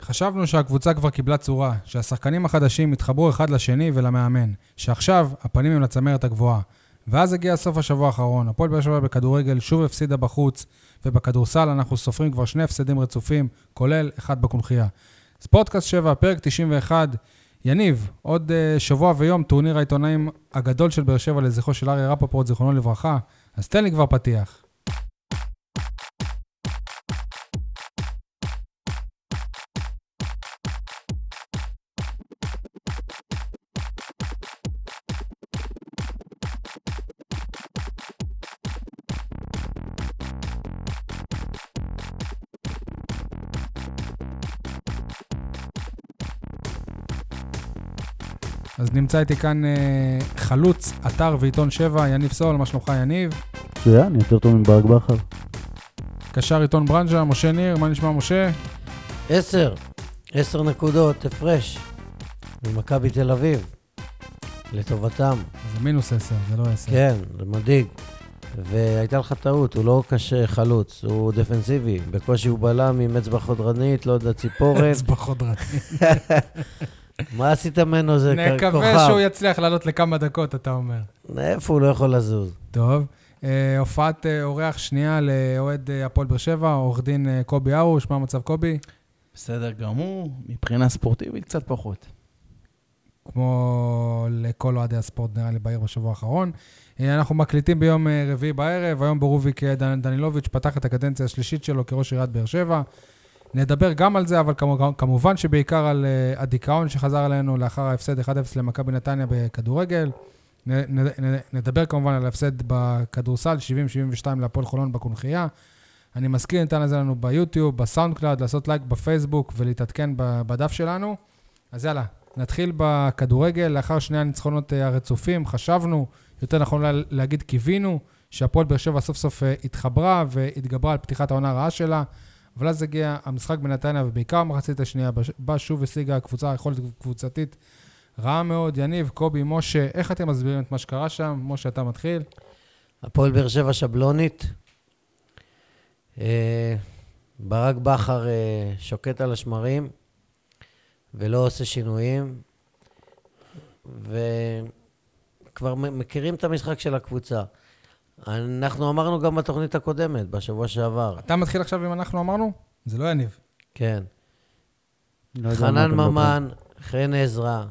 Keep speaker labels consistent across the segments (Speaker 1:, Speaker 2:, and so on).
Speaker 1: חשבנו שהקבוצה כבר קיבלה צורה, שהשחקנים החדשים התחברו אחד לשני ולמאמן, שעכשיו הפנים הם לצמרת הגבוהה. ואז הגיע סוף השבוע האחרון, הפועל באר שבע בכדורגל שוב הפסידה בחוץ, ובכדורסל אנחנו סופרים כבר שני הפסדים רצופים, כולל אחד בקונכייה. אז פודקאסט 7, פרק 91. יניב, עוד uh, שבוע ויום טורניר העיתונאים הגדול של באר שבע לזכרו של אריה רפפורט, זיכרונו לברכה, אז תן לי כבר פתיח. אז נמצא איתי כאן אה, חלוץ, אתר ועיתון 7, יניב סול, מה שלומך יניב?
Speaker 2: מצוין, יותר טוב מברק בכר.
Speaker 1: קשר עיתון ברנז'ה, משה ניר, מה נשמע משה?
Speaker 3: עשר, עשר נקודות הפרש ממכבי תל אביב, לטובתם.
Speaker 2: כן.
Speaker 1: זה מינוס 10, זה לא 10.
Speaker 3: כן, זה מדאיג. והייתה לך טעות, הוא לא קשה חלוץ, הוא דפנסיבי. בקושי הוא בלם עם אצבע חודרנית, לא יודע, ציפורן.
Speaker 1: אצבע חודרת.
Speaker 3: מה עשית ממנו? זה כ- כוכב.
Speaker 1: נקווה שהוא יצליח לעלות לכמה דקות, אתה אומר.
Speaker 3: איפה הוא לא יכול לזוז?
Speaker 1: טוב. אה, הופעת אה, אורח שנייה לאוהד אה, הפועל באר שבע, עורך דין אה, קובי ארוש, מה המצב קובי?
Speaker 4: בסדר גמור, מבחינה ספורטיבית קצת פחות.
Speaker 1: כמו לכל אוהדי הספורט, נראה לי, בעיר בשבוע האחרון. אה, אנחנו מקליטים ביום אה, רביעי בערב, היום ברוביק אה, דן- דנילוביץ' פתח את הקדנציה השלישית שלו כראש עיריית באר שבע. נדבר גם על זה, אבל כמו- כמובן שבעיקר על אה, הדיכאון שחזר אלינו לאחר ההפסד 1-0 למכבי נתניה בכדורגל. נ- נ- נ- נדבר כמובן על ההפסד בכדורסל, 70-72 להפועל חולון בקונכייה. אני מזכיר, ניתן לזה לנו ביוטיוב, בסאונד קלאד, לעשות לייק בפייסבוק ולהתעדכן ב- בדף שלנו. אז יאללה, נתחיל בכדורגל. לאחר שני הניצחונות אה, הרצופים, חשבנו, יותר נכון לה- להגיד קיווינו, שהפועל באר שבע סוף סוף אה, התחברה והתגברה על פתיחת העונה הרעה שלה. אבל אז הגיע המשחק בנתניה, ובעיקר המחצית השנייה, בש- בה שוב השיגה הקבוצה יכולת קבוצתית רעה מאוד. יניב, קובי, משה, איך אתם מסבירים את מה שקרה שם? משה, אתה מתחיל.
Speaker 3: הפועל באר שבע שבלונית. אה, ברק בכר אה, שוקט על השמרים ולא עושה שינויים, וכבר מ- מכירים את המשחק של הקבוצה. אנחנו אמרנו גם בתוכנית הקודמת, בשבוע שעבר,
Speaker 1: אתה מתחיל עכשיו אם אנחנו אמרנו? זה לא יניב.
Speaker 3: כן.
Speaker 2: לא יודע מה
Speaker 3: חנן
Speaker 2: אתם לא
Speaker 3: ממן, חן עזרא,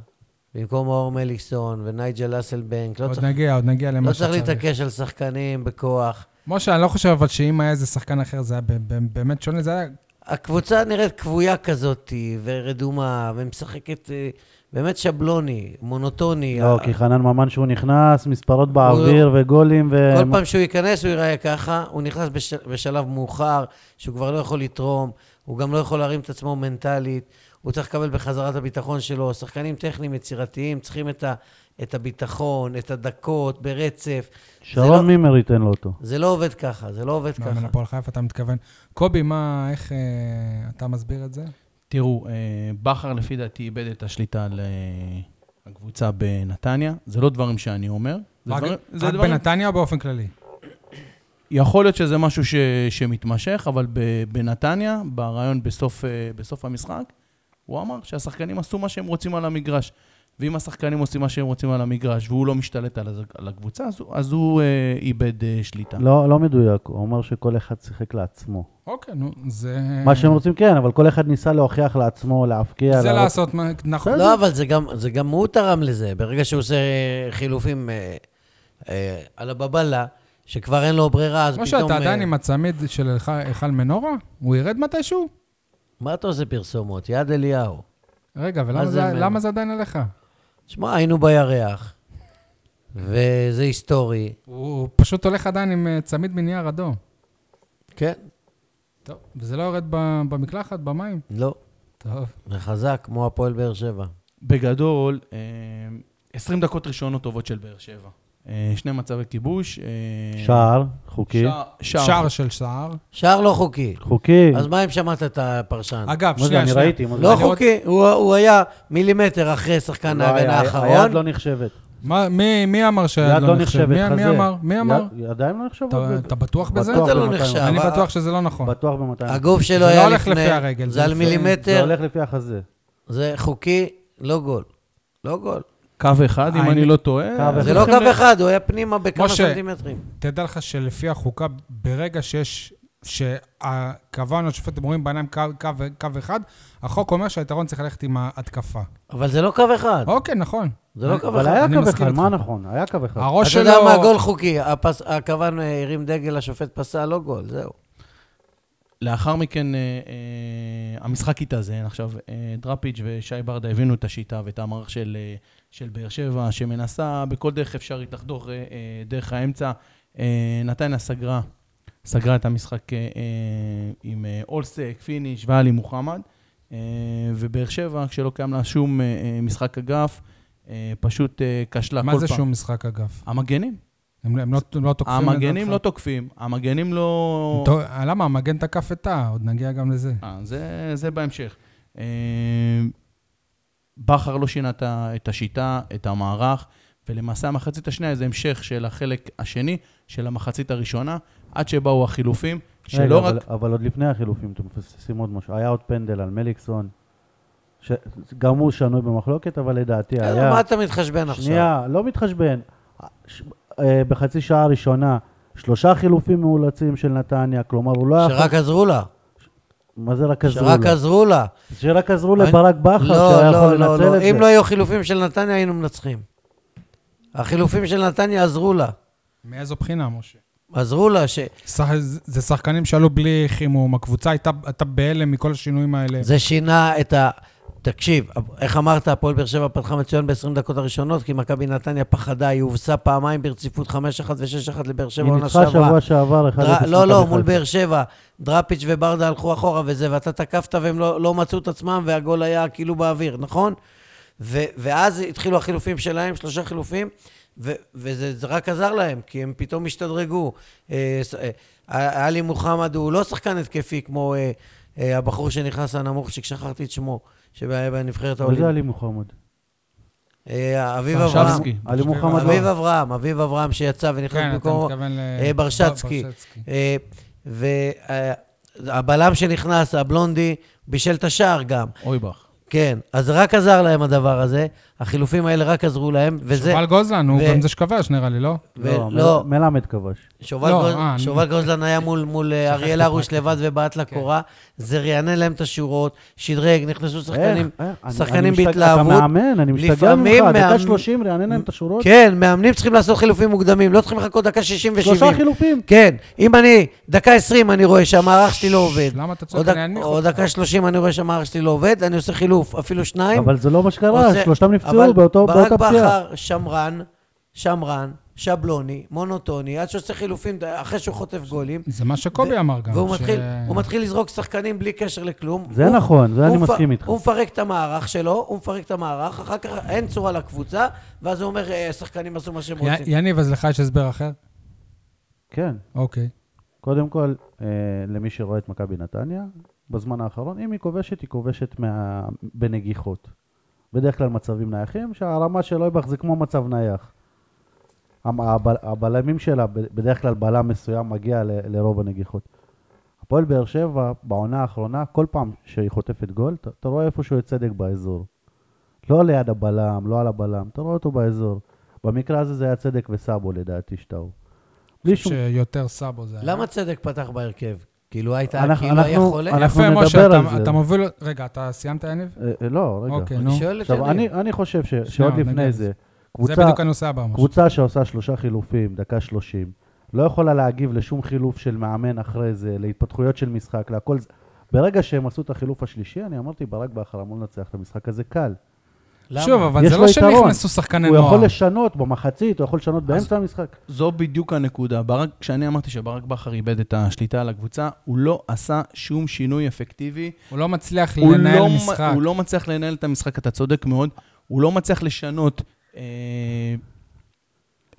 Speaker 3: במקום מאור מליקסון ונייג'ל אסלבנק, לא
Speaker 1: עוד
Speaker 3: צריך-
Speaker 1: נגיע, עוד נגיע
Speaker 3: לא
Speaker 1: למה
Speaker 3: צריך
Speaker 1: שצריך.
Speaker 3: להתעקש על שחקנים בכוח.
Speaker 1: משה, אני לא חושב אבל שאם היה איזה שחקן אחר, זה היה ב- ב- באמת שונה, זה היה...
Speaker 3: הקבוצה נראית כבויה כזאת, ורדומה, ומשחקת אה, באמת שבלוני, מונוטוני.
Speaker 2: לא,
Speaker 3: ה-
Speaker 2: כי חנן ממן שהוא נכנס, מספרות באוויר וגולים ו...
Speaker 3: כל פעם שהוא ייכנס הוא ייראה ככה, הוא נכנס בש... בשלב מאוחר, שהוא כבר לא יכול לתרום, הוא גם לא יכול להרים את עצמו מנטלית, הוא צריך לקבל בחזרה את הביטחון שלו. שחקנים טכניים יצירתיים צריכים את, ה... את הביטחון, את הדקות, ברצף.
Speaker 2: שרון
Speaker 3: לא-
Speaker 2: מימר ייתן לו אותו.
Speaker 3: זה לא עובד ככה, זה לא עובד
Speaker 1: מאמן
Speaker 3: ככה.
Speaker 1: הפועל חיפה, אתה מתכוון. קובי, מה, איך אה, אתה מסביר את זה?
Speaker 4: תראו, אה, בכר לפי דעתי איבד את השליטה על אה, הקבוצה בנתניה. זה לא דברים שאני אומר. זה
Speaker 1: רק
Speaker 4: דברים- זה
Speaker 1: רק
Speaker 4: דברים-
Speaker 1: בנתניה או באופן כללי?
Speaker 4: יכול להיות שזה משהו ש, שמתמשך, אבל ב, בנתניה, ברעיון בסוף, אה, בסוף המשחק, הוא אמר שהשחקנים עשו מה שהם רוצים על המגרש. ואם השחקנים עושים מה שהם רוצים על המגרש, והוא לא משתלט על, הז- על הקבוצה, אז, הוא- אז הוא אה, איבד אה, שליטה.
Speaker 2: לא, לא מדויק, הוא אמר שכל אחד שיחק לעצמו.
Speaker 1: אוקיי, נו, זה...
Speaker 2: מה
Speaker 3: Mm.
Speaker 2: שהם רוצים כן, אבל כל אחד ניסה להוכיח לעצמו, להבקיע.
Speaker 1: זה
Speaker 2: להראות-
Speaker 1: לעשות, מה- נכון.
Speaker 3: לא, אבל זה גם, זה גם הוא תרם לזה. ברגע שהוא עושה אה, חילופים אה, אה, על הבבלה, שכבר אין לו ברירה, אז
Speaker 1: כמו
Speaker 3: פתאום...
Speaker 1: שאתה
Speaker 3: אה,
Speaker 1: עדיין עם הצמיד של היכל- היכל מנורה? הוא ירד מתישהו?
Speaker 3: מה אתה עושה פרסומות? יד אליהו.
Speaker 1: רגע,
Speaker 3: מה
Speaker 1: ולמה
Speaker 3: זה
Speaker 1: זה-
Speaker 3: מנורה?
Speaker 1: למה זה עדיין עליך?
Speaker 3: שמע, היינו בירח, וזה היסטורי.
Speaker 1: הוא פשוט הולך עדיין עם אה, צמיד מנייר אדום.
Speaker 3: כן.
Speaker 1: טוב, וזה לא יורד ב- במקלחת, במים?
Speaker 3: לא,
Speaker 1: טוב.
Speaker 3: זה חזק, כמו הפועל באר שבע.
Speaker 4: בגדול, אה, 20 דקות ראשונות טובות של באר שבע. אה, שני מצבי כיבוש. אה,
Speaker 2: שער, חוקי.
Speaker 4: שער.
Speaker 1: שער של שער.
Speaker 3: שער לא חוקי.
Speaker 2: חוקי.
Speaker 3: אז מה אם שמעת את הפרשן?
Speaker 1: אגב,
Speaker 2: מה זה,
Speaker 1: שנייה,
Speaker 2: אני
Speaker 1: שנייה.
Speaker 2: ראיתי, מה זה?
Speaker 3: לא
Speaker 1: אני
Speaker 3: חוקי, הוא הוא היה מילימטר אחרי שחקן
Speaker 2: לא,
Speaker 3: ההגנה
Speaker 2: היה- היד
Speaker 3: האחרון,
Speaker 2: לא נחשבת.
Speaker 1: מה- מי- מי אמר
Speaker 2: יד
Speaker 1: שהיד
Speaker 2: לא נחשבת,
Speaker 1: כן, מי-
Speaker 2: חזה.
Speaker 1: מי אמר? מי אמר?
Speaker 2: יד- ידיים לא נחשבות.
Speaker 1: אתה-
Speaker 2: ב-
Speaker 1: אתה בטוח בזה?
Speaker 3: מה זה לא
Speaker 2: ב-
Speaker 3: נחשב?
Speaker 1: אני
Speaker 3: אבל-
Speaker 1: בטוח שזה לא נכון.
Speaker 2: בטוח ב-200.
Speaker 3: הגוף שלו
Speaker 1: זה
Speaker 3: היה
Speaker 1: לא
Speaker 3: לפני...
Speaker 1: הולך לפי הרגל,
Speaker 3: זה
Speaker 1: זה
Speaker 3: על
Speaker 1: לפי-
Speaker 2: זה
Speaker 3: מילימטר,
Speaker 2: הולך לפי החזה.
Speaker 3: זה חוקי, לא גול. לא גול.
Speaker 4: קו אחד, אם
Speaker 1: העין-
Speaker 4: אני לא טועה.
Speaker 2: קו
Speaker 3: זה
Speaker 2: אחד.
Speaker 3: לא קו אחד, הוא היה פנימה בכמה
Speaker 1: משה.
Speaker 3: סנטימטרים.
Speaker 1: תדע לך שלפי החוקה, ברגע שיש, שקבענו, השופט, הם רואים בעיניים קו- קו קו אחד, החוק אומר שהיתרון צריך ללכת עם ההתקפה.
Speaker 3: אבל זה לא קו אחד.
Speaker 1: אוקיי, נכון.
Speaker 3: זה לא קו
Speaker 2: אה, אבל
Speaker 3: אחד.
Speaker 2: היה
Speaker 1: אני
Speaker 2: קו
Speaker 1: מסכים
Speaker 2: אחד,
Speaker 1: איתך. אה,
Speaker 2: מה נכון? היה קו אחד.
Speaker 1: הראש
Speaker 3: אתה
Speaker 1: שלו...
Speaker 3: יודע מה, גול חוקי. הפס- הכוון אה, הרים דגל, השופט פסל, לא גול, זהו.
Speaker 4: לאחר מכן אה, אה, המשחק התאזן. עכשיו, אה, דראפיג' ושי ברדה הבינו את השיטה ואת המערך של, אה, של באר שבע, שמנסה בכל דרך אפשרית לחדור אה, אה, דרך האמצע. אה, נתניה סגרה, סגרה את המשחק אה, אה, עם אה, אולסק, פיניש ואלי מוחמד. אה, ובאר שבע, כשלא קיים לה שום אה, אה, משחק אגף, אה, פשוט אה, כשלה כל פעם.
Speaker 1: מה זה שום משחק אגף?
Speaker 4: המגנים.
Speaker 1: הם הם לא הם לא תוקפים?
Speaker 4: המגנים
Speaker 1: לדעתך?
Speaker 4: לא תוקפים, המגנים לא...
Speaker 1: טוב, למה? המגן תקף את תא, עוד נגיע גם לזה.
Speaker 4: אה, זה, זה בהמשך. אה, בכר לא שינה את ה- את השיטה, את המערך, ולמעשה המחצית השנייה זה המשך של החלק השני של המחצית הראשונה, עד שבאו החילופים,
Speaker 2: רגע,
Speaker 4: שלא
Speaker 2: אבל-
Speaker 4: רק...
Speaker 2: אבל עוד לפני החילופים, אתם מפספסים עוד משהו. היה עוד פנדל על מליקסון, שגם הוא שנוי במחלוקת, אבל לדעתי
Speaker 3: אה,
Speaker 2: היה...
Speaker 3: מה אתה מתחשבן עכשיו?
Speaker 2: שנייה, לא מתחשבן. ש- אה, בחצי שעה הראשונה, שלושה חילופים מאולצים של נתניה, כלומר הוא לא היה...
Speaker 3: שרק עזרו לה.
Speaker 2: מה זה רק עזרו
Speaker 3: שרק
Speaker 2: לו?
Speaker 3: עזרו לה.
Speaker 2: שרק עזרו
Speaker 3: אני-
Speaker 2: לברק בכר,
Speaker 3: לא,
Speaker 2: שהיה יכול
Speaker 3: לא, לא,
Speaker 2: לנצל
Speaker 3: לא.
Speaker 2: את
Speaker 3: אם לא
Speaker 2: זה.
Speaker 3: היו חילופים של נתניה, היינו מנצחים. החילופים של נתניה עזרו לה.
Speaker 1: מאיזו בחינה, משה?
Speaker 3: עזרו לה, ש...
Speaker 1: שח- זה שחקנים שעלו בלי חימום, הקבוצה הייתה הייתה בהלם מכל השינויים האלה.
Speaker 3: זה שינה את ה... תקשיב, איך אמרת, הפועל באר שבע פתחה מצוין ב-20 דקות הראשונות, כי מכבי נתניה פחדה, היא הובסה פעמיים ברציפות 5-1 ו-6-1 לבאר שבע
Speaker 2: היא
Speaker 3: עונה
Speaker 2: ניצחה
Speaker 3: שעברה.
Speaker 2: שבוע שעבר, אחד
Speaker 3: דרא-
Speaker 2: אפס
Speaker 3: לא, לא,
Speaker 2: מכבי
Speaker 3: מול
Speaker 2: חיפה.
Speaker 3: באר שבע. דראפיץ' וברדה הלכו אחורה וזה, ואתה תקפת והם לא, לא מצאו את עצמם, והגול היה כאילו באוויר, נכון? ו, ואז התחילו החילופים שלהם, שלושה חילופים, ו, וזה זה רק עזר להם, כי הם פתאום השתדרגו. אה, ס- אה, אה, עלי מוחמד הוא לא שחקן התקפי כמו אה, אה, הבחור שנכנס לנמוך, ששכחתי את שמו, שהיה בנבחרת
Speaker 2: אבל זה
Speaker 3: העולים.
Speaker 2: עלי מוחמד.
Speaker 3: אה, אביב אברהם.
Speaker 4: ברשבסקי.
Speaker 2: עלי מוחמד
Speaker 3: אביב
Speaker 2: לא.
Speaker 3: אברהם, אביב אברהם שיצא ונכנס
Speaker 1: כן, אתה
Speaker 3: במקומו.
Speaker 1: מתכוון ל...
Speaker 3: אה, ברשצקי. אה, והבלם אה, שנכנס, הבלונדי, בישל את השער גם.
Speaker 4: אויבך.
Speaker 3: כן, אז רק עזר להם הדבר הזה, החילופים האלה רק עזרו להם, וזה...
Speaker 1: שובל גוזלן, הוא
Speaker 3: ו-
Speaker 1: גם זה שכבש, נראה לי, לא?
Speaker 3: ו-
Speaker 2: לא,
Speaker 3: לא,
Speaker 2: מל- מלמד כבש.
Speaker 3: שובל
Speaker 1: לא,
Speaker 3: גוז-
Speaker 1: אה, אני-
Speaker 3: שובל גוזלן היה מול- מול אה,
Speaker 1: שכחתי
Speaker 3: אריאל הרוש
Speaker 1: פרקטית.
Speaker 3: לבד ובעט
Speaker 2: כן.
Speaker 3: לקורה, זה רענן להם את השורות, שדרג, נכנסו שחקנים...
Speaker 2: איך? איך? אה, אני-
Speaker 3: שחקנים
Speaker 2: אני משתג-
Speaker 3: בהתלהבות.
Speaker 2: אתה מאמן, אני משתגע ממך.
Speaker 3: לפעמים מאמן-
Speaker 2: דקה 30, רענן להם את השורות.
Speaker 3: כן, מאמנים צריכים לעשות חילופים מוקדמים, לא צריכים לחכות דקה 60 ו-70.
Speaker 2: שלושה חילופים.
Speaker 3: כן, אם אני, דקה 20 אני רואה שהמערך שלי לא עובד.
Speaker 1: למה אתה
Speaker 3: או
Speaker 1: צועק?
Speaker 3: דק-
Speaker 1: אני אנמיך
Speaker 3: או
Speaker 1: אותך.
Speaker 3: דקה 30 אני רואה שהמערך שלי לא עובד, אני עושה חילוף, אפילו שניים.
Speaker 2: אבל זה לא מה שקרה,
Speaker 3: כן. עושה-
Speaker 2: שלושתם
Speaker 3: אבל
Speaker 2: נפצעו באותו- באותה
Speaker 3: ברק
Speaker 2: פציעה.
Speaker 3: בכר שמרן, שמרן, שבלוני, מונוטוני, עד שעושה חילופים אחרי שהוא חוטף גולים.
Speaker 1: זה מה שקובי אמר גם.
Speaker 3: והוא
Speaker 1: ש-
Speaker 3: מתחיל, הוא מתחיל לזרוק שחקנים בלי קשר לכלום.
Speaker 2: זה
Speaker 3: הוא-
Speaker 2: נכון, זה
Speaker 3: הוא
Speaker 2: אני
Speaker 3: מפ-
Speaker 2: מסכים איתך.
Speaker 3: הוא מפרק את המערך שלו, הוא מפרק את המערך, אחר כך אין צורה לקבוצה, ואז הוא אומר, "אה, שחקנים עשו מה שהם
Speaker 1: י-
Speaker 3: רוצים.
Speaker 1: יניב, אז לך יש הסבר אחר?
Speaker 2: כן.
Speaker 1: אוקיי.
Speaker 2: קודם כל, אה, למי שרואה את מכבי נתניה, בזמן האחרון, אם היא כובשת, היא כובשת מה... בנגיחות. בדרך כלל מצבים נייחים, שהרמה של אויבך זה כמו מצב נייח. המ- הבל- הבלמים שלה, ב- בדרך כלל בלם מסוים מגיע ל- לרוב הנגיחות. הפועל באר שבע, בעונה האחרונה, כל פעם שהיא חוטפת גול, אתה- אתה רואה איפשהו את צדק באזור. לא ליד הבלם, לא על הבלם, אתה רואה אותו באזור. במקרה הזה זה היה צדק וסאבו לדעתי שטעו. בלי שום
Speaker 1: שיותר סאבו זה היה.
Speaker 3: למה צדק פתח בהרכב? כאילו הייתה,
Speaker 2: אנחנו-
Speaker 3: כאילו היה
Speaker 2: אנחנו-
Speaker 3: חולה?
Speaker 2: אנחנו
Speaker 1: יפה,
Speaker 2: נדבר
Speaker 1: משה,
Speaker 2: על
Speaker 1: אתה-
Speaker 2: זה.
Speaker 1: אתה מוביל... רגע, אתה סיימת, יניב?
Speaker 2: אה, לא, רגע.
Speaker 1: אוקיי, נו.
Speaker 3: אני שואל את
Speaker 2: עכשיו,
Speaker 3: יניב.
Speaker 2: אני, אני חושב ש, שעוד
Speaker 1: נגיע
Speaker 2: לפני
Speaker 1: לזה.
Speaker 2: זה,
Speaker 1: זה
Speaker 2: קבוצה,
Speaker 1: בדיוק הנושא הבא, משה.
Speaker 2: קבוצה שעושה שלושה חילופים, דקה שלושים, לא יכולה להגיב לשום חילוף של מאמן אחרי זה, להתפתחויות של משחק, להכל זה. ברגע שהם עשו את החילוף השלישי, אני אמרתי, ברק בכר אמור לנצח את המשחק הזה קל.
Speaker 4: אה,
Speaker 3: למה?
Speaker 1: שוב, אבל
Speaker 2: יש
Speaker 1: זה
Speaker 2: לו
Speaker 1: לא
Speaker 2: יתרון.
Speaker 1: שנכנסו שחקני
Speaker 2: הוא יכול
Speaker 1: נוער.
Speaker 2: לשנות במחצית, הוא יכול לשנות באמצע המשחק.
Speaker 4: זו בדיוק הנקודה. ברק, כשאני אמרתי שברק בכר איבד את השליטה על הקבוצה, הוא לא עשה שום שינוי אפקטיבי.
Speaker 1: הוא לא מצליח
Speaker 4: הוא לא,
Speaker 1: לנהל
Speaker 4: מ-
Speaker 1: משחק.
Speaker 4: הוא לא מצליח לנהל את המשחק, אתה צודק מאוד. הוא לא מצליח לשנות אה,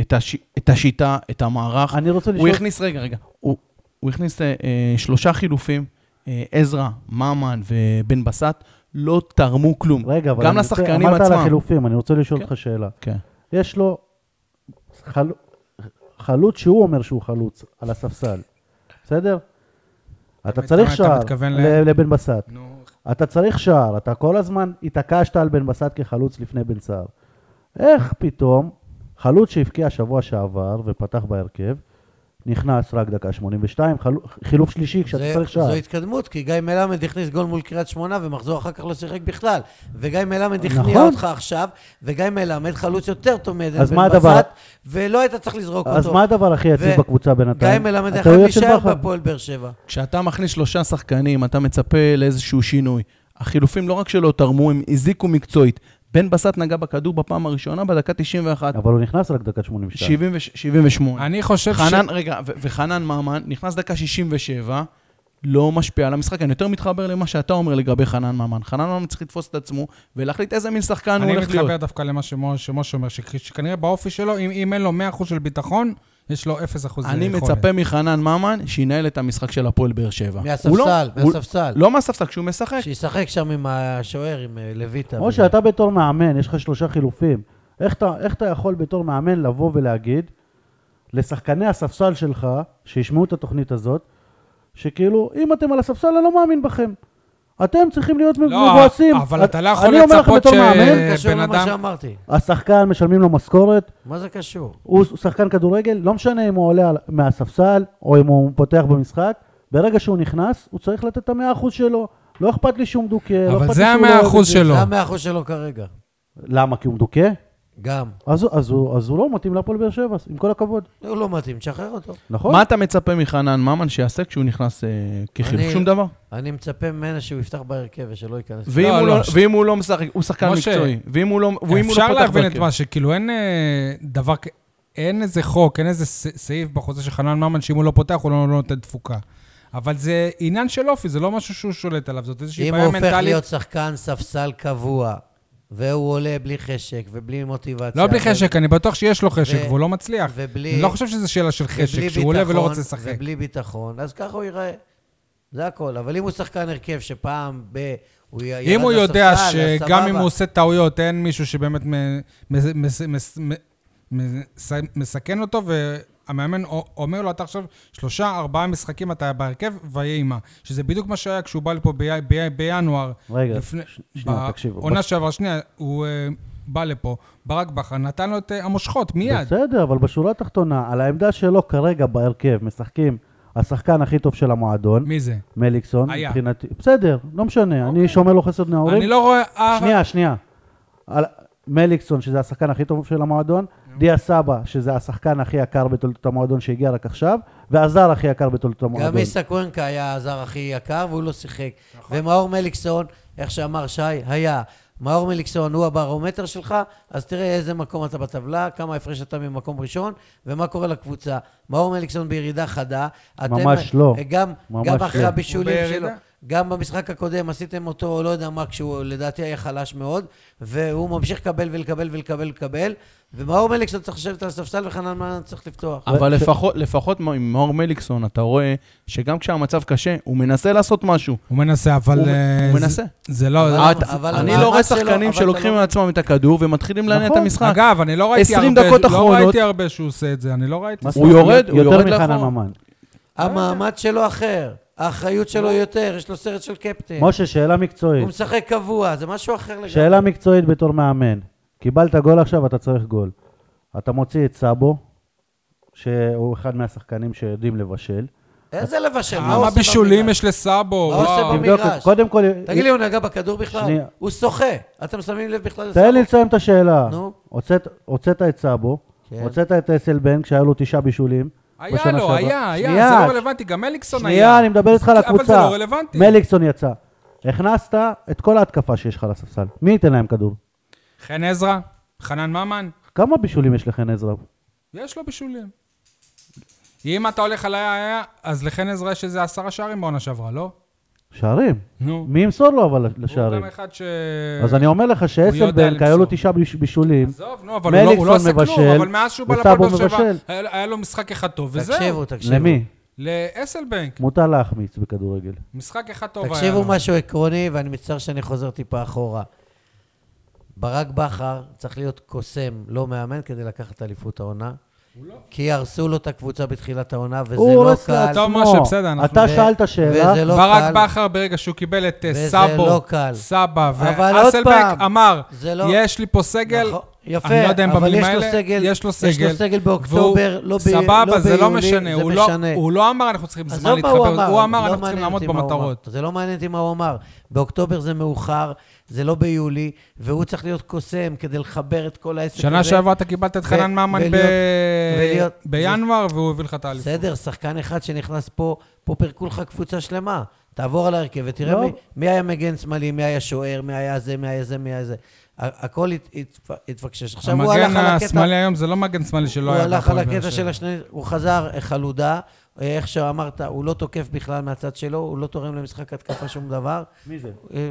Speaker 4: את, הש, את השיטה, את המערך.
Speaker 2: אני רוצה
Speaker 4: הוא
Speaker 2: לשאול...
Speaker 4: הכניס, רגע, רגע, הוא, הוא הכניס אה, אה, שלושה חילופים, אה, עזרא, ממן ובן בסט, לא תרמו כלום.
Speaker 2: רגע, אבל
Speaker 4: גם
Speaker 2: אני רוצה-
Speaker 4: לשחקנים
Speaker 2: אמרת
Speaker 4: עצמם.
Speaker 2: על החילופים, אני רוצה לשאול
Speaker 4: כן.
Speaker 2: אותך שאלה.
Speaker 4: כן.
Speaker 2: יש לו חל... חלוץ שהוא אומר שהוא חלוץ על הספסל, בסדר? אתה
Speaker 1: מתכוון-
Speaker 2: צריך
Speaker 1: אתה
Speaker 2: שער
Speaker 1: מתכוון ל-
Speaker 2: ל- לבן בסט.
Speaker 1: נו,
Speaker 2: אתה צריך שער, אתה כל הזמן התעקשת על בן בסט כחלוץ לפני בן סער. איך פתאום חלוץ שהבקיע שבוע שעבר ופתח בהרכב, נכנס רק דקה 82, חל... חילוף שלישי כשאתה
Speaker 3: זה-
Speaker 2: צריך שער.
Speaker 3: זו התקדמות, כי גיא מלמד הכניס גול מול קריית שמונה, ומחזור אחר כך לא שיחק בכלל. וגיא מלמד הכניע
Speaker 2: נכון.
Speaker 3: אותך עכשיו, וגיא מלמד חלוץ יותר טוב מעדן
Speaker 2: אז
Speaker 3: בן
Speaker 2: מה הדבר?
Speaker 3: בסט, ולא היית צריך לזרוק
Speaker 2: אז
Speaker 3: אותו.
Speaker 2: מה הדבר הכי יציב
Speaker 3: ו-
Speaker 2: בקבוצה
Speaker 3: גיא
Speaker 2: בינתיים?
Speaker 3: מלמד יכול
Speaker 2: הטעויות של
Speaker 3: להישאר
Speaker 2: בכר.
Speaker 3: בפועל באר שבע.
Speaker 4: כשאתה מכניס שלושה שחקנים, אתה מצפה לאיזשהו שינוי. החילופים לא רק שלא תרמו, הם הזיקו מקצועית. בן בסט נגע בכדור בפעם הראשונה בדקה 91,
Speaker 2: אבל הוא נכנס רק דקה 82.
Speaker 4: 70 78.
Speaker 1: אני חושב ש...
Speaker 4: חנן, רגע, ו- וחנן ממן נכנס דקה 67, לא משפיע על המשחק. אני יותר מתחבר למה שאתה אומר לגבי חנן ממן. חנן ממן צריך לתפוס את עצמו ולהחליט איזה מין שחקן הוא
Speaker 1: אני
Speaker 4: הולך להיות.
Speaker 1: מתחבר דווקא למה שמו- שמשה אומר, שכ- שכנראה באופי שלו, אם- אם אין לו 100% של ביטחון, יש לו 0% יכולת.
Speaker 4: אני מצפה מחנן ממן שינהל את המשחק של הפועל באר שבע. הוא לא-
Speaker 3: מהספסל,
Speaker 4: הוא-
Speaker 3: מהספסל.
Speaker 4: לא מהספסל, כשהוא משחק.
Speaker 3: שישחק שם עם השוער, עם אה, לויטה.
Speaker 2: או שאתה בתור מאמן, יש לך שלושה חילופים. איך אתה, איך אתה יכול בתור מאמן לבוא ולהגיד לשחקני הספסל שלך, שישמעו את התוכנית הזאת, שכאילו, אם אתם על הספסל, אני לא מאמין בכם. אתם צריכים להיות
Speaker 1: לא,
Speaker 2: מבואסים.
Speaker 1: אבל
Speaker 2: את-
Speaker 1: אתה לא יכול
Speaker 2: אני אומר לך
Speaker 1: לצפות
Speaker 2: בתור
Speaker 1: ש-
Speaker 2: מאמן,
Speaker 1: אה,
Speaker 3: קשור
Speaker 1: בן
Speaker 3: למה
Speaker 1: אדם-
Speaker 3: שאמרתי.
Speaker 2: השחקן, משלמים לו משכורת,
Speaker 3: מה זה קשור?
Speaker 2: הוא שחקן כדורגל, לא משנה אם הוא עולה על- מהספסל או אם הוא פותח במשחק, ברגע שהוא נכנס, הוא צריך לתת את המאה אחוז שלו. לא אכפת לי שהוא מדוכא, לא אכפת
Speaker 1: אבל
Speaker 2: לי
Speaker 1: זה
Speaker 2: שהוא לא
Speaker 1: המאה
Speaker 2: אוהב את
Speaker 1: אחוז
Speaker 2: זה.
Speaker 1: שלו.
Speaker 3: זה המאה אחוז שלו כרגע.
Speaker 2: למה? כי הוא מדוכא?
Speaker 3: גם.
Speaker 2: אז, הוא- אז, הוא, אז הוא לא מתאים להפועל באר שבע, עם כל הכבוד,
Speaker 3: הוא לא מתאים, תשחרר אותו.
Speaker 2: נכון?
Speaker 4: מה אתה מצפה מחנן ממן שיעשה כשהוא נכנס אה, כחילוף?
Speaker 3: אני-
Speaker 4: שום דבר.
Speaker 3: אני מצפה ממנו שהוא יפתח בהרכב ושלא ייכנס.
Speaker 4: ואם
Speaker 1: לא,
Speaker 4: הוא
Speaker 1: לא.
Speaker 4: לא- ואם הוא לא משחק, הוא שחקן
Speaker 1: משה,
Speaker 4: מקצועי. ואם הוא לא ואם הוא לא פותח
Speaker 1: אפשר להבין את
Speaker 4: בהרכב.
Speaker 1: מה שכאילו אין אה, דבר, כ- אין איזה חוק, אין איזה ס- סעיף בחוזה של חנן ממן שאם הוא לא פותח הוא לא לא נותן תפוקה. אבל זה עניין של אופי, זה לא משהו שהוא שולט עליו, זאת איזושהי
Speaker 3: אם
Speaker 1: בעיה
Speaker 3: הוא הופך
Speaker 1: מנטלית.
Speaker 3: להיות שחקן ספסל קבוע, והוא עולה בלי חשק ובלי מוטיבציה.
Speaker 1: לא בלי
Speaker 3: ו-
Speaker 1: חשק, אני בטוח שיש לו חשק
Speaker 3: ו-
Speaker 1: והוא לא מצליח.
Speaker 3: ובלי...
Speaker 1: אני לא חושב שזו שאלה של
Speaker 3: ובלי
Speaker 1: חשק, שהוא עולה ולא
Speaker 3: ביטחון,
Speaker 1: רוצה לשחק.
Speaker 3: ובלי ביטחון, אז ככה הוא ייראה. זה הכל. אבל אם הוא שחקן הרכב שפעם ב... הוא י- ירד
Speaker 1: אם הוא יודע
Speaker 3: לספסל, אז
Speaker 1: שגם אם
Speaker 3: סבבה.
Speaker 1: הוא עושה טעויות, אין מישהו שבאמת מ- מס- מס- מס- מס- מסכן אותו, והמאמן א- אומר לו, אתה עכשיו שלושה, ארבעה משחקים אתה בהרכב, ויהי עימה. שזה בדיוק מה שהיה כשהוא בא לפה בי- בי- בינואר.
Speaker 2: רגע,
Speaker 1: לפני-
Speaker 2: ש- שנייה, תקשיבו.
Speaker 1: בעונה שעברה, שנייה, הוא אה, בא לפה, ברק בכר נתן לו את אה, המושכות מיד.
Speaker 2: בסדר, אבל בשורה התחתונה, על העמדה שלו כרגע בהרכב משחקים השחקן הכי טוב של המועדון,
Speaker 1: מי זה?
Speaker 2: מליקסון,
Speaker 1: היה. אוקיי.
Speaker 2: מבחינתי. בסדר, לא משנה, אני שומר לו חסד נעורים.
Speaker 1: אני לא רואה... אה,
Speaker 2: שנייה, שנייה. על... מליקסון, שזה השחקן הכי טוב של המועדון, דיה סבא, שזה השחקן הכי יקר בתולדות המועדון שהגיע רק עכשיו, והזר הכי יקר בתולדות
Speaker 3: גם
Speaker 2: המועדון.
Speaker 3: איסה קוונקה היה הזר הכי יקר והוא לא שיחק.
Speaker 2: נכון.
Speaker 3: ומאור מליקסון, איך שאמר שי, היה. מאור מליקסון הוא הברומטר שלך, אז תראה איזה מקום אתה בטבלה, כמה הפרש אתה ממקום ראשון, ומה קורה לקבוצה. מאור מליקסון בירידה חדה. אתם-
Speaker 2: ממש לא.
Speaker 3: גם,
Speaker 2: ממש
Speaker 3: גם אחרי
Speaker 2: לא.
Speaker 3: הבישולים
Speaker 1: הוא בירידה.
Speaker 3: שלו. גם במשחק הקודם עשיתם אותו, לא יודע מה, כשהוא לדעתי היה חלש מאוד, והוא ממשיך לקבל ולקבל ולקבל ולקבל, ומאור מליקסון צריך לשבת על הספסל וחנן מן צריך לפתוח.
Speaker 4: אבל
Speaker 2: ש-
Speaker 4: לפחות, לפחות מ- עם מאור מליקסון, אתה רואה שגם כשהמצב קשה, הוא מנסה לעשות משהו.
Speaker 1: הוא מנסה, אבל...
Speaker 4: הוא-
Speaker 1: אה,
Speaker 4: הוא
Speaker 1: זה-
Speaker 4: מנסה.
Speaker 1: זה לא...
Speaker 3: אבל-
Speaker 4: את-
Speaker 3: אבל
Speaker 4: אני
Speaker 3: המאמץ
Speaker 4: לא רואה
Speaker 3: שלו-
Speaker 4: שחקנים
Speaker 3: אבל אתה
Speaker 4: שלוקחים
Speaker 3: לא-
Speaker 4: מעצמם את הכדור ומתחילים להניע את
Speaker 2: נכון.
Speaker 4: המשחק.
Speaker 1: אגב, אני לא ראיתי
Speaker 4: 20
Speaker 1: הרבה,
Speaker 4: דקות
Speaker 1: לא
Speaker 4: אחרונות.
Speaker 1: ראיתי הרבה שהוא עושה את זה, אני לא ראיתי.
Speaker 2: מה
Speaker 1: את זה.
Speaker 2: זאת אומרת?
Speaker 4: יורד, הוא יורד
Speaker 2: יותר מחנן
Speaker 4: לאחור.
Speaker 2: ממן.
Speaker 1: לא
Speaker 3: המעמד שלו אחר, האחריות שלו יותר, יש לו סרט של
Speaker 1: כן.
Speaker 3: קפטן.
Speaker 2: משה, שאלה
Speaker 3: הוא
Speaker 2: מקצועית.
Speaker 3: משחק קבוע, זה משהו אחר לגמרי.
Speaker 2: שאלה מקצועית בתור מאמן. קיבלת גול עכשיו, אתה צריך גול. אתה מוציא את סאבו, שהוא אחד מהשחקנים שיודעים לבשל.
Speaker 3: איזה לבשל, מה הוא
Speaker 1: כמה
Speaker 3: עושה
Speaker 1: אה, בישולים
Speaker 3: במגרש?
Speaker 1: יש לסאבו,
Speaker 3: מה עושה
Speaker 1: וואו.
Speaker 3: במגרש?
Speaker 2: תבדוק, קודם כל...
Speaker 3: תגיד לי, הוא נגע בכדור בכלל?
Speaker 2: שנייה.
Speaker 3: הוא שוחה. אתם שמים לב בכלל לסבא?
Speaker 2: תן לי לסיים את השאלה.
Speaker 3: נו.
Speaker 2: הוצאת- הוצאת את סאבו,
Speaker 3: כן.
Speaker 2: הוצאת את אסלבנק, שהיה לו תשעה בישולים.
Speaker 1: היה
Speaker 2: בשנה
Speaker 1: לו,
Speaker 2: שעברה.
Speaker 1: היה, היה,
Speaker 2: שנייה,
Speaker 1: זה לא רלוונטי, גם מליקסון היה.
Speaker 2: שנייה, אני מדבר איתך על הקבוצה.
Speaker 1: אבל זה לא רלוונטי.
Speaker 2: מליקסון יצא. הכנסת את כל ההתקפה שיש לך לספסל. מי ייתן להם כדור?
Speaker 1: חן עזרא, חנן ממן,
Speaker 2: כמה בישולים יש לחן עזרא?
Speaker 1: יש לו בישולים. אם אתה הולך על היה, היה, אז לחן עזרא יש איזה עשרה שערים בעונה שעברה, לא?
Speaker 2: שערים.
Speaker 1: נו.
Speaker 2: מי ימסור לו אבל
Speaker 1: הוא
Speaker 2: לשערים?
Speaker 1: גם אחד ש...
Speaker 2: אז אני אומר לך שאסלבנק,
Speaker 1: למסור.
Speaker 2: היה לו תשעה ביש- בישולים.
Speaker 1: עזוב, נו, אבל הוא לא- הוא לא
Speaker 2: מליקסון
Speaker 1: עשה כלום,
Speaker 2: מבשל,
Speaker 1: אבל מאז שהוא בא לפועל
Speaker 2: וסאבו
Speaker 1: באר שבע,
Speaker 2: מבשל.
Speaker 1: היה היה לו משחק אחד טוב, וזהו.
Speaker 3: תקשיבו, תקשיבו.
Speaker 2: למי?
Speaker 1: לאסלבנק,
Speaker 2: מותר להחמיץ בכדורגל.
Speaker 1: משחק אחד טוב היה לו.
Speaker 3: תקשיבו משהו עקרוני, ואני מצטער שאני חוזר טיפה אחורה. ברק בכר צריך להיות קוסם, לא מאמן, כדי לקחת אליפות העונה.
Speaker 1: לא.
Speaker 3: כי הרסו לו את הקבוצה בתחילת העונה, וזה לא
Speaker 2: הוא הורס
Speaker 3: קל.
Speaker 1: טוב,
Speaker 2: לעצמו.
Speaker 1: משה, בסדר, אנחנו-
Speaker 2: אתה
Speaker 3: ו-
Speaker 2: שאלת שאלה,
Speaker 3: וזה לא
Speaker 1: ברק
Speaker 3: קל.
Speaker 1: בכר, ברגע שהוא קיבל את אה,
Speaker 3: וזה
Speaker 1: סאבו,
Speaker 3: לא קל.
Speaker 1: סבא
Speaker 3: אבל עוד
Speaker 1: ואסלבק,
Speaker 3: פעם,
Speaker 1: אמר,
Speaker 3: זה לא-
Speaker 1: יש לי פה סגל,
Speaker 3: נכון, יפה,
Speaker 1: אני לא יודע אם
Speaker 3: אבל
Speaker 1: במילים
Speaker 3: יש לו
Speaker 1: האלה,
Speaker 3: סגל-
Speaker 1: יש לו סגל.
Speaker 3: יש לו סגל באוקטובר,
Speaker 1: והוא-
Speaker 3: לא ב-
Speaker 1: סבבה,
Speaker 3: לא
Speaker 1: זה לא
Speaker 3: ביולי,
Speaker 1: משנה.
Speaker 3: זה
Speaker 1: הוא לא-
Speaker 3: משנה.
Speaker 1: הוא לא אמר, אנחנו צריכים זמן
Speaker 3: עזוב מה
Speaker 1: להתחבר. הוא אמר,
Speaker 3: לא
Speaker 1: אנחנו צריכים
Speaker 3: מעניין
Speaker 1: לעמוד
Speaker 3: אותי מה הוא אמר.
Speaker 1: במטרות.
Speaker 3: זה לא מעניין אותי מה הוא אמר. באוקטובר זה מאוחר, זה לא ביולי, והוא צריך להיות קוסם כדי לחבר את כל העסק הזה.
Speaker 1: שנה שעברה אתה קיבלת את
Speaker 3: ו-
Speaker 1: חנן ממן
Speaker 3: ולהיות-
Speaker 1: ב-
Speaker 3: ולהיות-
Speaker 1: בינואר, והוא הביא לך את האליפות.
Speaker 3: בסדר, שחקן אחד שנכנס פה, פה פירקו לך קבוצה שלמה. תעבור על ההרכב ותראה
Speaker 2: לא.
Speaker 3: מי, מי היה מגן שמאלי, מי היה שוער, מי היה זה, מי היה זה, מי היה זה. ה- הכל הת, התפ- התפקשש. עכשיו הוא הלך
Speaker 1: המגן
Speaker 3: על הקטע...
Speaker 1: השמאלי היום זה לא מגן שמאלי שלא
Speaker 3: הוא
Speaker 1: היה
Speaker 3: הלך על
Speaker 1: בהפועל באר שבע.
Speaker 3: הקטע של השני, הוא חזר אה, חלודה, אה, איך שאמרת, הוא לא תוקף בכלל מהצד שלו, הוא לא תורם למשחק התקפה שום דבר.
Speaker 2: מי זה?
Speaker 3: אה,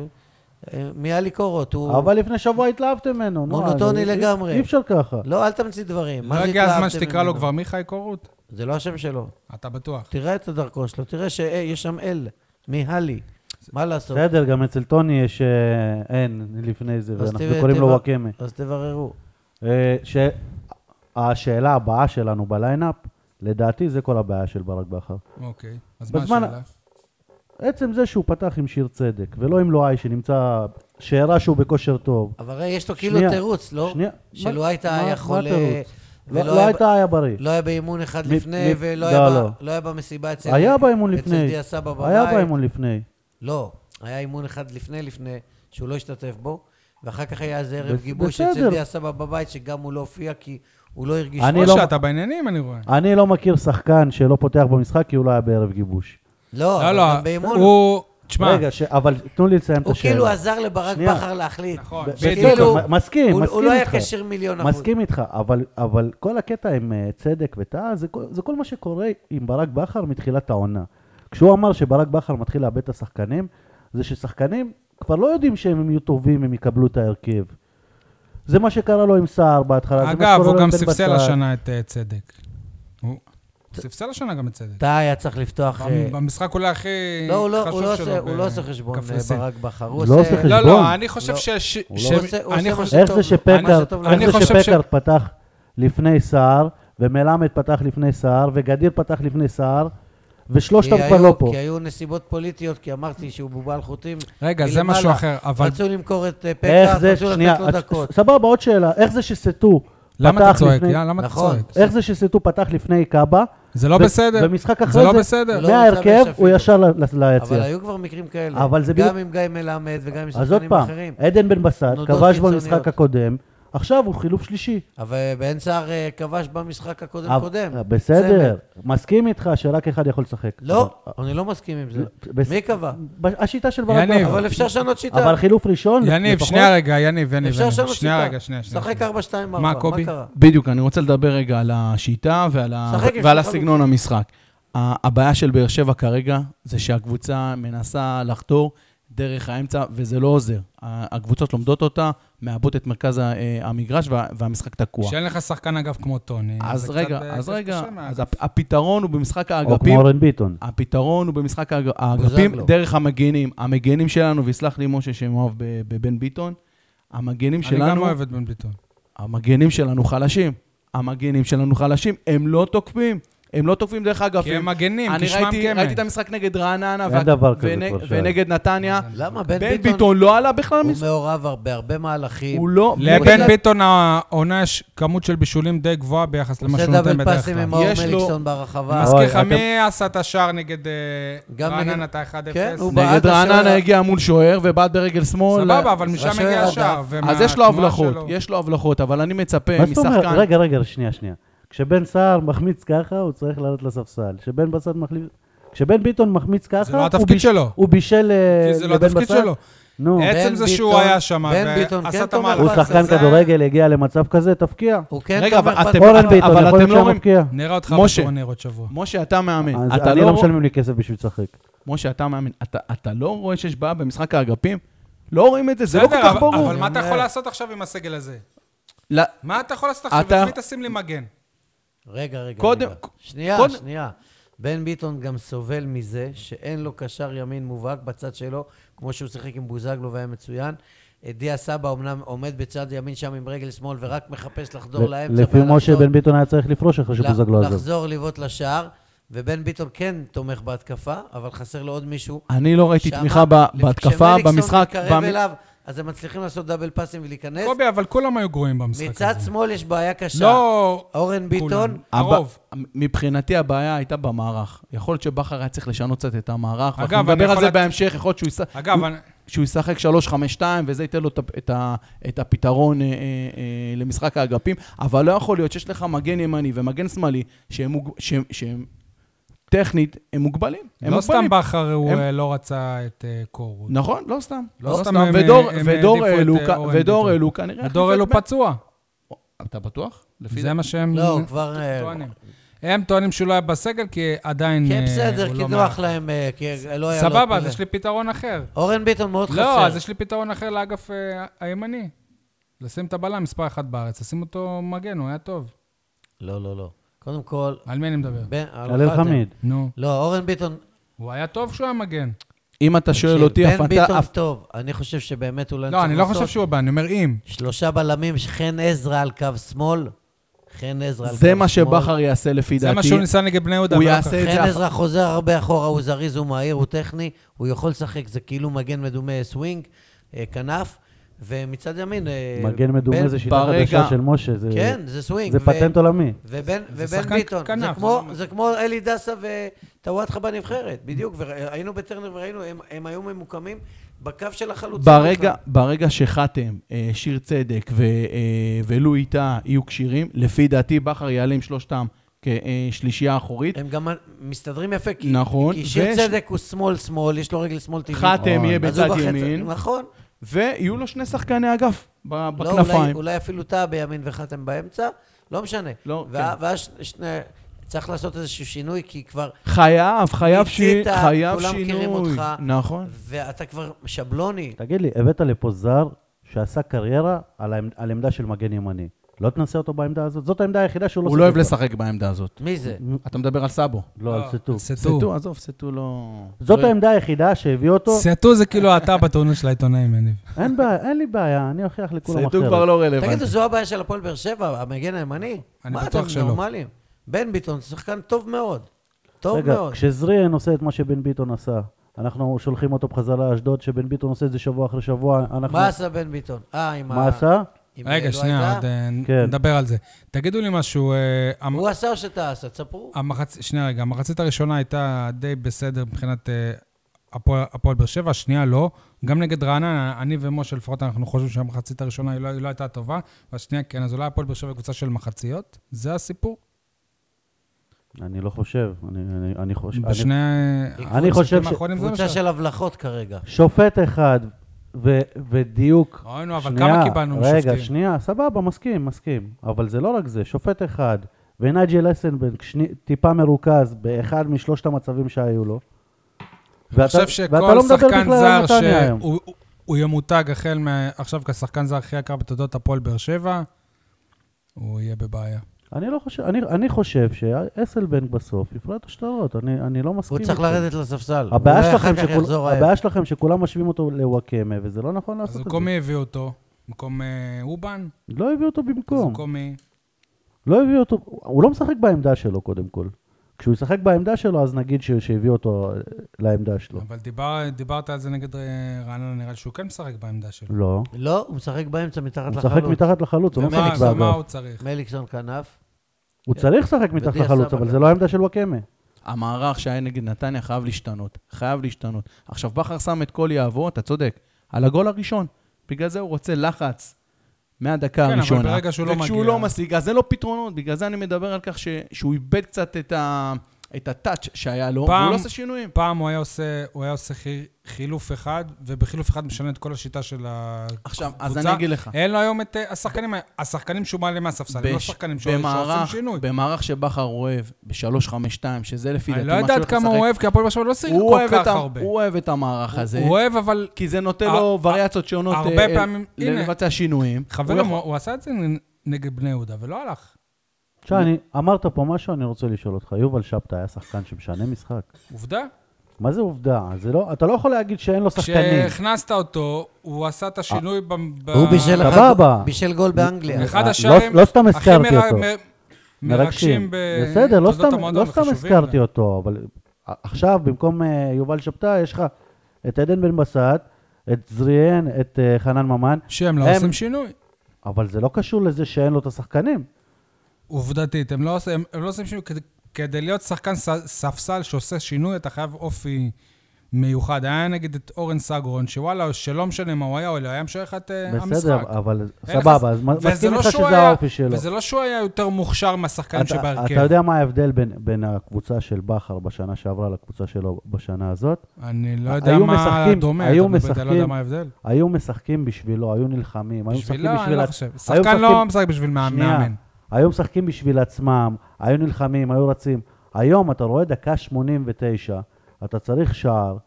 Speaker 3: אה, מיאלי קורות, הוא...
Speaker 2: אבל לפני שבוע התלהבתם ממנו. נו,
Speaker 3: מונוטוני
Speaker 2: אז אי-
Speaker 3: לגמרי.
Speaker 2: אי אפשר ככה.
Speaker 3: לא, אל תמציא דברים.
Speaker 1: לא
Speaker 3: מה זה
Speaker 1: הגיע הזמן
Speaker 3: התלהבתם
Speaker 1: שתקרא לו
Speaker 3: ממנו?
Speaker 1: כבר מיכאי קורות?
Speaker 3: זה לא השם שלו.
Speaker 1: אתה בטוח.
Speaker 3: תראה את הדרכון שלו, תראה שיש שם אל, מיהלי. מה לעשות?
Speaker 2: בסדר, גם אצל טוני יש אה, אין לפני זה,
Speaker 3: אז
Speaker 2: ואנחנו
Speaker 3: תראה,
Speaker 2: קוראים לו
Speaker 3: תראה.
Speaker 2: וואקמה.
Speaker 3: אז תבררו.
Speaker 2: אה, ש- השאלה הבאה שלנו בליינאפ, לדעתי זה כל הבעיה של ברק בכר.
Speaker 1: אוקיי. אז מה
Speaker 2: בזמן-
Speaker 1: השאלה?
Speaker 2: עצם זה שהוא פתח עם שיר צדק, ולא עם לואי שנמצא, שהראה שהוא בכושר טוב.
Speaker 3: אבל הרי יש לו כאילו
Speaker 2: שנייה,
Speaker 3: תירוץ, לא?
Speaker 2: שנייה,
Speaker 3: שלא
Speaker 2: מה-
Speaker 3: הייתה
Speaker 2: מה- מה
Speaker 3: יכול... אה,
Speaker 2: התירוץ?
Speaker 3: ולא
Speaker 2: לא
Speaker 3: היה-
Speaker 2: לא הייתה היה בריא.
Speaker 3: לא היה באימון אחד
Speaker 2: מי-
Speaker 3: לפני,
Speaker 2: מי-
Speaker 3: ולא
Speaker 2: לא,
Speaker 3: היה
Speaker 2: לא.
Speaker 3: ב- לא היה במסיבה אצל...
Speaker 2: היה באימון
Speaker 3: אצל
Speaker 2: לפני.
Speaker 3: דיה סבא בבית.
Speaker 2: היה באימון לפני.
Speaker 3: לא, היה אימון אחד לפני, לפני, שהוא לא השתתף בו, ואחר כך היה איזה ערב
Speaker 2: בס-
Speaker 3: גיבוש
Speaker 2: בסדר.
Speaker 3: אצל דיה סבא בבית, שגם הוא לא הופיע כי הוא לא הרגיש...
Speaker 2: אני
Speaker 3: טוב.
Speaker 2: לא-
Speaker 1: משה, אתה בעניינים, אני רואה.
Speaker 2: אני לא מכיר שחקן שלא פותח במשחק כי הוא לא היה בערב גיבוש.
Speaker 3: לא,
Speaker 1: לא,
Speaker 3: אבל
Speaker 1: לא,
Speaker 3: גם באימון... לא. הוא
Speaker 1: הוא... תשמע,
Speaker 2: רגע, ש- אבל תנו לי לסיים את
Speaker 3: הוא
Speaker 2: השאלה.
Speaker 3: כאילו עזר לברק
Speaker 2: שנייה.
Speaker 3: בכר להחליט.
Speaker 1: נכון,
Speaker 2: ב-
Speaker 1: בדיוק.
Speaker 2: בסדר,
Speaker 3: כאילו,
Speaker 2: מ- מסכים,
Speaker 3: הוא-
Speaker 2: מסכים
Speaker 3: הוא לא היה
Speaker 2: איתך.
Speaker 3: כשיר מיליון אחוז.
Speaker 2: מסכים איתך, אבל, אבל כל הקטע עם אה, צדק וטאה, זה, כל- זה כל מה שקורה עם ברק בכר מתחילת העונה. כשהוא אמר שברק בכר מתחיל לאבד את השחקנים, זה ששחקנים כבר לא יודעים שהם יהיו טובים אם יקבלו את ההרכב. זה מה שקרה לו עם סער בהתחלה. זה מה
Speaker 1: אגב,
Speaker 2: שקורה לו
Speaker 1: הוא
Speaker 2: עם
Speaker 1: גם
Speaker 2: בן
Speaker 1: ספסל
Speaker 2: בסט.
Speaker 1: השנה את אה, צדק. הוא הוא ספסל השנה גם את צדק.
Speaker 3: אתה היה צריך לפתוח... אה,
Speaker 1: במשחק אולי הכי
Speaker 3: לא, הוא לא- הוא
Speaker 1: חשוב
Speaker 3: לא
Speaker 1: שלו.
Speaker 3: עושה- הוא לא
Speaker 1: ב-
Speaker 3: עושה חשבון אה,
Speaker 1: קפריסין.
Speaker 3: ברק בכר. הוא
Speaker 2: לא עושה חשבון.
Speaker 1: לא, לא, אני חושב
Speaker 3: לא.
Speaker 1: ש... ש-
Speaker 2: הוא
Speaker 1: ש-
Speaker 3: הוא עושה- הוא
Speaker 1: אני
Speaker 3: עושה מה
Speaker 1: חושב-
Speaker 3: שטוב
Speaker 2: איך
Speaker 3: לו.
Speaker 2: זה שפקארט
Speaker 3: טוב לו.
Speaker 1: אני
Speaker 2: איך זה
Speaker 1: חושב ש-
Speaker 2: שפקארט פתח לפני סער, ומלמד פתח לפני סער, וגדיר פתח לפני סער, ושלושתם
Speaker 3: כי
Speaker 2: כבר
Speaker 3: היו-
Speaker 2: לא פה.
Speaker 3: כי היו נסיבות פוליטיות, כי אמרתי שהוא בובה על חוטים.
Speaker 1: רגע, זה
Speaker 3: מלמעלה.
Speaker 1: משהו אחר, אבל...
Speaker 3: רצו למכור את אה,
Speaker 2: איך
Speaker 3: פקארט,
Speaker 2: זה,
Speaker 3: רצו
Speaker 2: שנייה,
Speaker 3: לתת לו
Speaker 2: את-
Speaker 3: דקות.
Speaker 2: סבבה, עוד שאלה, איך זה שסטו
Speaker 1: למה אתה
Speaker 2: פתח
Speaker 1: צועק?
Speaker 2: לפני-
Speaker 1: יאללה, למה אתה
Speaker 3: נכון.
Speaker 1: צועק?
Speaker 2: איך זה שסטו פתח לפני קאבה?
Speaker 1: זה לא
Speaker 2: ו-
Speaker 1: בסדר.
Speaker 2: במשחק
Speaker 1: זה
Speaker 2: אחרי
Speaker 1: לא
Speaker 2: זה,
Speaker 1: בסדר.
Speaker 3: לא
Speaker 2: מההרכב
Speaker 3: נמצא
Speaker 2: הוא
Speaker 3: בשפיטו.
Speaker 2: ישר ל- ל-
Speaker 3: אבל
Speaker 2: ליציע.
Speaker 3: היו כבר מקרים כאלה.
Speaker 2: אבל זה בדיוק-
Speaker 3: גם עם גיא מלמד וגם עם
Speaker 2: אז עוד
Speaker 3: שחקנים
Speaker 2: פעם,
Speaker 3: אחרים.
Speaker 2: עדן בן בסט
Speaker 3: תנודות
Speaker 2: כבש
Speaker 3: קיצוניות.
Speaker 2: במשחק הקודם, עכשיו הוא חילוף שלישי.
Speaker 3: אבל בן סער אה, כבש במשחק הקודם
Speaker 2: אבל-
Speaker 3: קודם.
Speaker 2: אה, בסדר,
Speaker 3: צמד.
Speaker 2: מסכים איתך שרק אחד יכול לשחק.
Speaker 3: לא,
Speaker 2: אבל- אה,
Speaker 3: אני לא מסכים עם זה.
Speaker 2: בס-
Speaker 3: מי קבע?
Speaker 2: ב- השיטה של ברק
Speaker 1: יניב.
Speaker 2: בכר.
Speaker 3: אבל אפשר לשנות שיטה.
Speaker 2: אבל חילוף ראשון,
Speaker 1: יניב,
Speaker 2: לא, לפחות-
Speaker 1: שנייה רגע, יניב, יניב,
Speaker 3: אפשר
Speaker 1: יניב.
Speaker 3: לשנות
Speaker 1: שנייה
Speaker 3: שיטה.
Speaker 1: רגע, שנייה, שנייה.
Speaker 3: שחק 4-2-4,
Speaker 1: מה,
Speaker 3: מה
Speaker 1: קובי?
Speaker 3: קרה?
Speaker 4: בדיוק, אני רוצה לדבר רגע על השיטה ועל, ה...
Speaker 3: שחק עם
Speaker 4: ועל
Speaker 3: שני
Speaker 4: הסגנון המשחק. ה- הבעיה של באר שבע כרגע זה שהקבוצה מנסה לחתור דרך האמצע, וזה לא עוזר. ה- הקבוצות לומדות אותה, מעבות את מרכז ה- אה, המגרש, וה- והמשחק תקוע.
Speaker 1: כשאין לך שחקן אגב כמו טוני.
Speaker 4: אז
Speaker 1: זה
Speaker 4: רגע,
Speaker 1: קצת, אה,
Speaker 4: אז
Speaker 1: קצת
Speaker 4: רגע,
Speaker 1: קשה מהאגף.
Speaker 4: אז הפ- הפתרון הוא במשחק
Speaker 2: או כמו
Speaker 4: האגפים.
Speaker 2: אורן ביטון.
Speaker 4: הפתרון הוא במשחק האג- האגפים
Speaker 3: בוזגלו.
Speaker 4: דרך המגנים. המגנים שלנו, ויסלח לי משה שמואב ב- בבן ביטון, המגנים
Speaker 1: אני גם
Speaker 4: שלנו...
Speaker 1: אוהב את בן ביטון.
Speaker 4: המגנים שלנו חלשים. המגנים שלנו חלשים, הם לא תוקפים. הם לא תוקפים דרך אגב.
Speaker 1: כי הם מגנים,
Speaker 4: אני
Speaker 1: כי שמם
Speaker 4: ראיתי, ראיתי את
Speaker 1: קמת.
Speaker 4: המשחק נגד רעננה
Speaker 2: אין דבר כזה
Speaker 4: ונג-
Speaker 2: כבר שהיה.
Speaker 4: ונגד נתניה.
Speaker 3: למה? בן
Speaker 4: בן
Speaker 3: ביטון
Speaker 4: ביטון לא עלה בכלל
Speaker 3: הוא
Speaker 4: מזה.
Speaker 3: מעורב הר- בהרבה מהלכים.
Speaker 4: הוא לא...
Speaker 1: לבן
Speaker 4: בגלל-
Speaker 1: ביטון העונה יש כמות של בישולים די גבוהה ביחס למה
Speaker 3: עושה
Speaker 1: שהוא נותן
Speaker 3: דאבל
Speaker 1: בדרך
Speaker 3: פאסים עם
Speaker 1: כלל.
Speaker 3: מאור
Speaker 4: יש לו-
Speaker 3: מליקסון ברחבה.
Speaker 1: מזכיר לך,
Speaker 2: אוי, אתם-
Speaker 1: מי עשה את השער נגד אה,
Speaker 3: גם נגד-
Speaker 1: רעננה, את ה-1-0?
Speaker 3: כן, הוא בעט
Speaker 4: נגד
Speaker 3: השוער.
Speaker 4: רעננה הגיע מול שוער ובעט ברגל שמאל.
Speaker 1: סבבה, אבל משם
Speaker 3: השוער
Speaker 1: הגיע
Speaker 3: הדף.
Speaker 1: השער.
Speaker 4: אז יש לו
Speaker 1: ומהתנועה
Speaker 4: הבלחות,
Speaker 1: שלו-
Speaker 4: יש לו הבלחות, אבל אני מצפה
Speaker 1: אה,
Speaker 2: מה זאת אומרת?
Speaker 4: משחקן...
Speaker 2: רגע, רגע, שנייה, שנייה. כשבן סער מחמיץ ככה, הוא צריך לעלות לספסל. כשבן בסט מחליף... כשבן ביטון מחמיץ ככה,
Speaker 1: לא
Speaker 2: הוא
Speaker 1: התפקיד
Speaker 2: ביש-
Speaker 1: שלו.
Speaker 2: הוא בישל אה,
Speaker 1: כי
Speaker 2: לבן בסט.
Speaker 1: זה לא התפקיד שלו.
Speaker 2: נו,
Speaker 1: אה, עצם
Speaker 3: בן
Speaker 1: זה שהוא
Speaker 3: ביטון-
Speaker 1: היה שם
Speaker 3: בן ביטון
Speaker 1: ועשה
Speaker 3: כן
Speaker 1: את
Speaker 3: תומך
Speaker 1: המהלך
Speaker 2: הוא
Speaker 3: אבל
Speaker 2: שחקן
Speaker 1: הזה,
Speaker 2: כדורגל, הגיע למצב כזה, תפקיע.
Speaker 3: הוא כן
Speaker 4: רגע, אבל
Speaker 3: תומך
Speaker 4: אתם-
Speaker 3: בהתקפה.
Speaker 2: אורן ביטון,
Speaker 4: אבל
Speaker 2: יכול
Speaker 4: אתם
Speaker 2: להיות
Speaker 4: לא
Speaker 2: שהוא
Speaker 4: רואים-
Speaker 2: מבקיע.
Speaker 1: נראה אותך
Speaker 4: משה.
Speaker 1: בטורניר עוד שבוע.
Speaker 4: משה, אתה מאמן.
Speaker 2: אז
Speaker 4: אתה
Speaker 2: אני
Speaker 4: לא
Speaker 2: לא
Speaker 4: רוא-
Speaker 2: משלמים לי כסף בשביל לשחק.
Speaker 4: משה, אתה מאמן. אתה- אתה לא רואה שיש בעיה במשחק האגפים? לא רואים את זה, זה לא כל
Speaker 1: בסדר,
Speaker 4: כך
Speaker 1: אבל-
Speaker 4: ברור.
Speaker 1: אבל מה אתה יכול לעשות עכשיו עם הסגל הזה?
Speaker 4: לא-
Speaker 1: מה אתה יכול לעשות עכשיו? את
Speaker 4: אתה-
Speaker 1: מי תשים לי מגן?
Speaker 3: רגע, רגע.
Speaker 4: קודם-
Speaker 3: רגע. שנייה,
Speaker 4: קודם-
Speaker 3: שנייה. בן ביטון גם סובל מזה שאין לו קשר ימין מובהק בצד שלו, כמו שהוא שיחק עם בוזגלו והיה מצוין. אה, דיה סבא אמנם עומד בצד ימין שם עם רגל שמאל ורק מחפש לחדור לאמצע.
Speaker 2: לפי
Speaker 3: ולחזור-
Speaker 2: משה בן ביטון היה צריך לפרוש אחרי שבוזגלו לא עזב.
Speaker 3: לחזור לבעוט לשער, ובן ביטון כן תומך בהתקפה, אבל חסר לו עוד מישהו.
Speaker 4: אני לא ראיתי
Speaker 3: שם,
Speaker 4: תמיכה ב-
Speaker 3: לפ-
Speaker 4: בהתקפה, במשחק.
Speaker 3: כשמליקסון מתקרב
Speaker 4: במ-
Speaker 3: אליו, אז הם מצליחים לעשות דאבל פאסים ולהיכנס.
Speaker 1: קובי, אבל כולם היו גרועים במשחק הזה.
Speaker 3: מצד שמאל יש בעיה קשה.
Speaker 1: לא
Speaker 3: אורן
Speaker 1: כולם.
Speaker 3: ביטון,
Speaker 4: הב-
Speaker 1: הרוב.
Speaker 4: מבחינתי הבעיה הייתה במערך. יכול להיות שבכר היה צריך לשנות קצת את המערך, ואנחנו
Speaker 1: אגב, אני
Speaker 4: נדבר על
Speaker 1: יכול
Speaker 4: זה
Speaker 1: לק-
Speaker 4: בהמשך, יכול להיות שהוא ישחק-
Speaker 1: אגב,
Speaker 4: הוא-
Speaker 1: אני-
Speaker 4: שהוא ישחק 3-5-2, וזה ייתן לו את ה- את ה- את הפתרון אה, אה, אה, למשחק האגפים, אבל לא יכול להיות שיש לך מגן ימני ומגן שמאלי, שהם מוג- שהם- שהם טכנית, הם מוגבלים. הם
Speaker 1: לא
Speaker 4: מוגבלים.
Speaker 1: סתם בכר הוא
Speaker 4: הם-
Speaker 1: אה, לא רצה את אה, קור.
Speaker 4: נכון, לא סתם.
Speaker 1: לא
Speaker 4: לא
Speaker 1: סתם
Speaker 4: סתם.
Speaker 1: הם,
Speaker 4: ודור-
Speaker 1: הם
Speaker 4: ודור
Speaker 1: העדיפו את,
Speaker 4: אלו,
Speaker 1: אה, אורן
Speaker 4: ודור
Speaker 1: ביטון.
Speaker 4: אלו כנראה...
Speaker 1: הדור
Speaker 4: החליף
Speaker 1: אלו
Speaker 4: את בן-
Speaker 1: פצוע.
Speaker 4: אתה בטוח? לפי
Speaker 1: זה מה שהם
Speaker 3: לא, הוא כבר... אה,
Speaker 1: טוענים. הם טוענים שהוא לא היה בסגל, כי עדיין אה,
Speaker 3: כן,
Speaker 1: הוא לא...
Speaker 3: בסדר, כי
Speaker 1: מה-
Speaker 3: נוח להם, אה, כי לא היה לו...
Speaker 1: סבבה, אז
Speaker 3: כזה.
Speaker 1: יש לי פתרון אחר.
Speaker 3: אורן ביטון מאוד חסר.
Speaker 1: לא, אז יש לי פתרון אחר לאגף אה, הימני. לשים את הבלם מספר אחת בארץ, לשים אותו מגן, הוא היה טוב.
Speaker 3: לא, לא, לא. קודם כל...
Speaker 1: על מי אני מדבר?
Speaker 3: בן-
Speaker 2: הלל
Speaker 3: אלחאטה.
Speaker 2: חמיד.
Speaker 1: נו.
Speaker 3: לא, אורן ביטון...
Speaker 1: הוא היה טוב כשהוא היה מגן.
Speaker 4: אם אתה שואל
Speaker 3: תקשיב,
Speaker 4: אותי,
Speaker 3: בן
Speaker 4: הפנטזיה...
Speaker 3: ביטון טוב. אני חושב שבאמת אולי...
Speaker 1: לא,
Speaker 3: צריך
Speaker 1: אני לא חושב
Speaker 3: לעשות
Speaker 1: שהוא הבא, אני אומר אם.
Speaker 3: שלושה בלמים, חן עזרא על קו שמאל. חן עזרא על קו שמאל.
Speaker 4: זה מה שבכר יעשה לפי
Speaker 1: זה מה
Speaker 4: דעתי.
Speaker 1: שהוא ניסה נגד בני יהודה. לא
Speaker 4: הוא
Speaker 1: ולא
Speaker 4: יעשה
Speaker 1: ככה.
Speaker 4: את זה
Speaker 3: חן
Speaker 4: אח-
Speaker 3: עזרא חוזר הרבה אחורה, הוא זריז, הוא מהיר, הוא טכני, הוא יכול לשחק, זה כאילו מגן מדומה סווינג, אה, כנף, ומצד ימין... אה,
Speaker 2: מגן מדומה
Speaker 3: בן-
Speaker 2: זה שיטה
Speaker 4: ברגע-
Speaker 2: חדשה של משה, זה-
Speaker 3: כן, זה סווינג.
Speaker 2: זה
Speaker 3: ו-
Speaker 2: פטנט עולמי.
Speaker 3: ובן,
Speaker 1: זה
Speaker 3: ובן
Speaker 1: שחקן
Speaker 3: ביטון, זה
Speaker 1: כנף,
Speaker 3: כמו,
Speaker 1: אבל-
Speaker 3: זה כמו אלי דסה וטוואטחה בנבחרת, בדיוק, והיינו בטרנר וראינו, הם, הם היו ממוקמים בקו של החלוצים.
Speaker 4: ברגע, ברגע שחתם, אה, שיר צדק ו, אה, ולו איתה יהיו כשירים, לפי דעתי בכר יעלה עם שלושתם כשלישייה אחורית.
Speaker 3: הם גם מסתדרים יפה, כי,
Speaker 4: נכון,
Speaker 3: כי שיר
Speaker 4: ויש-
Speaker 3: צדק הוא שמאל-שמאל, יש לו רגל שמאל טבעית.
Speaker 4: חתם יהיה
Speaker 3: אז הוא
Speaker 4: בצד
Speaker 3: בחצי-
Speaker 4: ימין,
Speaker 3: נכון.
Speaker 4: ויהיו לו שני שחקני אגף ב-
Speaker 3: לא, אולי,
Speaker 4: בכנפיים.
Speaker 3: אולי אפילו טעה בימין וחתם באמצע, לא משנה.
Speaker 4: לא,
Speaker 3: וה-
Speaker 4: כן.
Speaker 3: ואז שני- שני... צריך לעשות איזשהו שינוי, כי כבר...
Speaker 4: חייב, חייב ש-
Speaker 3: מיצית,
Speaker 4: חייב
Speaker 3: כולם מכירים
Speaker 4: שינוי.
Speaker 3: אותך. לא
Speaker 4: נכון.
Speaker 3: ואתה כבר שבלוני.
Speaker 2: תגיד לי, הבאת לפה זר שעשה קריירה על העמד- על עמדה של מגן ימני. לא תנסה אותו בעמדה הזאת? זאת העמדה היחידה שהוא לא...
Speaker 4: הוא לא אוהב
Speaker 2: שיחק
Speaker 4: לשחק בעמדה הזאת.
Speaker 3: מי זה?
Speaker 4: אתה מדבר על סאבו.
Speaker 2: בה. לא, על
Speaker 3: אה,
Speaker 2: סטו.
Speaker 1: סטו.
Speaker 4: סטו, עזוב, סטו לא...
Speaker 2: זאת
Speaker 4: לא-
Speaker 2: העמדה היחידה שהביא אותו,
Speaker 1: סטו זה כאילו אתה בטורניר של העיתונאים, יניב.
Speaker 2: אין בעיה, אין לי בעיה, אני אוכיח לכולם
Speaker 4: סטו כבר
Speaker 2: אחרת.
Speaker 4: לא רלוונטי.
Speaker 3: תגידו, זו הבעיה של הפועל באר שבע, המגן הימני?
Speaker 1: אני
Speaker 3: מה
Speaker 1: בטוח
Speaker 3: אתם
Speaker 1: שלא.
Speaker 3: נורמלים? בן ביטון, שחקן טוב מאוד. טוב
Speaker 2: רגע,
Speaker 3: מאוד.
Speaker 2: כשזריאן עושה את מה שבן ביטון עשה, אנחנו שולחים אותו בחזרה לאשדוד, שבן ביטון עושה את זה שבוע אחרי שבוע, אנחנו...
Speaker 3: מה עשה בן ביטון? אה, עם ה...
Speaker 2: מה עשה?
Speaker 3: עם
Speaker 1: רגע,
Speaker 3: לא
Speaker 1: שנייה,
Speaker 3: הייתה?
Speaker 1: עוד אה,
Speaker 2: כן.
Speaker 1: נדבר על זה. תגידו לי משהו, אה, המ-
Speaker 3: הוא עשה או שאתה עשה? תספרו.
Speaker 1: המחצ... שנייה רגע, המחצית הראשונה הייתה די בסדר מבחינת אה, הפועל הפועל באר שבע, השנייה לא. גם נגד רעננה, אני ומשה לפחות, אנחנו חושבים שהמחצית הראשונה היא לא, היא לא הייתה טובה, והשנייה כן, אז אולי הפועל באר שבע קבוצה של מחציות? זה הסיפור?
Speaker 2: אני לא חושב, אני- אני- אני חושב... אני-
Speaker 1: בשני...
Speaker 2: אני חושב ש-
Speaker 1: האחרונים נכון, זה מה
Speaker 3: קבוצה
Speaker 1: ש-
Speaker 3: של הבלחות כרגע.
Speaker 2: שופט אחד ו- ודיוק...
Speaker 1: ראינו, אבל
Speaker 2: שנייה,
Speaker 1: כמה קיבלנו
Speaker 2: רגע,
Speaker 1: משופטים?
Speaker 2: שנייה, סבבה, מסכים, מסכים. אבל זה לא רק זה, שופט אחד ונייג'ל אסנבנק שני- טיפה מרוכז באחד משלושת המצבים שהיו לו.
Speaker 1: אני
Speaker 2: ואתה-
Speaker 1: חושב
Speaker 2: ואתה
Speaker 1: שכל
Speaker 2: לא מדבר
Speaker 1: שחקן
Speaker 2: בכלל על
Speaker 1: זר
Speaker 2: נתניה היום.
Speaker 1: שהוא הוא- הוא יהיה מותג החל מעכשיו כשחקן זר הכי יקר בתולדות הפועל באר שבע, הוא יהיה בבעיה.
Speaker 2: אני לא חושב, אני, אני חושב שאסלבנק בסוף יפרט השטרות, אני, אני לא מסכים.
Speaker 3: הוא צריך
Speaker 2: איתך.
Speaker 3: לרדת לספסל.
Speaker 2: הבעיה
Speaker 3: אולי אחר
Speaker 2: שלכם,
Speaker 3: כך
Speaker 2: שכול,
Speaker 3: יחזור רעב.
Speaker 2: הבעיה שלכם שכולם משווים אותו לוואקמה, וזה לא נכון
Speaker 1: אז
Speaker 2: לעשות את זה.
Speaker 1: קומי הביא אותו, במקום אה, אובן,
Speaker 2: לא הביאו אותו
Speaker 1: אז
Speaker 2: במקום.
Speaker 1: קומי...
Speaker 2: לא הביאו אותו, הוא לא משחק בעמדה שלו קודם כל. כשהוא ישחק בעמדה שלו, אז נגיד ש- שהביאו אותו אה, לעמדה
Speaker 4: לא.
Speaker 2: שלו.
Speaker 1: אבל דיבר, דיברת על זה נגד אה, רעננה, נראה לי שהוא כן משחק בעמדה שלו.
Speaker 2: לא.
Speaker 3: לא, הוא משחק באמצע מתחת
Speaker 2: הוא
Speaker 3: לחלוץ.
Speaker 2: משחק מתחת לחלוץ, הוא לא
Speaker 1: ומה-
Speaker 2: משחק
Speaker 1: ומה
Speaker 2: באגף.
Speaker 1: הוא צריך?
Speaker 3: מליקסון כנף.
Speaker 2: הוא צריך לשחק מתחת
Speaker 3: ודיה
Speaker 2: לחלוץ,
Speaker 3: סבא
Speaker 2: אבל
Speaker 3: גם.
Speaker 2: זה לא העמדה של וואקמה.
Speaker 4: המערך שהיה נגד נתניה חייב להשתנות, חייב להשתנות. עכשיו, בכר שם את כל יהבו, אתה צודק, על הגול הראשון. בגלל זה הוא רוצה לחץ מהדקה
Speaker 1: כן, אבל
Speaker 4: הראשונה.
Speaker 1: ברגע שהוא לא
Speaker 4: וכשהוא
Speaker 1: מגיע-
Speaker 4: לא משיג, אז זה לא פתרונות. בגלל זה אני מדבר על כך ש... שהוא איבד קצת את, ה... את הטאץ' שהיה לו,
Speaker 1: פעם-
Speaker 4: והוא לא עושה שינויים.
Speaker 1: פעם הוא היה עושה, הוא היה עושה חי- חילוף אחד, ובחילוף אחד משנה את כל השיטה של הקבוצה.
Speaker 4: עכשיו, אז אני אגיד לך.
Speaker 1: אין לו היום את אה, השחקנים, ה- השחקנים שהוא מעלה מהספסל, הם לא
Speaker 4: בש-
Speaker 1: שחקנים שהוא- שעושים
Speaker 4: במערך,
Speaker 1: שינוי.
Speaker 4: במערך שבכר אוהב, ב-352, שזה לפי דעתי
Speaker 1: אני
Speaker 4: מה
Speaker 1: לא יודעת
Speaker 4: שהולך
Speaker 1: כמה
Speaker 4: לשחק.
Speaker 1: הוא אוהב, כי הפועל באר שבע לא שיחק
Speaker 4: הוא
Speaker 1: כל
Speaker 4: אוהב
Speaker 1: כך
Speaker 4: את ה-
Speaker 1: הרבה.
Speaker 4: הוא אוהב את המערך הזה.
Speaker 1: הוא אוהב, אבל
Speaker 4: כי זה נותן
Speaker 1: ה-
Speaker 4: לו
Speaker 1: ה-
Speaker 4: וריאציות שונות
Speaker 1: הרבה
Speaker 4: אה, אה,
Speaker 1: פעמים- הנה.
Speaker 4: לבצע שינויים. כן. הוא לא
Speaker 1: חברים,
Speaker 4: יכול-
Speaker 1: הוא הוא עשה את זה נגד בני יהודה, ולא הלך.
Speaker 2: תשמע, אני- אמרת פה משהו, אני רוצה לשאול אותך. יובל שבתא היה שחקן שמשנה משחק?
Speaker 1: עובדה.
Speaker 2: מה זה עובדה? זה לא, אתה לא יכול להגיד שאין לו שחקנים.
Speaker 1: כשהכנסת אותו, הוא עשה את
Speaker 4: אה,
Speaker 1: השינוי ב... ב-
Speaker 3: הוא בישל לך-
Speaker 2: סבבה.
Speaker 3: בישל גול באנגליה.
Speaker 1: אחד
Speaker 2: לא-
Speaker 1: השערים
Speaker 2: לא סתם
Speaker 1: הכי
Speaker 2: הזכרתי
Speaker 1: מר-
Speaker 2: אותו.
Speaker 1: מ- מרגשים
Speaker 2: בסדר, לא
Speaker 1: בתולדות
Speaker 2: סתם-
Speaker 1: המועדון,
Speaker 2: לא סתם
Speaker 1: וחשובים.
Speaker 2: הזכרתי אותו, אבל עכשיו במקום אה, יובל שבתאי יש לך את עדן בן בסט, את זריאן, את אה, חנן ממן,
Speaker 1: שהם לא
Speaker 2: הם-
Speaker 1: עושים שינוי.
Speaker 2: אבל זה לא קשור לזה שאין לו את השחקנים.
Speaker 1: עובדתית, הם לא עושים- הם- הם לא עושים שינוי. כדי- כדי להיות שחקן ס- ספסל שעושה שינוי, אתה חייב אופי מיוחד. היה נגיד את אורן סגרון, שוואלה, שלא משנה מה הוא היה, הוא היה משייך את אה, המשחק.
Speaker 2: בסדר, אבל
Speaker 1: אין לך-
Speaker 2: סבבה, אז
Speaker 1: וזה
Speaker 2: מסכים
Speaker 1: לא
Speaker 2: איתך
Speaker 1: שהוא
Speaker 2: שזה
Speaker 1: היה-
Speaker 2: האופי שלו.
Speaker 1: וזה לא כן. שהוא היה יותר מוכשר מהשחקנים
Speaker 2: אתה-
Speaker 1: שבהרכב.
Speaker 2: אתה יודע מה ההבדל בין- בין הקבוצה של בכר בשנה שעברה לקבוצה שלו בשנה הזאת?
Speaker 1: אני לא יודע
Speaker 2: היו
Speaker 1: מה
Speaker 2: משחקים-
Speaker 1: דומה,
Speaker 2: היו
Speaker 1: אתה באמת לא יודע
Speaker 2: משחקים-
Speaker 1: מה ההבדל.
Speaker 2: היו משחקים בשבילו, היו נלחמים, היו משחקים
Speaker 1: בשבילו, אני
Speaker 2: בשביל...
Speaker 1: לא
Speaker 2: ה-
Speaker 1: חושב.
Speaker 2: היו
Speaker 1: שחקן לא
Speaker 2: משחקים-
Speaker 1: משחק בשביל מה-
Speaker 2: שנייה.
Speaker 1: מאמן.
Speaker 2: היו משחקים בשביל עצמם, היו נלחמים, היו רצים. היום אתה רואה דקה 89, אתה צריך שער,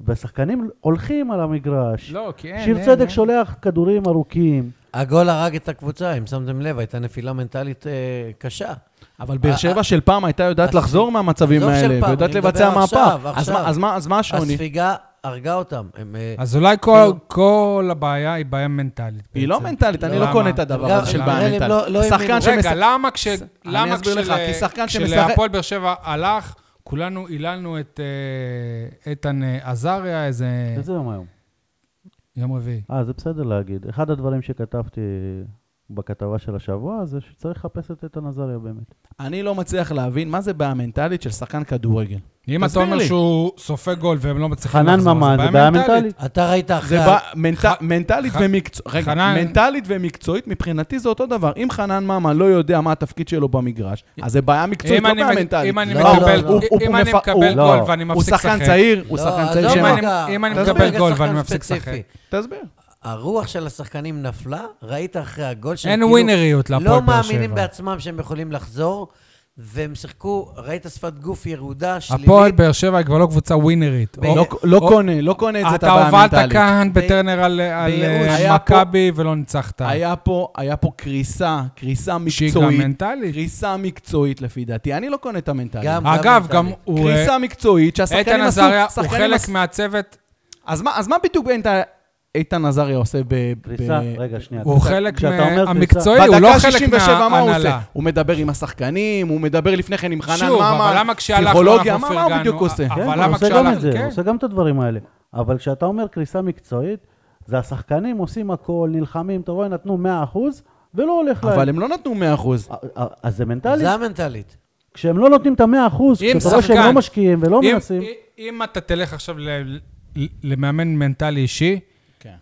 Speaker 2: והשחקנים הולכים על המגרש.
Speaker 1: לא, כי אין,
Speaker 2: שיר
Speaker 1: אין,
Speaker 2: צדק
Speaker 1: אין.
Speaker 2: שולח כדורים ארוכים.
Speaker 3: הגול הרג את הקבוצה, אם שמתם לב, הייתה נפילה מנטלית אה, קשה.
Speaker 4: אבל באר
Speaker 3: אה,
Speaker 4: שבע של פעם הייתה יודעת
Speaker 3: הספיג-
Speaker 4: לחזור מהמצבים
Speaker 3: עזוב של
Speaker 4: האלה,
Speaker 3: פעם,
Speaker 4: ויודעת
Speaker 3: אני
Speaker 4: לבצע
Speaker 3: מדבר
Speaker 4: מהפך.
Speaker 3: עכשיו,
Speaker 4: אז מה-
Speaker 3: עכשיו.
Speaker 4: אז מה- אז מה השוני?
Speaker 3: הספיגה הרגה אותם. הם, אה,
Speaker 1: אז אולי כל-
Speaker 2: כאילו-
Speaker 3: לא.
Speaker 1: כל הבעיה היא בעיה מנטלית.
Speaker 4: היא לא
Speaker 1: בעצם.
Speaker 4: מנטלית, אני לא
Speaker 1: למה?
Speaker 4: קונה את הדבר
Speaker 3: גם-
Speaker 4: הזה של
Speaker 1: גם
Speaker 4: בעיה
Speaker 3: אלה לא- לא
Speaker 4: מנטלית. שחקן
Speaker 3: האמינו.
Speaker 4: שמש-
Speaker 1: רגע, למה כש... למה
Speaker 4: אסביר
Speaker 1: כשל-
Speaker 4: לך, כי שחקן שמשחק-
Speaker 1: כשלהפועל באר שבע הלך, כולנו היללנו את אה, איתן אה, עזריה, איזה
Speaker 2: איזה יום היום?
Speaker 1: יום רביעי.
Speaker 2: אה, זה בסדר להגיד. אחד הדברים שכתבתי בכתבה של השבוע זה שצריך לחפש את איתן עזריה באמת.
Speaker 4: אני לא מצליח להבין מה זה בעיה מנטלית של שחקן כדורגל.
Speaker 1: אם אתה
Speaker 4: תסביר
Speaker 1: אומר
Speaker 4: לי.
Speaker 1: שהוא סופג גול והם לא מצליחים
Speaker 2: חנן
Speaker 1: לחזור,
Speaker 2: ממן, זה בעיה מנטלית.
Speaker 3: אתה ראית
Speaker 4: זה
Speaker 3: אחרי... לא,
Speaker 4: בא, מנט...
Speaker 1: ח-
Speaker 4: מנטלית,
Speaker 1: ח-
Speaker 4: ומקצוע... רגע,
Speaker 1: חנן-
Speaker 4: מנטלית ומקצועית, מבחינתי זה אותו דבר. אם חנן ממן לא יודע מה התפקיד שלו במגרש, אז זה בעיה מקצועית,
Speaker 1: אם
Speaker 4: לא
Speaker 1: אני
Speaker 4: בעיה
Speaker 1: מ-
Speaker 4: מנטלית.
Speaker 1: אם אני
Speaker 3: לא,
Speaker 1: מקבל-
Speaker 3: לא, לא.
Speaker 4: הוא-
Speaker 1: אם
Speaker 4: הוא
Speaker 1: אני
Speaker 4: מפ-
Speaker 1: מקבל
Speaker 4: הוא-
Speaker 1: גול
Speaker 2: לא.
Speaker 1: ואני
Speaker 4: הוא
Speaker 1: מפסיק לשחק...
Speaker 4: שחקן צעיר, הוא
Speaker 3: לא, לא.
Speaker 4: שחקן
Speaker 3: עזוב
Speaker 4: צעיר
Speaker 1: אם
Speaker 4: שמה...
Speaker 1: אני-
Speaker 3: רגע,
Speaker 1: אם אני
Speaker 3: עזוב
Speaker 4: מקבל
Speaker 3: רגע
Speaker 1: גול
Speaker 3: שחקן
Speaker 1: ואני מפסיק לשחק.
Speaker 3: ספציפי.
Speaker 4: תסביר.
Speaker 3: הרוח של השחקנים נפלה, ראית אחרי הגול שהם
Speaker 1: אין ווינריות
Speaker 3: לא
Speaker 1: להפועל באר
Speaker 3: מאמינים
Speaker 1: שבע.
Speaker 3: בעצמם שהם יכולים לחזור, והם שיחקו, ראית שפת גוף ירודה, שלילית.
Speaker 1: הפועל באר שבע היא כבר לא קבוצה ווינרית.
Speaker 3: ב-
Speaker 1: או-
Speaker 4: לא, לא
Speaker 1: או-
Speaker 4: קונה, לא קונה את זה, את
Speaker 1: אתה
Speaker 4: הבעיה
Speaker 1: הובלת
Speaker 4: המנטלית.
Speaker 1: כאן בטרנר על על,
Speaker 4: בייאוש.
Speaker 1: אה,
Speaker 4: היה פה-
Speaker 1: מכבי ולא ניצחת.
Speaker 4: היה פה, היה פה קריסה, קריסה
Speaker 1: שהיא גם
Speaker 4: מקצועית.
Speaker 1: מנטלית.
Speaker 4: קריסה מקצועית לפי דעתי, אני לא קונה את המנטלית.
Speaker 3: גם-
Speaker 1: אגב, גם
Speaker 3: מנטלית.
Speaker 1: הוא... אה,
Speaker 4: קריסה מקצועית שהשחקנים
Speaker 1: איתן
Speaker 4: עשו...
Speaker 1: עזריה הוא
Speaker 4: שחקנים
Speaker 1: חלק
Speaker 4: עשו-
Speaker 1: מהצוות,
Speaker 4: אז מה- אז מה בדיוק איתן- איתן עזריה עושה ב... ב-
Speaker 2: קריסה, רגע, שנייה.
Speaker 1: הוא
Speaker 2: קריסה-
Speaker 1: חלק
Speaker 2: כשאתה אומר קריסה-
Speaker 1: מהמקצועי, הוא לא
Speaker 4: בדקה
Speaker 1: חלק
Speaker 4: 67, מה הוא עושה?
Speaker 1: מההנהלה.
Speaker 4: הוא מדבר עם השחקנים, הוא מדבר לפני כן עם חנן
Speaker 1: שוב, אבל
Speaker 4: ממן,
Speaker 1: למה כשהלכנו
Speaker 4: פסיכולוגיה,
Speaker 1: אנחנו
Speaker 4: מה מה הוא
Speaker 1: פרגנו?
Speaker 4: בדיוק עושה?
Speaker 1: אבל
Speaker 2: כן,
Speaker 1: למה
Speaker 2: הוא עושה
Speaker 1: כשהלך-
Speaker 2: גם את זה,
Speaker 1: כן.
Speaker 2: הוא עושה גם את הדברים האלה. אבל כשאתה אומר קריסה מקצועית, זה השחקנים עושים הכל, נלחמים, אתה רואה, נתנו 100% ולא הולך להם.
Speaker 4: אבל הם לא נתנו 100%.
Speaker 2: א- א- אז זה מנטלי.
Speaker 3: זה המנטלית.
Speaker 2: כשהם לא נותנים את ה-100%,
Speaker 1: אם
Speaker 2: כשאתה רואה שהם
Speaker 1: שחקן-
Speaker 2: לא משקיעים ולא
Speaker 1: אם-
Speaker 2: מנסים,
Speaker 1: אם- אם אתה תלך עכשיו ל- ל- למאמן מנטלי אישי,
Speaker 4: כן.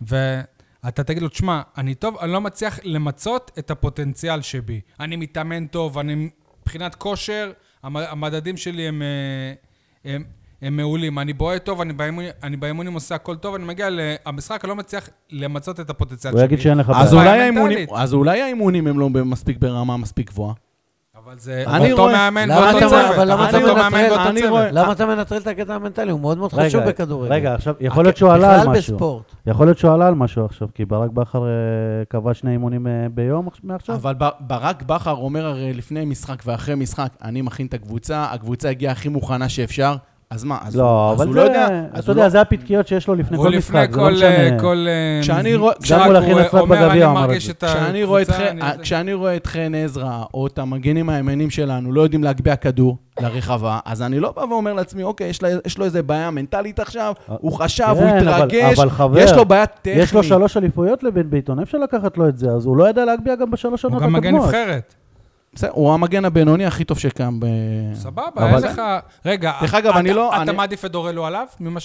Speaker 1: ואתה תגיד לו, תשמע, אני טוב, אני לא מצליח למצות את הפוטנציאל שבי. אני מתאמן טוב, אני מבחינת כושר, המ- המדדים שלי הם, אה, הם, הם מעולים. אני בועט טוב, אני, באימון, אני באימונים עושה הכל טוב, אני מגיע למשחק, אני לא מצליח למצות את הפוטנציאל
Speaker 2: הוא
Speaker 1: שבי.
Speaker 2: יגיד שאין לך
Speaker 1: אבל
Speaker 2: בעיה.
Speaker 4: אז
Speaker 1: זה
Speaker 4: אולי
Speaker 1: בעיה
Speaker 4: האימונים-
Speaker 1: מנטלית.
Speaker 4: אז אולי האימונים הם לא מספיק ברמה מספיק גבוהה.
Speaker 1: אבל זה
Speaker 4: אני
Speaker 1: אותו
Speaker 4: רואה-
Speaker 1: מאמן
Speaker 3: למה
Speaker 1: ואותו
Speaker 3: אתה-
Speaker 1: צוות.
Speaker 3: אבל למה
Speaker 1: זה
Speaker 3: אתה
Speaker 1: אותו
Speaker 3: מנטרל?
Speaker 1: לא מאמן ואותו
Speaker 4: אני
Speaker 1: צוות.
Speaker 4: רואה-
Speaker 3: למה אתה מנטרל את הקטע המנטלי? הוא מאוד מאוד חשוב
Speaker 2: רגע,
Speaker 3: בכדורגל.
Speaker 2: רגע, עכשיו, יכול להיות שהוא עלה על
Speaker 3: בכלל
Speaker 2: משהו.
Speaker 3: בספורט.
Speaker 2: יכול להיות שהוא עלה על משהו עכשיו, כי ברק בכר אה, קבע שני אימונים אה, ביום עכש- מעכשיו.
Speaker 4: אבל ב- ברק בכר אומר הרי לפני משחק ואחרי משחק, אני מכין את הקבוצה, הקבוצה הגיעה הכי מוכנה שאפשר, אז מה, אז הוא-
Speaker 2: לא,
Speaker 4: אז
Speaker 2: אבל
Speaker 4: הוא
Speaker 2: זה,
Speaker 4: לא יודע, אז
Speaker 2: אתה
Speaker 4: הוא לא...
Speaker 2: יודע, זה הפתקיות שיש לו לפני
Speaker 1: הוא
Speaker 2: כל
Speaker 1: לפני
Speaker 2: משחק, זה לא
Speaker 1: כל... אה,
Speaker 2: משנה.
Speaker 1: כל, אה,
Speaker 4: כשאני רואה-
Speaker 1: משחק
Speaker 2: גם מול הכי
Speaker 1: הוא, אה,
Speaker 2: נצרת
Speaker 1: אומר,
Speaker 2: בגביע
Speaker 1: "אני
Speaker 2: הוא אמר את
Speaker 1: מרגיש
Speaker 2: זה".
Speaker 1: את
Speaker 4: כשאני רואה את
Speaker 1: הקבוצה,
Speaker 4: חן- אה,
Speaker 1: אני-
Speaker 4: כשאני רואה את חן עזרא, או את המגנים הימנים שלנו, לא יודעים להגביה כדור לרחבה, אז אני לא בא ואומר לעצמי, אוקיי, יש, לה, יש לו איזה בעיה מנטלית עכשיו,
Speaker 2: אה,
Speaker 4: הוא חשב, הוא
Speaker 2: כן, אבל-
Speaker 4: התרגש,
Speaker 2: אבל חבר,
Speaker 4: יש לו בעיה טכנית.
Speaker 2: יש לו שלוש אליפויות לבן ביטון, אי אפשר לקחת לו את זה, אז הוא לא ידע להגביה גם בשלוש
Speaker 1: הוא
Speaker 2: עונות
Speaker 1: גם
Speaker 2: הקודמות.
Speaker 1: מגן נבחרת.
Speaker 4: בסדר, הוא המגן הבינוני הכי טוב שקם ב...
Speaker 1: סבבה,
Speaker 2: אבל-
Speaker 1: אין לך... רגע,
Speaker 4: דרך אגב,
Speaker 1: אתה-
Speaker 4: אני לא-
Speaker 1: אתה
Speaker 4: אני-
Speaker 1: מעדיף את דורלו עליו? ממה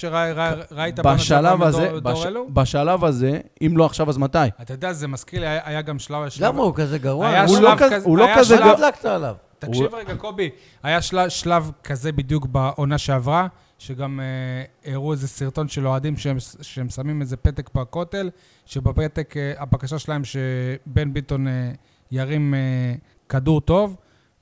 Speaker 1: שראית
Speaker 4: בשלב הזה, בש...
Speaker 1: דורלו?
Speaker 4: בשלב הזה, אם לא עכשיו, אז מתי?
Speaker 1: אתה יודע, זה מזכיר לי, היה היה גם שלב... שלב-
Speaker 3: למה הוא כזה גרוע?
Speaker 1: היה
Speaker 4: הוא
Speaker 1: שלב
Speaker 4: לא כזה-
Speaker 1: כזה-
Speaker 4: הוא לא
Speaker 1: היה
Speaker 4: כזה
Speaker 1: שלב-
Speaker 4: גרוע.
Speaker 3: הדלקת עליו.
Speaker 2: אה,
Speaker 1: תקשיב רגע, קובי, היה של- שלב כזה בדיוק בעונה שעברה, שגם אה, הראו איזה סרטון של אוהדים שהם- שהם שמים איזה פתק בכותל, שבפתק אה, הבקשה שלהם שבן ביטון אה, ירים אה, כדור טוב,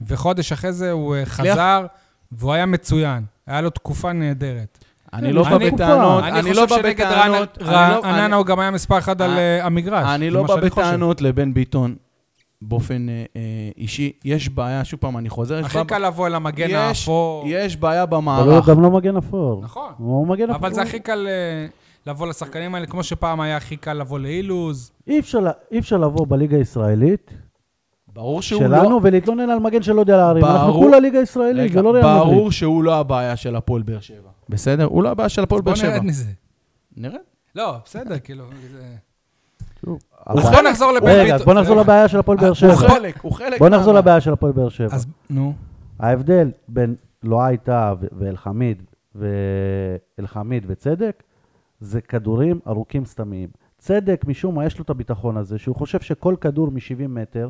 Speaker 1: וחודש אחרי זה הוא אה,
Speaker 4: הצליח?
Speaker 1: חזר, והוא היה מצוין. היה לו תקופה נהדרת.
Speaker 2: כן,
Speaker 4: אני לא בא
Speaker 1: אני-
Speaker 4: בטענות,
Speaker 1: אני
Speaker 4: אני לא בא
Speaker 1: חושב שנגד
Speaker 4: בטענות.
Speaker 1: רענ-
Speaker 4: אני לא-
Speaker 1: רעננה הוא גם היה מספר אחד על
Speaker 4: אני-
Speaker 1: אה, המגרש.
Speaker 4: אני
Speaker 1: זה
Speaker 4: לא
Speaker 1: מה
Speaker 4: בא
Speaker 1: שאני חושב.
Speaker 4: בטענות לבן ביטון. באופן אה, אה, אישי, יש בעיה, שוב פעם, אני חוזר, יש
Speaker 1: הכי
Speaker 4: בעיה-
Speaker 1: קל לבוא אל המגן
Speaker 4: יש-
Speaker 1: האפור.
Speaker 4: יש בעיה
Speaker 2: אבל הוא
Speaker 4: במערך.
Speaker 2: גם לא מגן אפור.
Speaker 1: נכון.
Speaker 2: הוא מגן אפור.
Speaker 1: אבל זה הכי קל אה, לבוא לשחקנים האלה, כמו שפעם היה הכי קל לבוא לאילוז.
Speaker 2: אי אפשר לה- אי אפשר לבוא בליגה הישראלית
Speaker 4: ברור שהוא לא...
Speaker 2: שלנו ולהתלונן על מגן שלא יודע להרים. אנחנו
Speaker 4: ברור-
Speaker 2: כולה ליגה ישראלית,
Speaker 4: רגע,
Speaker 2: זה לא ריאל מדריד.
Speaker 4: ברור שהוא לא הבעיה של הפועל באר שבע. בסדר? הוא לא הבעיה של הפועל באר
Speaker 1: בוא
Speaker 4: שבע.
Speaker 1: נרד מזה.
Speaker 4: נרד.
Speaker 1: לא, בסדר, כאילו... זה-
Speaker 2: שוב,
Speaker 1: אז
Speaker 2: הבעיה-
Speaker 1: בוא נחזור לבן ביטון.
Speaker 2: רגע, אז בוא נחזור לבעיה של הפועל באר
Speaker 4: הוא
Speaker 2: שבע.
Speaker 4: חלק, הוא חלק.
Speaker 2: בוא נחזור
Speaker 4: מה-
Speaker 2: לבעיה של הפועל באר שבע.
Speaker 1: אז נו.
Speaker 2: ההבדל בין לואי טאה ו- ואלחמיד ואלחמיד וצדק, זה כדורים ארוכים סתמיים. צדק, משום מה, יש לו את הביטחון הזה, שהוא חושב שכל כדור מ-70 מטר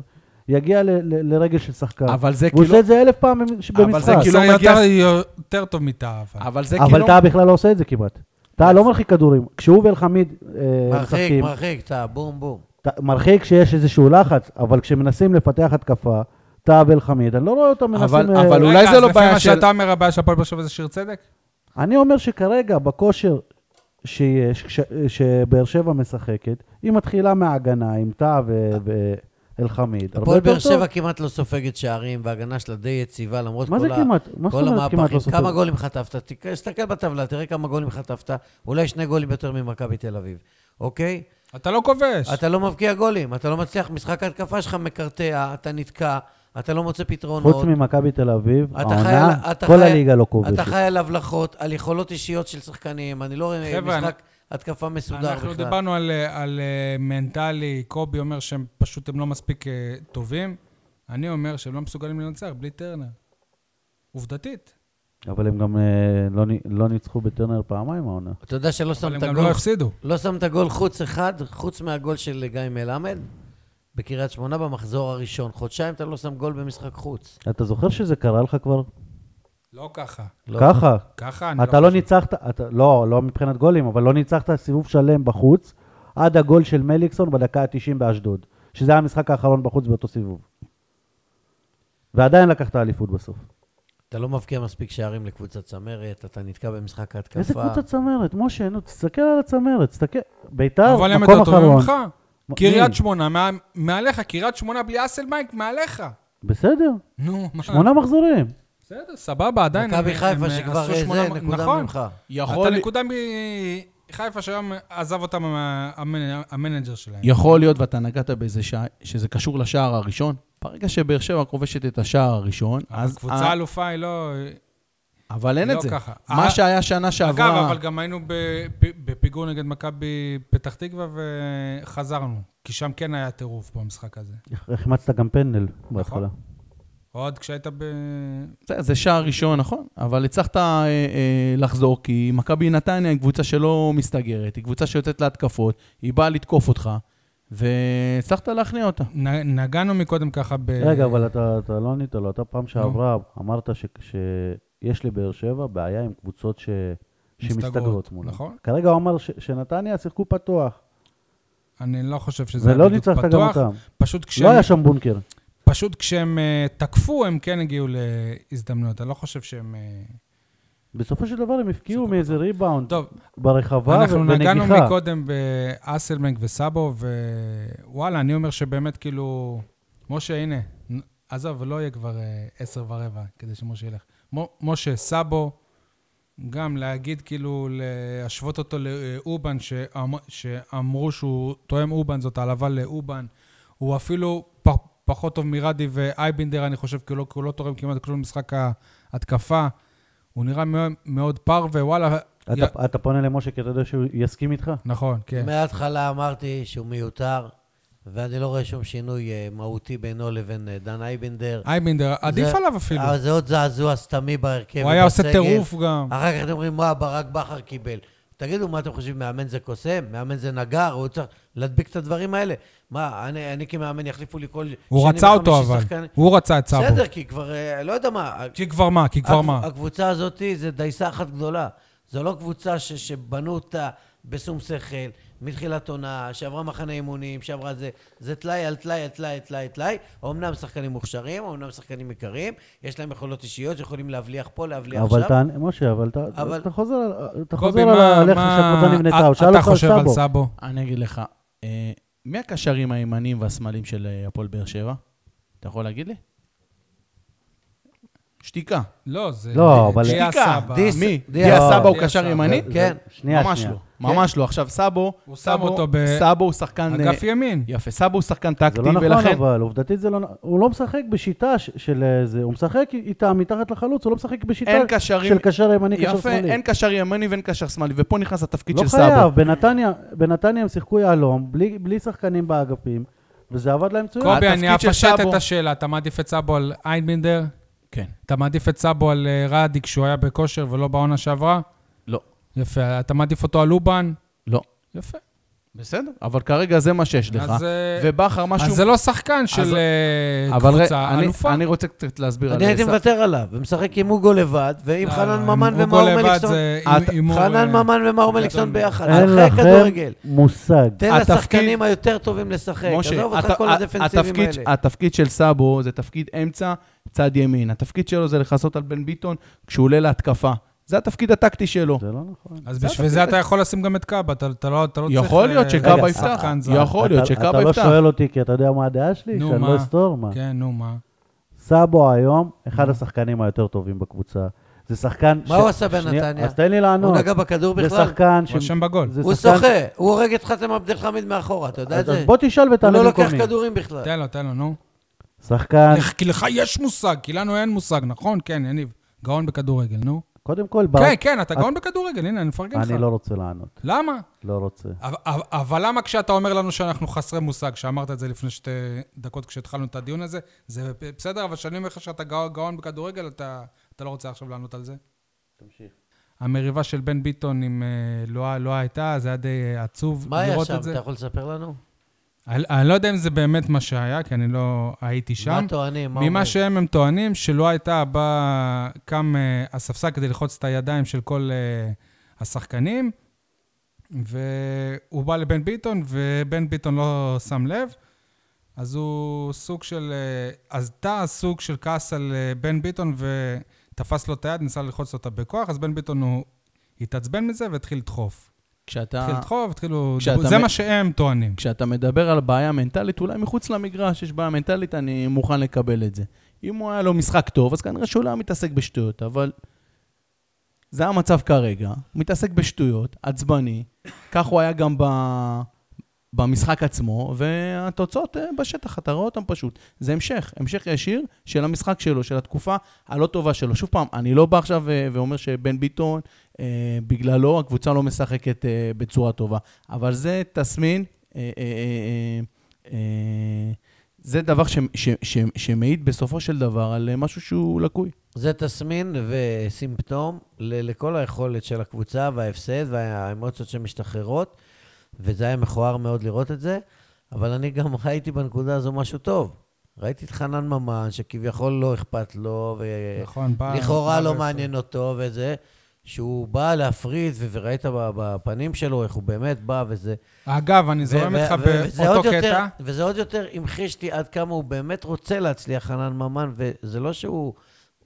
Speaker 2: יגיע ל- ל- לרגל של שחקן.
Speaker 4: אבל זה
Speaker 2: הוא עושה
Speaker 4: כאילו...
Speaker 2: את זה אלף פעם במש-
Speaker 4: אבל זה
Speaker 2: במשחק.
Speaker 4: כאילו-
Speaker 1: עשה
Speaker 4: לא מגיע-
Speaker 1: יותר- יותר טוב מטאה, אבל.
Speaker 4: אבל זה
Speaker 2: אבל
Speaker 4: כאילו...
Speaker 2: טאה בכלל לא עושה את זה כמעט. טאה לא מרחיק כדורים. כשהוא ואלחמיד אה,
Speaker 3: מרחיק,
Speaker 2: משחקים,
Speaker 3: מרחיק, אתה, בום, בום.
Speaker 2: ת- מרחיק שיש איזשהו לחץ, אבל כשמנסים לפתח התקפה, טאה ואלחמיד, אני לא רואה אותם
Speaker 4: אבל-
Speaker 2: מנסים... אה,
Speaker 4: אבל אולי זה לא
Speaker 1: רגע, אז
Speaker 4: בעיה של-
Speaker 1: לפי מה שאתה אומר, הבעיה של הפועל באר שבע זה שיר צדק?
Speaker 2: אני אומר שכרגע, בכושר שיש, כש- שבאר שבע משחקת, היא מתחילה מההגנה עם טאה ואלחמיד.
Speaker 3: הפועל באר שבע כמעט לא סופגת שערים, וההגנה שלה די יציבה, למרות
Speaker 2: מה זה
Speaker 3: כל, ה...
Speaker 2: כמעט? מה זאת
Speaker 3: כל
Speaker 2: אומרת כמעט לא
Speaker 3: המהפכים.
Speaker 2: סופר?
Speaker 3: כמה גולים חטפת? תק- תסתכל בטבלה, תראה כמה גולים חטפת, אולי שני גולים יותר ממכבי תל אביב, אוקיי?
Speaker 1: אתה לא כובש.
Speaker 3: אתה לא מבקיע גולים, אתה לא מצליח, משחק ההתקפה שלך מקרטע, אתה נתקע, אתה לא מוצא פתרונות.
Speaker 2: חוץ ממכבי תל אביב,
Speaker 3: אתה חי על-
Speaker 2: העונה,
Speaker 3: אתה
Speaker 2: כל
Speaker 3: חי-
Speaker 2: הליגה לא
Speaker 3: אתה
Speaker 2: כובשת.
Speaker 3: חי על הבלחות, על יכולות אישיות של שחקנים, אני לא רואה
Speaker 1: חבר'ה,
Speaker 3: משחק התקפה מסודר
Speaker 1: אנחנו
Speaker 3: בכלל.
Speaker 1: דיברנו על, אה, על אה, מנטלי, קובי אומר שהם פשוט הם לא מספיק אה, טובים. אני אומר שהם לא מסוגלים לנצח בלי טרנר. עובדתית.
Speaker 2: אבל הם גם אה, לא נ- לא ניצחו בטרנר פעמיים העונה.
Speaker 3: אתה יודע שלא
Speaker 1: אבל
Speaker 3: שמת
Speaker 1: הם גם לא
Speaker 3: גול
Speaker 1: הפסידו.
Speaker 3: לא שמת גול חוץ אחד, חוץ מהגול של גיא מלמד, בקריית שמונה במחזור הראשון. חודשיים אתה לא שם גול במשחק חוץ.
Speaker 2: אתה זוכר שזה קרה לך כבר?
Speaker 1: לא ככה.
Speaker 3: לא.
Speaker 2: ככה.
Speaker 1: ככה אני
Speaker 2: אתה לא
Speaker 1: חושב.
Speaker 2: ניצחת, אתה- לא, לא מבחינת גולים, אבל לא ניצחת סיבוב שלם בחוץ, עד הגול של מליקסון בדקה ה-90 באשדוד, שזה היה המשחק האחרון בחוץ באותו סיבוב. ועדיין לקחת אליפות בסוף.
Speaker 3: אתה לא מבקיע מספיק שערים לקבוצת צמרת, אתה נתקע במשחק ההתקפה.
Speaker 2: איזה קבוצת צמרת, משה, נו, תסתכל על הצמרת, תסתכל, ביתר,
Speaker 1: אבל הם
Speaker 2: מקום
Speaker 1: יותר טובים
Speaker 2: אחרון.
Speaker 1: ממך.
Speaker 2: מ- מי?
Speaker 1: קריית שמונה, מה- מעליך, קריית שמונה בלי אסלבנק, מעליך.
Speaker 2: בסדר,
Speaker 1: נו, מה?
Speaker 2: שמונה מחזורים.
Speaker 1: בסדר, סבבה, עדיין.
Speaker 3: מכבי
Speaker 1: כן, הם-
Speaker 3: חיפה
Speaker 1: הם
Speaker 3: שכבר
Speaker 1: עשו
Speaker 3: אה,
Speaker 1: שמונה-
Speaker 3: זה נקודה
Speaker 1: נכון.
Speaker 3: ממך.
Speaker 4: יכול-
Speaker 1: אתה נקודה מחיפה שהיום עזב אותם המ- המנ- המנג'ר שלהם.
Speaker 4: יכול להיות, ואתה נגעת באיזה שעה, שזה קשור לשער הראשון. ברגע שבאר שבע כובשת את השער הראשון,
Speaker 1: אז
Speaker 4: אז...
Speaker 1: קבוצה
Speaker 4: ה-
Speaker 1: אלופה היא לא...
Speaker 4: אבל אין
Speaker 1: לא
Speaker 4: את זה.
Speaker 1: ככה. אה,
Speaker 4: מה שהיה שנה
Speaker 1: אגב,
Speaker 4: שעברה...
Speaker 1: אבל גם היינו בפ- בפיגור נגד מכבי פתח תקווה וחזרנו, כי שם כן היה טירוף במשחק הזה.
Speaker 2: החמצת גם פנדל
Speaker 1: נכון.
Speaker 2: בהתחלה.
Speaker 1: עוד כשהיית ב...
Speaker 4: זה- זה שער ראשון, נכון, אבל הצלחת אה, אה, לחזור, כי מכבי נתניה היא קבוצה שלא מסתגרת, היא קבוצה שיוצאת להתקפות, היא באה לתקוף אותך, והצלחת להכניע אותה.
Speaker 1: נ- נגענו מקודם ככה ב...
Speaker 2: רגע, אבל אתה אתה לא ענית לו, אתה פעם שעברה אמרת ש- שיש לבאר שבע בעיה עם קבוצות ש- שמסתגרות
Speaker 1: מסתגרות,
Speaker 2: מולה.
Speaker 1: נכון.
Speaker 2: כרגע הוא אמר ש- שנתניה שיחקו פתוח,
Speaker 1: אני לא חושב שזה היה
Speaker 2: ולא
Speaker 1: בדיוק
Speaker 2: ניצחת גם
Speaker 1: פתוח.
Speaker 2: אותם.
Speaker 1: פשוט
Speaker 2: לא
Speaker 1: כשהם,
Speaker 2: היה שם בונקר.
Speaker 1: פשוט כשהם אה, תקפו, הם כן הגיעו להזדמנויות. אני לא חושב שהם... אה,
Speaker 2: בסופו של דבר הם הפקיעו מאיזה ריבאונד
Speaker 1: טוב,
Speaker 2: ברחבה ו-
Speaker 1: אנחנו נגענו
Speaker 2: ונגיחה.
Speaker 1: מקודם באסלבנק וסאבו, ווואלה, אני אומר שבאמת כאילו... משה, הנה, נ- עזוב, לא יהיה כבר אה, עשר ורבע כדי שמשה ילך. מו- משה, סאבו, גם להגיד כאילו, להשוות אותו לאובן, שאמ- שאמרו שהוא תואם אובן, זאת העלבה לאובן. הוא אפילו פ- פחות טוב מרדי ואייבינדר, אני חושב, כי הוא לא, כי הוא לא תורם כמעט כלום למשחק ההתקפה. הוא נראה מאוד, מאוד פרווה, וואלה... י-
Speaker 2: אתה- אתה פונה למשה כי אתה יודע שהוא יסכים איתך?
Speaker 1: נכון, כן.
Speaker 3: מההתחלה אמרתי שהוא מיותר, ואני לא רואה שום שינוי אה, מהותי בינו לבין אה, דן אייבנדר.
Speaker 1: אייבינדר, עדיף
Speaker 3: זה-
Speaker 1: עליו אפילו.
Speaker 3: אה, זה עוד זעזוע סתמי בהרכב.
Speaker 1: הוא היה עושה
Speaker 3: ובסגל.
Speaker 1: טירוף גם.
Speaker 3: אחר כך אתם אומרים, מה, ברק בכר קיבל. תגידו, מה אתם חושבים, מאמן זה קוסם? מאמן זה נגר? הוא צריך להדביק את הדברים האלה. מה, אני, אני כמאמן יחליפו לי כל...
Speaker 1: הוא
Speaker 3: שני
Speaker 1: רצה אותו
Speaker 3: וחמישי
Speaker 1: אבל.
Speaker 3: שחקן?
Speaker 1: הוא רצה את סאבו.
Speaker 3: בסדר, אה, כי כבר, אה, לא יודע מה.
Speaker 1: כי כבר מה, כי כבר
Speaker 3: הקב-
Speaker 1: מה.
Speaker 3: הקבוצה הזאת זה דייסה אחת גדולה. זו לא קבוצה ש, שבנו אותה בשום שכל, מתחילת עונה, שעברה מחנה אימונים, שעברה זה. זה טלאי על טלאי על טלאי על טלאי על טלאי. אמנם שחקנים מוכשרים, אמנם שחקנים יקרים, יש להם יכולות אישיות, יכולים להבליח פה, להבליח
Speaker 2: אבל
Speaker 3: שם.
Speaker 2: תענה, משה, אבל אתה-
Speaker 3: אבל-
Speaker 2: אתה חוזר על- אתה
Speaker 1: קובי,
Speaker 2: חוזר על
Speaker 1: מה-
Speaker 2: ה- על איך
Speaker 1: מה-
Speaker 2: שהקבוצה נבנתה, הוא
Speaker 1: אתה
Speaker 2: שאל אותך על
Speaker 1: חושב על
Speaker 2: סאבו.
Speaker 1: סאבו.
Speaker 4: אני אגיד לך, אה, מי הקשרים הימניים והשמאליים של אה, הפועל באר שבע? אתה יכול להגיד לי? שתיקה.
Speaker 1: לא, זה...
Speaker 2: לא, אבל-
Speaker 1: דיה
Speaker 4: שתיקה.
Speaker 1: סבא.
Speaker 3: דיס-
Speaker 4: מי?
Speaker 3: דיה
Speaker 4: דיה
Speaker 2: סבא.
Speaker 4: סבא הוא
Speaker 1: דיה
Speaker 4: קשר
Speaker 1: סבא.
Speaker 4: ימני?
Speaker 2: זה-
Speaker 3: כן.
Speaker 2: שנייה,
Speaker 4: ממש
Speaker 2: שנייה.
Speaker 4: לא, ממש לא. עכשיו, סאבו...
Speaker 1: הוא שם
Speaker 4: סאבו-
Speaker 1: אותו ב-
Speaker 4: סאבו הוא שחקן...
Speaker 1: אגף
Speaker 4: אה,
Speaker 1: ימין.
Speaker 4: יפה, סאבו הוא שחקן טקטי,
Speaker 2: זה לא נכון,
Speaker 4: ולכן...
Speaker 2: אבל עובדתית זה לא נכון. הוא לא משחק בשיטה ש- של אה, זה, הוא משחק איתה מתחת לחלוץ, הוא לא משחק בשיטה
Speaker 4: אין קשרים-
Speaker 2: של קשר ימני, קשר
Speaker 4: יפה,
Speaker 2: שמאלי.
Speaker 4: אין קשר ימני ואין קשר שמאלי, ופה נכנס התפקיד
Speaker 2: לא
Speaker 4: של סאבו.
Speaker 2: חייב, בנתניה, בנתניה הם שיחקו יהלום, בלי, בלי שחקנים באגפים, וזה עבד להם מצוין.
Speaker 1: קובי, אני
Speaker 4: התפקיד של
Speaker 1: אפשט את
Speaker 4: סאבו.
Speaker 1: השאלה. אתה מעדיף את סאבו על איינבינדר?
Speaker 4: כן,
Speaker 1: אתה מעדיף את סאבו על אה, רדי כשהוא היה בכושר ולא בעונה שעברה?
Speaker 4: לא,
Speaker 1: יפה. אתה מעדיף אותו על לובן?
Speaker 4: לא.
Speaker 1: יפה.
Speaker 4: בסדר, אבל כרגע זה מה שיש לך.
Speaker 1: אז, אה,
Speaker 4: ובכר משהו...
Speaker 1: אז זה לא שחקן של אה,
Speaker 4: אבל ר-
Speaker 1: קבוצה
Speaker 4: אני-
Speaker 1: אלופה.
Speaker 4: אני רוצה קצת להסביר על
Speaker 3: אני הייתי
Speaker 4: סאבו.
Speaker 3: מוותר עליו, ומשחק עם אוגו לבד, ועם
Speaker 1: לא,
Speaker 3: חנן
Speaker 1: לא,
Speaker 3: ממן
Speaker 1: הוא
Speaker 3: ומאור
Speaker 1: גול לבד,
Speaker 3: מליקסון.
Speaker 1: זה
Speaker 4: אה,
Speaker 1: הימ- הימור,
Speaker 3: חנן
Speaker 1: אה,
Speaker 3: ממן ומאור
Speaker 1: גדול
Speaker 3: מליקסון
Speaker 1: מאוד.
Speaker 3: ביחד,
Speaker 2: אין
Speaker 3: שחק
Speaker 2: לכם
Speaker 3: כדורגל.
Speaker 2: מושג.
Speaker 3: תן
Speaker 4: התפקיד-
Speaker 3: לשחקנים היותר טובים לשחק. עזוב אותך
Speaker 4: הת-
Speaker 3: כל
Speaker 4: ה-
Speaker 3: הדפנסיבים
Speaker 4: התפקיד-
Speaker 3: האלה.
Speaker 4: התפקיד של סאבו זה תפקיד אמצע, צד ימין. התפקיד שלו זה לכסות על בן ביטון כשהוא עולה להתקפה. זה התפקיד הטקטי שלו.
Speaker 2: זה לא נכון.
Speaker 1: אז בשביל זה אתה יכול לשים גם את קאבה, אתה אתה לא אתה לא צריך...
Speaker 4: יכול להיות
Speaker 1: אה,
Speaker 4: שקאבה
Speaker 1: אה,
Speaker 4: יפתח.
Speaker 1: שחקן זר.
Speaker 4: יכול להיות
Speaker 2: אתה-
Speaker 4: שקאבה
Speaker 2: אתה לא
Speaker 4: יפתח.
Speaker 2: שואל אותי, כי אתה יודע מה הדעה שלי?
Speaker 1: נו,
Speaker 2: שאני
Speaker 1: מה?
Speaker 2: לא אסתור מה.
Speaker 1: כן, נו, מה?
Speaker 2: סאבו היום, אחד השחקנים היותר טובים בקבוצה. זה שחקן...
Speaker 3: מה הוא עשה בנתניה?
Speaker 2: שנייה, אז תן לי לענות.
Speaker 3: הוא נגע בכדור
Speaker 2: זה
Speaker 3: בכלל?
Speaker 2: שחקן ש...
Speaker 1: הוא אשם בגול.
Speaker 2: זה
Speaker 3: הוא
Speaker 2: שחקן-
Speaker 3: שוחה, הוא הורג את חתם עבד אל חמיד מאחורה, אתה יודע את
Speaker 2: אז
Speaker 3: זה?
Speaker 2: אז בוא תשאל
Speaker 3: הוא
Speaker 2: ותענה
Speaker 3: לא לוקח כן,
Speaker 2: במקומי.
Speaker 3: כדורים
Speaker 4: אה.
Speaker 3: בכלל.
Speaker 1: תן לו, תן לו, נו.
Speaker 2: שחקן,
Speaker 1: לך- כי לך יש מושג, כי לנו אין מושג, נכון? כן, יניב. גאון בכדורגל, נו.
Speaker 2: קודם כל... בר-
Speaker 1: כן, כן,
Speaker 4: אה.
Speaker 1: אתה גאון בכדורגל, הנה, אני
Speaker 3: כן,
Speaker 1: מפרגן לך.
Speaker 2: אני לא רוצה לענות.
Speaker 1: למה?
Speaker 2: לא רוצה.
Speaker 1: אבל- אבל- אבל למה כשאתה אומר לנו שאנחנו חסרי מושג, שאמרת את זה לפני שתי דקות כשהתחלנו את הדיון הזה, זה בסדר, אבל כשאני אומר לך שאתה גאו- גאון בכדורגל, אתה אתה לא רוצה עכשיו לענות על זה?
Speaker 2: תמשיך.
Speaker 1: המריבה של בן ביטון עם אה, לואה לואה הייתה, זה היה די אה, עצוב
Speaker 3: מה היה
Speaker 1: לראות
Speaker 3: שם?
Speaker 1: את זה.
Speaker 3: אתה יכול לספר לנו?
Speaker 1: אני אני לא יודע אם זה באמת מה שהיה, כי אני לא הייתי שם.
Speaker 3: מה טוענים? מה
Speaker 1: ממה
Speaker 3: אומרים?
Speaker 1: שהם הם טוענים, שלא הייתה בא קם אה, הספסל כדי ללחוץ את הידיים של כל אה, השחקנים, והוא בא לבן ביטון, ובן ביטון לא שם לב, אז הוא סוג של... אה, אז תא סוג של כעס על אה, בן ביטון, ותפס לו את היד, ניסה ללחוץ אותה בכוח, אז בן ביטון הוא התעצבן מזה והתחיל לדחוף.
Speaker 4: כשאתה...
Speaker 1: התחיל
Speaker 3: אה,
Speaker 1: לדחוף, התחילו...
Speaker 4: כשאתה
Speaker 1: זה
Speaker 4: מ-
Speaker 1: מה שהם טוענים.
Speaker 4: כשאתה מדבר על בעיה מנטלית, אולי מחוץ למגרש יש בעיה מנטלית, אני מוכן לקבל את זה. אם הוא היה לו משחק טוב, אז כנראה שהוא לא היה מתעסק בשטויות, אבל זה המצב כרגע. מתעסק בשטויות, עצבני, כך הוא היה גם ב... במשחק עצמו, והתוצאות אה, בשטח, אתה רואה אותן פשוט. זה המשך, המשך ישיר של המשחק שלו, של התקופה הלא טובה שלו. שוב פעם, אני לא בא עכשיו אה, ואומר שבן ביטון, אה, בגללו הקבוצה לא משחקת אה, בצורה טובה, אבל זה תסמין, אה, אה, אה, אה, אה, זה דבר ש- ש- ש- שמעיד בסופו של דבר על אה, משהו שהוא לקוי.
Speaker 3: זה תסמין וסימפטום ל- לכל היכולת של הקבוצה וההפסד והאמוציות שמשתחררות, וזה היה מכוער מאוד לראות את זה, אבל אני גם ראיתי בנקודה הזו משהו טוב. ראיתי את חנן ממן, שכביכול לא אכפת לו,
Speaker 1: נכון, בא...
Speaker 3: ולכאורה
Speaker 1: בא
Speaker 3: אה, לא
Speaker 1: ו-
Speaker 3: מעניין אותו וזה, שהוא בא להפריד, ו- וראית ב- בפנים שלו איך הוא באמת בא וזה.
Speaker 1: אגב, אני זורם
Speaker 3: ו-
Speaker 1: איתך
Speaker 3: ו- וזה עוד
Speaker 1: באותו
Speaker 3: יותר-
Speaker 1: לא קטע.
Speaker 3: וזה עוד יותר המחיש לי עד כמה הוא באמת רוצה להצליח, חנן ממן, וזה לא שהוא...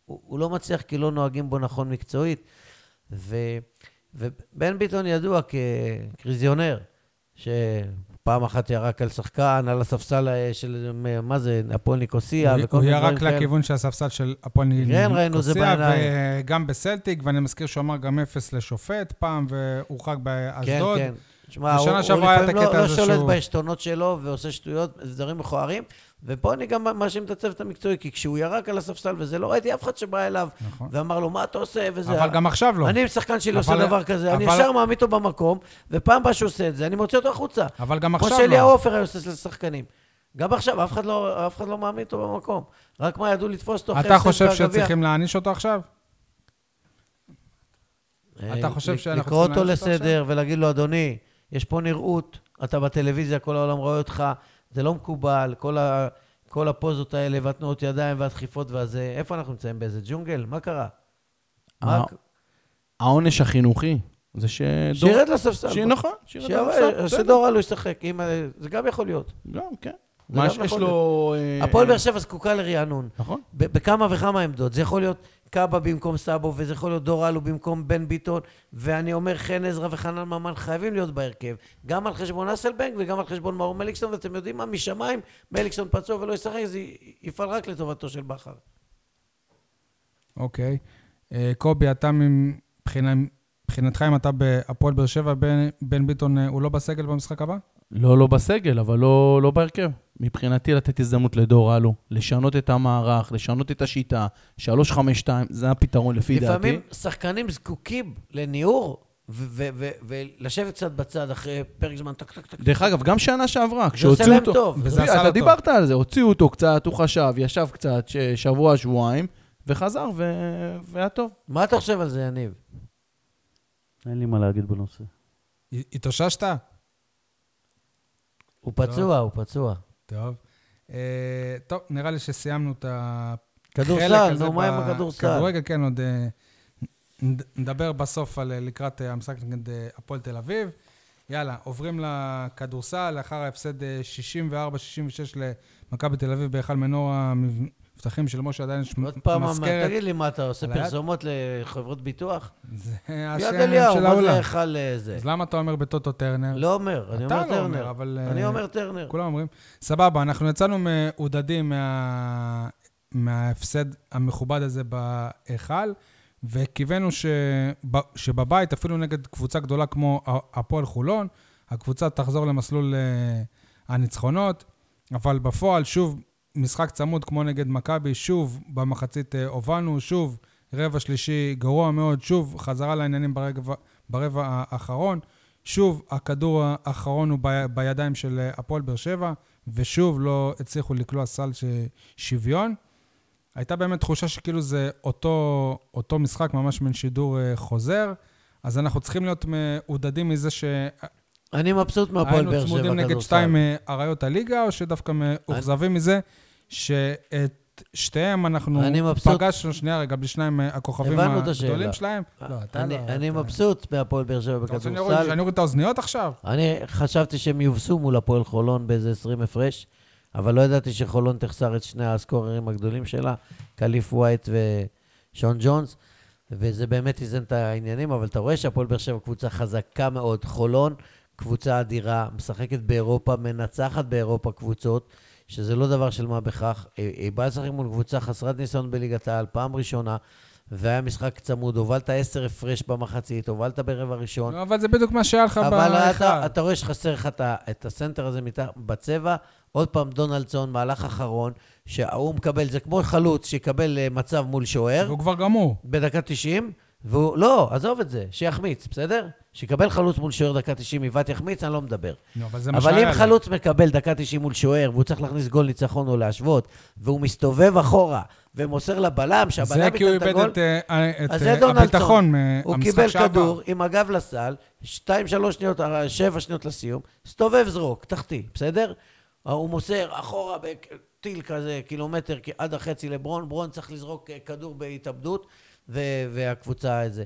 Speaker 3: הוא, הוא לא מצליח כי לא נוהגים בו נכון מקצועית. ו, ובן ביטון ידוע כקריזיונר, שפעם אחת ירק על שחקן, על הספסל אה, של, אה, מה זה, הפועל ניקוסיה,
Speaker 1: הוא-
Speaker 3: וכל
Speaker 1: הוא
Speaker 3: מיני דברים כן.
Speaker 1: ירק לכיוון של הספסל של הפועל ניקוסיה.
Speaker 3: ראינו את זה בעיניים.
Speaker 1: וגם בסלטיק, ואני מזכיר שהוא אמר גם אפס לשופט פעם, והורחק
Speaker 3: כן,
Speaker 1: באשדוד.
Speaker 3: כן. תשמע, הוא,
Speaker 1: בשנה
Speaker 3: הוא
Speaker 1: שעברה היה את
Speaker 3: לפעמים לא,
Speaker 1: הקטע
Speaker 3: לא
Speaker 1: הזה
Speaker 3: שולט
Speaker 1: שהוא-
Speaker 3: בעשתונות שלו ועושה שטויות, זה דברים מכוערים. ופה אני גם מאשים את הצוות המקצועי, כי כשהוא ירק על הספסל וזה, לא ראיתי אף אחד שבא אליו
Speaker 1: נכון.
Speaker 3: ואמר לו, מה אתה עושה? וזה...
Speaker 1: אבל גם עכשיו לא.
Speaker 3: אני עם שחקן שלי עושה
Speaker 1: אבל-
Speaker 3: דבר כזה, אני
Speaker 1: אבל-
Speaker 3: ישר מעמיד אותו במקום, ופעם הבאה שהוא עושה את זה, אני מוציא אותו החוצה.
Speaker 1: אבל גם
Speaker 3: כמו
Speaker 1: עכשיו
Speaker 3: שאליהו
Speaker 1: לא.
Speaker 3: עופר היה עושה לשחקנים. גם עכשיו, אף אחד לא, אף אחד לא מעמיד אותו במקום. רק מה, ידעו לתפוס אותו
Speaker 1: אתה
Speaker 3: הפסד
Speaker 1: חושב
Speaker 3: בגביע.
Speaker 1: שצריכים להעניש אותו עכשיו?
Speaker 3: אה,
Speaker 1: אתה חושב
Speaker 3: לק-
Speaker 1: שאנחנו
Speaker 3: לקרוא
Speaker 1: צריכים
Speaker 3: אותו
Speaker 1: להעניש אותו
Speaker 3: לסדר ולהגיד לו, אדוני, יש פה נראות, אתה בטלוויזיה, כל העולם רואה אותך, זה לא מקובל, כל, ה... כל הפוזות האלה והתנועות ידיים והדחיפות והזה, איפה אנחנו נמצאים? באיזה ג'ונגל? מה קרה? מה...
Speaker 4: הע- העונש החינוכי זה שדור...
Speaker 3: שירד לספסל.
Speaker 4: ש- נכון, שירד לספסל.
Speaker 3: שירד שדור אלו ישחק, אם... אה, זה גם יכול להיות.
Speaker 4: גם, כן.
Speaker 3: זה
Speaker 4: מה
Speaker 3: גם
Speaker 4: שיש
Speaker 3: יכול
Speaker 4: לו... אה,
Speaker 3: הפועל
Speaker 4: אה,
Speaker 3: באר שבע זקוקה לרענון.
Speaker 4: נכון.
Speaker 3: ב- בכמה וכמה עמדות. זה יכול להיות קאבה במקום סאבו, וזה יכול להיות דור אלו במקום בן ביטון, ואני אומר, חן עזרא וחנן ממן חייבים להיות בהרכב, גם על חשבון אסלבנק וגם על חשבון מאור מליקסון, ואתם יודעים מה, משמיים, מליקסון פצוע ולא ישחק, זה י- יפעל רק לטובתו של בכר.
Speaker 1: אוקיי. אה, קובי, אתה מבחינה- מבחינתך, אם אתה בהפועל באר שבע, בן- בן ביטון אה, הוא לא בסגל במשחק הבא?
Speaker 4: לא, לא בסגל, אבל לא, לא בהרכב. מבחינתי לתת הזדמנות לדור אלו, לשנות את המערך, לשנות את השיטה, 3-5-2, זה הפתרון לפי
Speaker 3: לפעמים
Speaker 4: דעתי.
Speaker 3: שחקנים זקוקים לניעור, ו- ו- ו- ולשבת קצת בצד אחרי פרק זמן טק טק טק.
Speaker 4: דרך אגב, גם שנה שעברה,
Speaker 3: זה עושה
Speaker 4: כשהוציאו
Speaker 3: להם
Speaker 4: אותו...
Speaker 3: טוב.
Speaker 1: וזה עשה לו
Speaker 4: אתה
Speaker 1: טוב.
Speaker 4: דיברת על זה, הוציאו אותו קצת, הוא חשב, ישב קצת, ש- שבוע, שבועיים, וחזר, ו... והיה טוב.
Speaker 3: מה אתה חושב על זה, יניב?
Speaker 2: אין לי מה להגיד בנושא.
Speaker 1: הת- התאוששת?
Speaker 3: הוא פצוע, הוא פצוע.
Speaker 1: טוב. אה, טוב, נראה לי שסיימנו את ה... חלק
Speaker 3: כדורסל,
Speaker 1: הזה
Speaker 3: נו, מה עם
Speaker 1: ב-
Speaker 3: הכדורסל?
Speaker 1: כדורגל, כן, עוד אה, נד- נדבר בסוף על אה, לקראת אה, המשחק נגד אה, הפועל תל אביב. יאללה, עוברים לכדורסל, לאחר ההפסד אה, 64-66 למכבי תל אביב בהיכל מנור המבטחים של משה עדיין יש
Speaker 3: עוד פעם,
Speaker 1: מזכרת.
Speaker 3: תגיד לי מה אתה עושה,
Speaker 1: על היד?
Speaker 3: פרסומות לחברות ביטוח?
Speaker 1: זה
Speaker 3: יד
Speaker 1: השם
Speaker 3: אליהו,
Speaker 1: של
Speaker 3: מה זה
Speaker 1: העולם.
Speaker 3: היכל אה, זה?
Speaker 1: אז למה אתה אומר בטוטו טרנר?
Speaker 3: לא אומר, אני
Speaker 1: אתה
Speaker 3: אומר
Speaker 1: לא אומר,
Speaker 3: טרנר.
Speaker 1: אבל, אה,
Speaker 3: אני אומר טרנר.
Speaker 1: כולם אומרים. סבבה, אנחנו יצאנו מעודדים מה... מההפסד המכובד הזה בהיכל, וקיווינו שב... שבבית, אפילו נגד קבוצה גדולה כמו ה- הפועל חולון, הקבוצה תחזור למסלול אה, הניצחונות, אבל בפועל, שוב, משחק צמוד כמו נגד מכבי, שוב במחצית אה, הובלנו, שוב רבע שלישי גרוע מאוד, שוב חזרה לעניינים ברבע, ברבע האחרון. שוב, הכדור האחרון הוא ב- בידיים של אה, הפועל באר שבע, ושוב לא הצליחו לקלוע סל ש- שוויון. הייתה באמת תחושה שכאילו זה אותו, אותו משחק, ממש מן שידור אה, חוזר, אז אנחנו צריכים להיות מעודדים מזה שהיינו
Speaker 3: אני מבסוט מהפועל באר שבע
Speaker 1: צמודים נגד
Speaker 3: כדורסל.
Speaker 1: שתיים אה, אריות הליגה, או שדווקא מאוכזבים מזה שאת שתיהם אנחנו
Speaker 3: אני מבסוט.
Speaker 1: פגשנו, שנייה רגע, בלי שניים אה, הכוכבים
Speaker 3: הבנו את השאלה. אה,
Speaker 1: הגדולים שלהם. לא, אתה
Speaker 3: אני-
Speaker 1: לא,
Speaker 3: אני
Speaker 1: אתה-
Speaker 3: מבסוט מהפועל באר שבע
Speaker 1: אתה רוצה שאני אוריד-
Speaker 3: בכדורסל.
Speaker 1: שאני אוריד את האוזניות עכשיו?
Speaker 3: אני חשבתי שהם יובסו מול הפועל חולון באיזה 20 הפרש, אבל לא ידעתי שחולון תחסר את שני הסקוררים הגדולים שלה, קליף ווייט ושון ג'ונס, וזה באמת איזן את העניינים, אבל אתה רואה שהפועל באר שבע קבוצה חזקה מאוד. חולון, קבוצה אדירה, משחקת באירופה, מנצחת באירופה קבוצות, שזה לא דבר של מה בכך. היא היא באה לשחק מול קבוצה חסרת ניסיון בליגת העל, פעם ראשונה. והיה משחק צמוד, הובלת עשר הפרש במחצית, הובלת ברבע ראשון.
Speaker 1: לא, אבל זה בדיוק מה שהיה לך
Speaker 3: נכון. אבל אתה,
Speaker 1: בהיכל.
Speaker 3: אתה רואה שחסר לך את ה- את הסנטר הזה מת- בצבע. עוד פעם, דונלדסון, מהלך אחרון, שההוא מקבל, זה כמו חלוץ שיקבל אה, מצב מול שוער
Speaker 1: והוא כבר גמור.
Speaker 3: בדקה 90, והוא, לא, עזוב את זה, שיחמיץ, בסדר? שיקבל חלוץ מול שוער דקה 90, עיוות יחמיץ, אני לא מדבר.
Speaker 1: נו, אבל זה מה
Speaker 3: אבל
Speaker 1: שהיה
Speaker 3: אם
Speaker 1: לו.
Speaker 3: חלוץ מקבל דקה 90 מול שוער, והוא צריך להכניס גול ניצחון או להשוות, והוא מסתובב אחורה ומוסר לבלם, שהבלם
Speaker 1: זה
Speaker 3: ייתן
Speaker 1: כי הוא
Speaker 3: את
Speaker 1: איבד
Speaker 3: הגול,
Speaker 1: את אה, את,
Speaker 3: אז
Speaker 1: אה,
Speaker 3: זה דונלדסון.
Speaker 1: הביטחון מהמשחק
Speaker 3: הוא קיבל
Speaker 1: שעבר.
Speaker 3: כדור עם הגב לסל, 2-3 שניות, 7 שניות לסיום, סתובב זרוק, תחתי, בסדר? אה, הוא מוסר אחורה בטיל כזה, קילומטר כ- עד החצי לברון, ברון צריך לזרוק אה, כדור בהתאבדות, ו- והקבוצה את זה.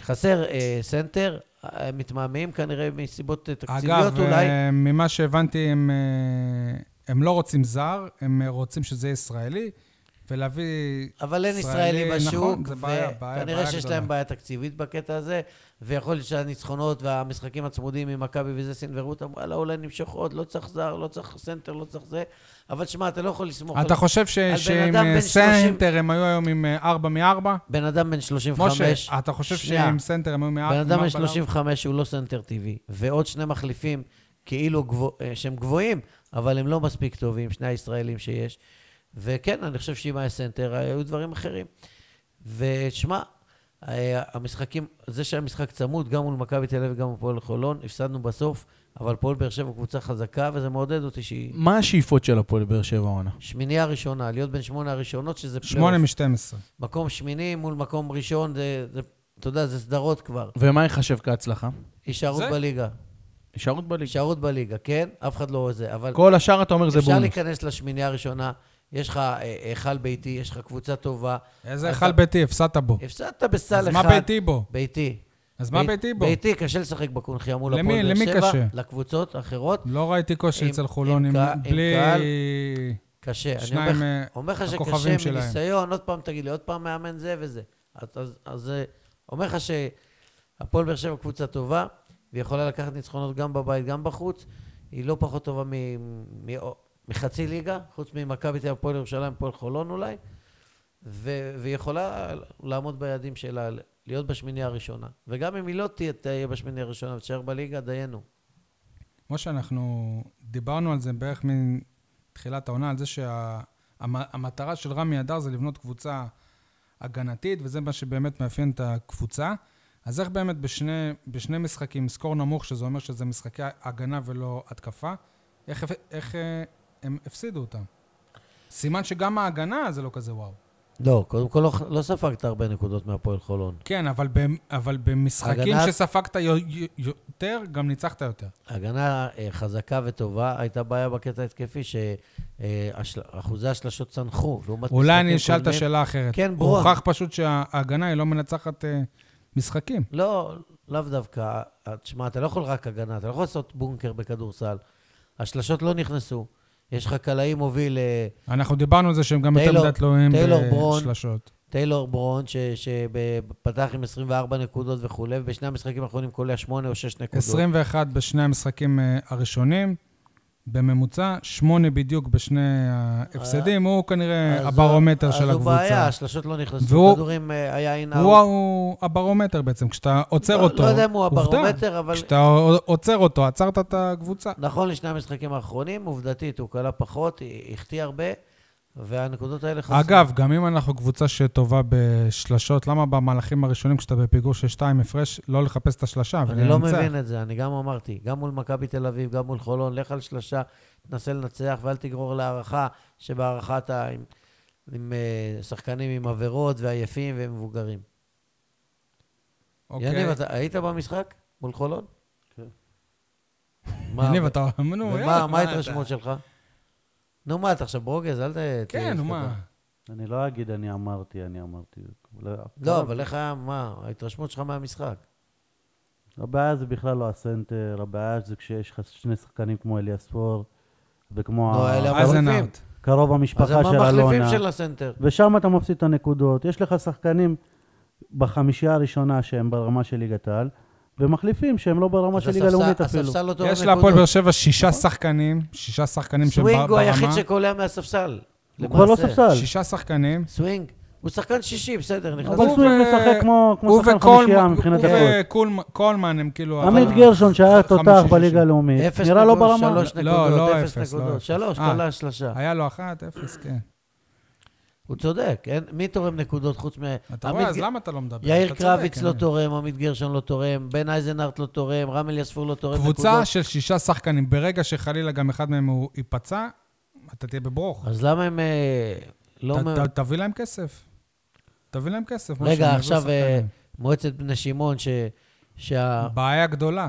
Speaker 3: חסר אה, סנטר, אה, מתמהמהים כנראה מסיבות אה, תקציביות
Speaker 1: אגב,
Speaker 3: אולי.
Speaker 1: אה, ממה שהבנתי, הם, אה, הם לא רוצים זר, הם אה, רוצים שזה יהיה ישראלי, ולהביא...
Speaker 3: אבל אין ישראלי בשוק,
Speaker 1: נכון, זה בעיה, בעיה,
Speaker 3: וכנראה
Speaker 1: בעיה
Speaker 3: שיש
Speaker 1: גדולה.
Speaker 3: להם בעיה תקציבית בקטע הזה, ויכול להיות שהניצחונות והמשחקים הצמודים עם מכבי וזה סינברו אותם, וואלה, אולי נמשוך עוד, לא צריך זר, לא צריך סנטר, לא צריך זה, אבל שמע, אתה לא יכול לסמוך על
Speaker 1: אתה חושב ש-
Speaker 3: על בן
Speaker 1: שעם
Speaker 3: אדם
Speaker 1: אה,
Speaker 3: בן 30?
Speaker 1: סנטר הם היו היום עם 4 מ-4?
Speaker 3: בן אדם בן 35.
Speaker 1: משה, אתה חושב
Speaker 3: שנייה.
Speaker 1: שעם סנטר הם היו מ-4?
Speaker 3: בן אדם בן 35 הוא לא סנטר טבעי, ועוד שני מחליפים כאילו גבוה, אה, שהם גבוהים, אבל הם לא מספיק טובים, שני הישראלים שיש. וכן, אני חושב שאם היה סנטר, היו דברים אחרים. ושמע, אה, המשחקים, זה שהיה משחק צמוד, גם מול מכבי תל אביב, גם מול הפועל חולון, הפסדנו בסוף, אבל פועל באר שבע קבוצה חזקה, וזה מעודד אותי שהיא
Speaker 4: מה השאיפות של הפועל באר שבע העונה?
Speaker 3: שמינייה ראשונה, להיות בין שמונה הראשונות, שזה פלייאוף.
Speaker 1: 8 מ-12.
Speaker 3: מקום שמיני מול מקום ראשון, זה, זה, אתה יודע, זה סדרות כבר.
Speaker 4: ומה ייחשב כהצלחה?
Speaker 3: הישארות
Speaker 1: זה-
Speaker 3: בליגה.
Speaker 4: הישארות בליגה.
Speaker 3: הישארות בליגה, כן? אף אחד לא זה, אבל
Speaker 4: כל השאר אתה אומר זה
Speaker 3: אפשר
Speaker 4: בונוס.
Speaker 3: להיכנס לשמינייה הראשונה, יש לך אה, היכל ביתי, יש לך קבוצה טובה.
Speaker 1: איזה
Speaker 3: אתה-
Speaker 1: היכל ביתי, הפסדת בו.
Speaker 3: הפסדת בסל
Speaker 1: אז
Speaker 3: אחד.
Speaker 1: מה ביתי בו?
Speaker 3: ביתי.
Speaker 1: אז מה
Speaker 3: בית-
Speaker 1: ביתי בו?
Speaker 3: ביתי, קשה לשחק בקונחייה מול
Speaker 1: למי-
Speaker 3: הפועל באר
Speaker 1: למי
Speaker 3: שבע.
Speaker 1: קשה?
Speaker 3: לקבוצות האחרות.
Speaker 1: לא ראיתי קושי
Speaker 3: עם-
Speaker 1: אצל חולון
Speaker 3: עם
Speaker 1: עם-
Speaker 3: קה- עם
Speaker 1: בלי...
Speaker 3: קהל. קשה. אני אומר
Speaker 1: שניים,
Speaker 3: לך-
Speaker 1: אה,
Speaker 3: אומר לך
Speaker 1: הכוכבים
Speaker 3: שקשה
Speaker 1: שלהם.
Speaker 3: מניסיון, עוד פעם תגיד לי, עוד פעם מאמן זה וזה. אז, אז, אז אה, אומר לך שהפועל באר שבע קבוצה טובה, ויכולה לקחת ניצחונות גם בבית, גם בחוץ. היא לא פחות טובה מ, מ, מחצי ליגה, חוץ ממכבי תל אביב, הפועל ירושלים, הפועל חולון אולי, ו, ויכולה לעמוד ביעדים שלה, להיות בשמינייה הראשונה. וגם אם היא לא תהיה, תהיה בשמינייה הראשונה ותישאר בליגה, דיינו.
Speaker 1: כמו שאנחנו דיברנו על זה בערך מתחילת העונה, על זה שהמטרה של רמי אדר זה לבנות קבוצה הגנתית, וזה מה שבאמת מאפיין את הקבוצה. אז איך באמת בשני, בשני משחקים, סקור נמוך, שזה אומר שזה משחקי הגנה ולא התקפה, איך, איך אה, הם הפסידו אותם? סימן שגם ההגנה זה לא כזה וואו.
Speaker 3: לא, קודם כל לא, לא ספגת הרבה נקודות מהפועל חולון.
Speaker 1: כן, אבל, ב, אבל במשחקים
Speaker 3: הגנה-
Speaker 1: שספגת יו- יו- יותר, גם ניצחת יותר.
Speaker 3: הגנה אה, חזקה וטובה, הייתה בעיה בקטע התקפי, שאחוזי השלשות צנחו, לעומת
Speaker 1: אולי אני
Speaker 3: משחקים
Speaker 1: אשאל את
Speaker 3: קודמים.
Speaker 1: השאלה אחרת.
Speaker 3: כן, ברור.
Speaker 1: הוכח פשוט שההגנה היא לא מנצחת אה, משחקים.
Speaker 3: לא, לאו דווקא. אה, תשמע, אתה לא יכול רק הגנה, אתה לא יכול לעשות בונקר בכדורסל. השלשות לא נכנסו. יש לך קלעי מוביל, אה,
Speaker 1: אנחנו דיברנו על זה שהם גם יותר
Speaker 3: טיילור-
Speaker 1: מדי תלויים
Speaker 3: טיילור ברון.
Speaker 1: בשלשות.
Speaker 3: טיילור ברון, שפתח עם 24 נקודות וכולי, ובשני המשחקים האחרונים קולע 8 או 6 נקודות.
Speaker 1: 21 בשני המשחקים אה, הראשונים, בממוצע, 8 בדיוק בשני ההפסדים. הוא כנראה
Speaker 3: אז
Speaker 1: אה, הברומטר
Speaker 3: הוא-
Speaker 1: של
Speaker 3: אז הוא בעיה,
Speaker 1: הקבוצה.
Speaker 3: השלשות לא נכנסו,
Speaker 1: והוא-
Speaker 3: כדורים אה, היה אין
Speaker 1: הוא ה- הוא הברומטר בעצם, כשאתה עוצר
Speaker 3: לא-
Speaker 1: אותו.
Speaker 3: לא יודע אם הוא
Speaker 1: עובדה.
Speaker 3: הברומטר, אבל...
Speaker 1: כשאתה עוצר אותו, עצרת את הקבוצה.
Speaker 3: נכון לשני המשחקים האחרונים, עובדתית, הוא כלה פחות, החטיא הרבה, והנקודות האלה חסרות.
Speaker 1: אגב, גם אם אנחנו קבוצה שטובה בשלשות, למה במהלכים הראשונים, כשאתה בפיגור של שתיים הפרש, לא לחפש את השלשה
Speaker 3: אני לא
Speaker 1: ולנצח?
Speaker 3: מבין את זה, אני גם אמרתי, גם מול מכבי תל אביב, גם מול חולון, לך על שלושה, תנסה לנצח ואל תגרור להערכה, שבהערכה אתה עם, עם אה, שחקנים עם עבירות ועייפים ומבוגרים.
Speaker 1: אוקיי.
Speaker 3: יניב, אתה היית במשחק מול חולון?
Speaker 2: כן.
Speaker 3: מה-
Speaker 1: יניב, אתה... נו,
Speaker 3: ומה
Speaker 1: יאללה,
Speaker 3: מה
Speaker 1: אתה-
Speaker 3: ההתרשמות שלך? נו, מה, אתה עכשיו ברוגז? אל ת...
Speaker 1: כן, נו, מה?
Speaker 2: אני לא אגיד אני אמרתי, אני אמרתי. לא,
Speaker 3: לא, אבל איך היה, מה, ההתרשמות שלך מהמשחק?
Speaker 2: הבעיה זה בכלל לא הסנטר, הבעיה זה כשיש לך שני שחקנים כמו אליאס פור, וכמו
Speaker 3: לא,
Speaker 2: ה-
Speaker 3: אלה-
Speaker 1: אז
Speaker 3: אבל-
Speaker 1: אנאוט.
Speaker 2: קרוב
Speaker 3: אז
Speaker 2: המשפחה
Speaker 3: הם
Speaker 2: של
Speaker 3: המחליפים
Speaker 2: אלונה.
Speaker 3: של הסנטר.
Speaker 2: ושם אתה מפסיד את הנקודות. יש לך שחקנים בחמישייה הראשונה שהם ברמה של ליגת העל, ומחליפים שהם לא ברמה
Speaker 3: אז
Speaker 2: של ליגה
Speaker 3: הספסל-
Speaker 2: לאומית אפילו.
Speaker 3: הספסל לא טוב
Speaker 1: יש
Speaker 3: לנקודות.
Speaker 1: להפועל באר שבע שישה שחקנים, שישה שחקנים שהם בר-
Speaker 3: סווינג הוא היחיד
Speaker 1: ברמה.
Speaker 3: שקולע מהספסל.
Speaker 2: הוא כבר לא
Speaker 3: למעשה.
Speaker 2: ספסל.
Speaker 1: שישה שחקנים.
Speaker 3: סווינג. הוא שחקן שישי, בסדר, נכנס.
Speaker 2: אבל
Speaker 1: הוא
Speaker 2: סווינג
Speaker 1: ו-
Speaker 2: משחק כמו- כמו
Speaker 1: הוא
Speaker 2: שחקן
Speaker 1: וקולמן-
Speaker 2: חמישייה מבחינת
Speaker 1: הוא
Speaker 2: הפועל.
Speaker 1: וקולמן- קולמן הם כאילו...
Speaker 2: עמית
Speaker 1: אבל-
Speaker 2: גרשון שהיה
Speaker 1: חמישי,
Speaker 2: תותח
Speaker 1: שישי.
Speaker 2: בליגה הלאומית,
Speaker 3: אפס
Speaker 2: נראה לא
Speaker 3: נקודות,
Speaker 2: ברמה.
Speaker 3: שלוש
Speaker 1: לא, לא
Speaker 3: נקודות,
Speaker 1: אפס,
Speaker 3: אפס
Speaker 1: לא
Speaker 3: נקודות.
Speaker 1: אפס.
Speaker 3: שלוש,
Speaker 1: אה.
Speaker 3: קלע שלושה.
Speaker 1: היה לו אחת, אפס, כן.
Speaker 3: הוא צודק, אין- מי תורם נקודות חוץ מ...
Speaker 1: אתה
Speaker 3: עמית
Speaker 1: רואה, אז
Speaker 3: ג-
Speaker 1: למה אתה לא מדבר?
Speaker 3: יאיר
Speaker 1: אתה צודק,
Speaker 3: קרביץ לא
Speaker 1: אני-
Speaker 3: תורם, עמית גרשון לא תורם, בן אייזנארט לא תורם, רם אליספור לא תורם נקודות.
Speaker 1: קבוצה של שישה שחקנים, ברגע שחלילה גם אחד מהם הוא ייפצע, אתה תהיה בברוך.
Speaker 3: אז למה הם אה, לא...
Speaker 1: ת-
Speaker 3: מ-
Speaker 1: ת- תביא להם כסף. תביא להם כסף. משה, הם
Speaker 3: רגע,
Speaker 1: יביאו
Speaker 3: עכשיו אה,
Speaker 1: שחקנים.
Speaker 3: מועצת בני שמעון, ש- שה-
Speaker 1: בעיה גדולה.